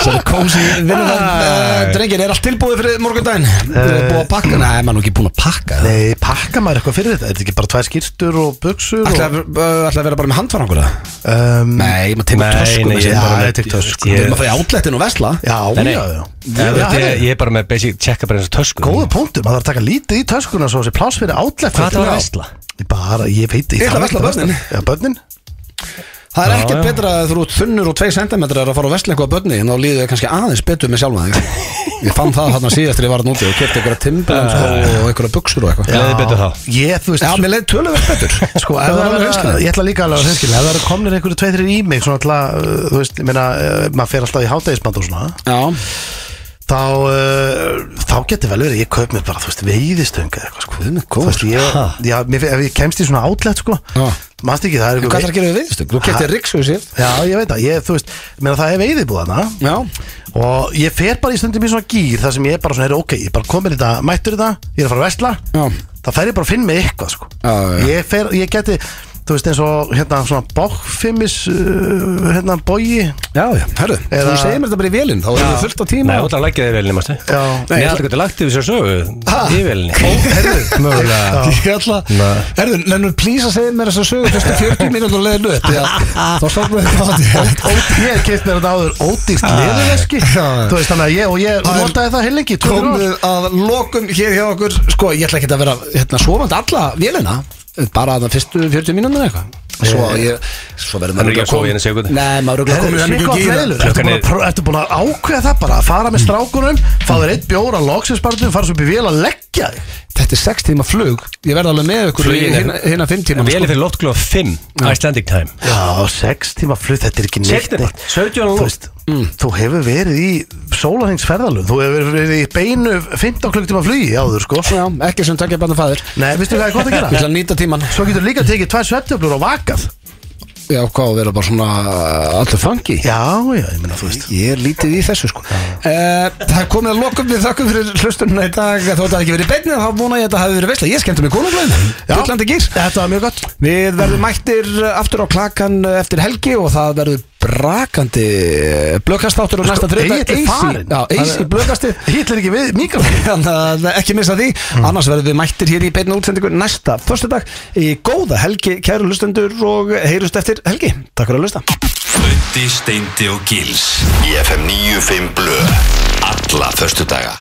A: þessari kósi vinnuferð uh, drengir, er allt tilbúið fyrir morgundaginn er búið að pakka, nei, maður er nú ekki búin að pakka
C: Nei, pakka maður eitthvað fyrir þetta? Er þetta ekki bara tvær skýrtur og buksur?
A: ætla að,
C: og-
A: uh, ætla að vera bara með handfarangur það
C: Um,
A: nei, maður tegur
B: Nei,
A: tösku
B: nei,
A: með
B: ég
A: sér
B: er bara
A: Já,
B: með-
A: ég tek tösku.
B: ég-
A: við erum að fara í átletin og vesla
C: Já,
B: Nei, nei.
C: já, já
B: Ég
C: Já, herri.
B: ég er bara með basic checka bara eins og tösku
C: Góðu punktum, maður þarf að taka lítið í töskuna svo þessi pláss fyrir átlegt
B: Hvað það var að veistla?
C: Ég bara, ég veit
A: Ég ætla að
C: þarf
A: versla
C: ekki versla.
A: börnin.
C: Já, börnin
A: það er
B: Já,
A: ekkert
B: já.
A: betra að þú eru þunnur og 2 cm að fara á vesla eitthvað að börni en þá líður þau kannski aðeins betur með sjálfa þig ég fann það þarna síðast þegar ég var þarna úti og kefti einhverja timberlands og einhverja buksur og eitthvað
B: Leðið betur þá
C: Ah, Ég, þú veist,
A: já, mér leið töluvert betur
C: sko, ef
A: það
C: það
A: var alveg
C: er,
A: hreinskilið.
C: ég ætla líka alveg að reynskilja Ef það eru komnir einhverju tveið þrjir í mig, svona alltaf, uh, þú veist, ég meina, uh, maður fer alltaf í hátægisband og svona
A: já
C: Þá, uh, þá getur vel verið, ég kaup mér bara, þú veist, veiðistöng eða eitthvað, sko
A: Guð minn
C: Þú
A: góður.
C: veist, ég,
B: Ha?
C: já, mér, ef ég kemst í svona átlegt, sko
A: Já.
C: Manst ekki, það er
A: Hvað ætlar að gera við viðstöng? Þú
C: Ha?
A: getið riksuðsir
C: Já, ég veit það, ég, þú veist, meina það er veiðibúð hana
A: Já
C: Og ég fer bara í stundum í svona gýr þar sem ég er bara svona, heyrðu, ok, ég er bara komin í þetta, mættur í þetta, ég er að fara að vesla
A: Já.
C: Það fer ég bara að finna mig eitthvað, sko
A: Já, já, já.
C: Ég fer, ég geti, þú veist eins og hérna svona bókfimmis uh, hérna bogi
A: Já, já, herru,
C: Eða-
A: þú segir mér þetta bara í vélinn Þá erum við fullt á
B: Nei,
A: tíma
B: þú ætlar að leggja þig í velinni, mástu
C: Já.
B: Nei, ég ætlar að geta lagt yfir sér
A: Ha?
B: sögu Í velinni
A: Herru, mögulega Ég ætla
B: Nei.
A: Herru, lennum plís að segja mér þess að sögu Fyrstu 40 mínútur leiðinu upp því að Þá stofnum við þetta á því
C: Ég hef keitt mér þetta áður ódýrt leðuveski
A: Já.
C: Þú veist þannig að ég, og ég
A: Það er-
C: notaði það heilengi
A: Komið að lokum hér hjá okkur Sko, ég ætla ekki að vera hérna, svovandi alla vélina Bara að það fyrstu 40 mínútur eitthvað Svo, ég, svo verðum
B: Hann er ekki að sofa í einu sekúndu.
A: Nei, maður er ekki að koma
C: Sikko að fleilur
B: Klukkan er-
C: Ertu búin að ákveða það bara að fara með strákunum Fá þér eitt bjóra, loksinspartum, fara svo upp í vél að leggja þig
A: Þetta er 6 tíma flug Ég verð alveg með ykkur í
B: Flugin er-
A: hérna- hérna 5 tíma
B: Vélinn fyrir loftklóð 5 Icelandic time
C: Já, sex tíma flug, þetta er ekki neitt
B: Sektir,
C: neitt.
B: 17 og
C: Þú
B: nótt.
C: veist, þú hefur verið í sólarhengsferðalum Þú hefur verið í beinu 15 klukktíma flugi áður, sko
A: Já, ekki sem takkja bann og fæður
C: Nei, veistu hvað er gott að
A: Ég ætla
C: gera?
A: að nýta tíman
C: Svo getur líka tekið tvær svefnjöflur og vakað
A: Já, hvað, vera bara svona uh, allur fangi
C: Já, já, ég meina, þú veist
A: Ég er lítið í þessu sko uh, Það er komið að lokum við þökkum fyrir hlustununa í dag Þó það ekki verið beinnið þá vona ég að þetta hafi verið veistla Ég skemmtum í konunglegin Bullandi gýr
C: Þetta var mjög gott
A: Við verðum mættir aftur á klakan eftir helgi og það verður brakandi blökastáttur og næsta þriðdag
C: Sko, Egill er farinn.
A: Já, Eisi blökasti
C: Hitler ekki við mikrofón
A: Þannig að ekki missa því
C: Mm.
A: Annars verðum við mættir hér í beinna útsendingu næsta Föstudag í góða helgi kæru hlustendur og heyrust eftir helgi Takk fyrir að hlusta
D: Ötti, Steindi og Gils Í FM 95 Blöð Alla föstudaga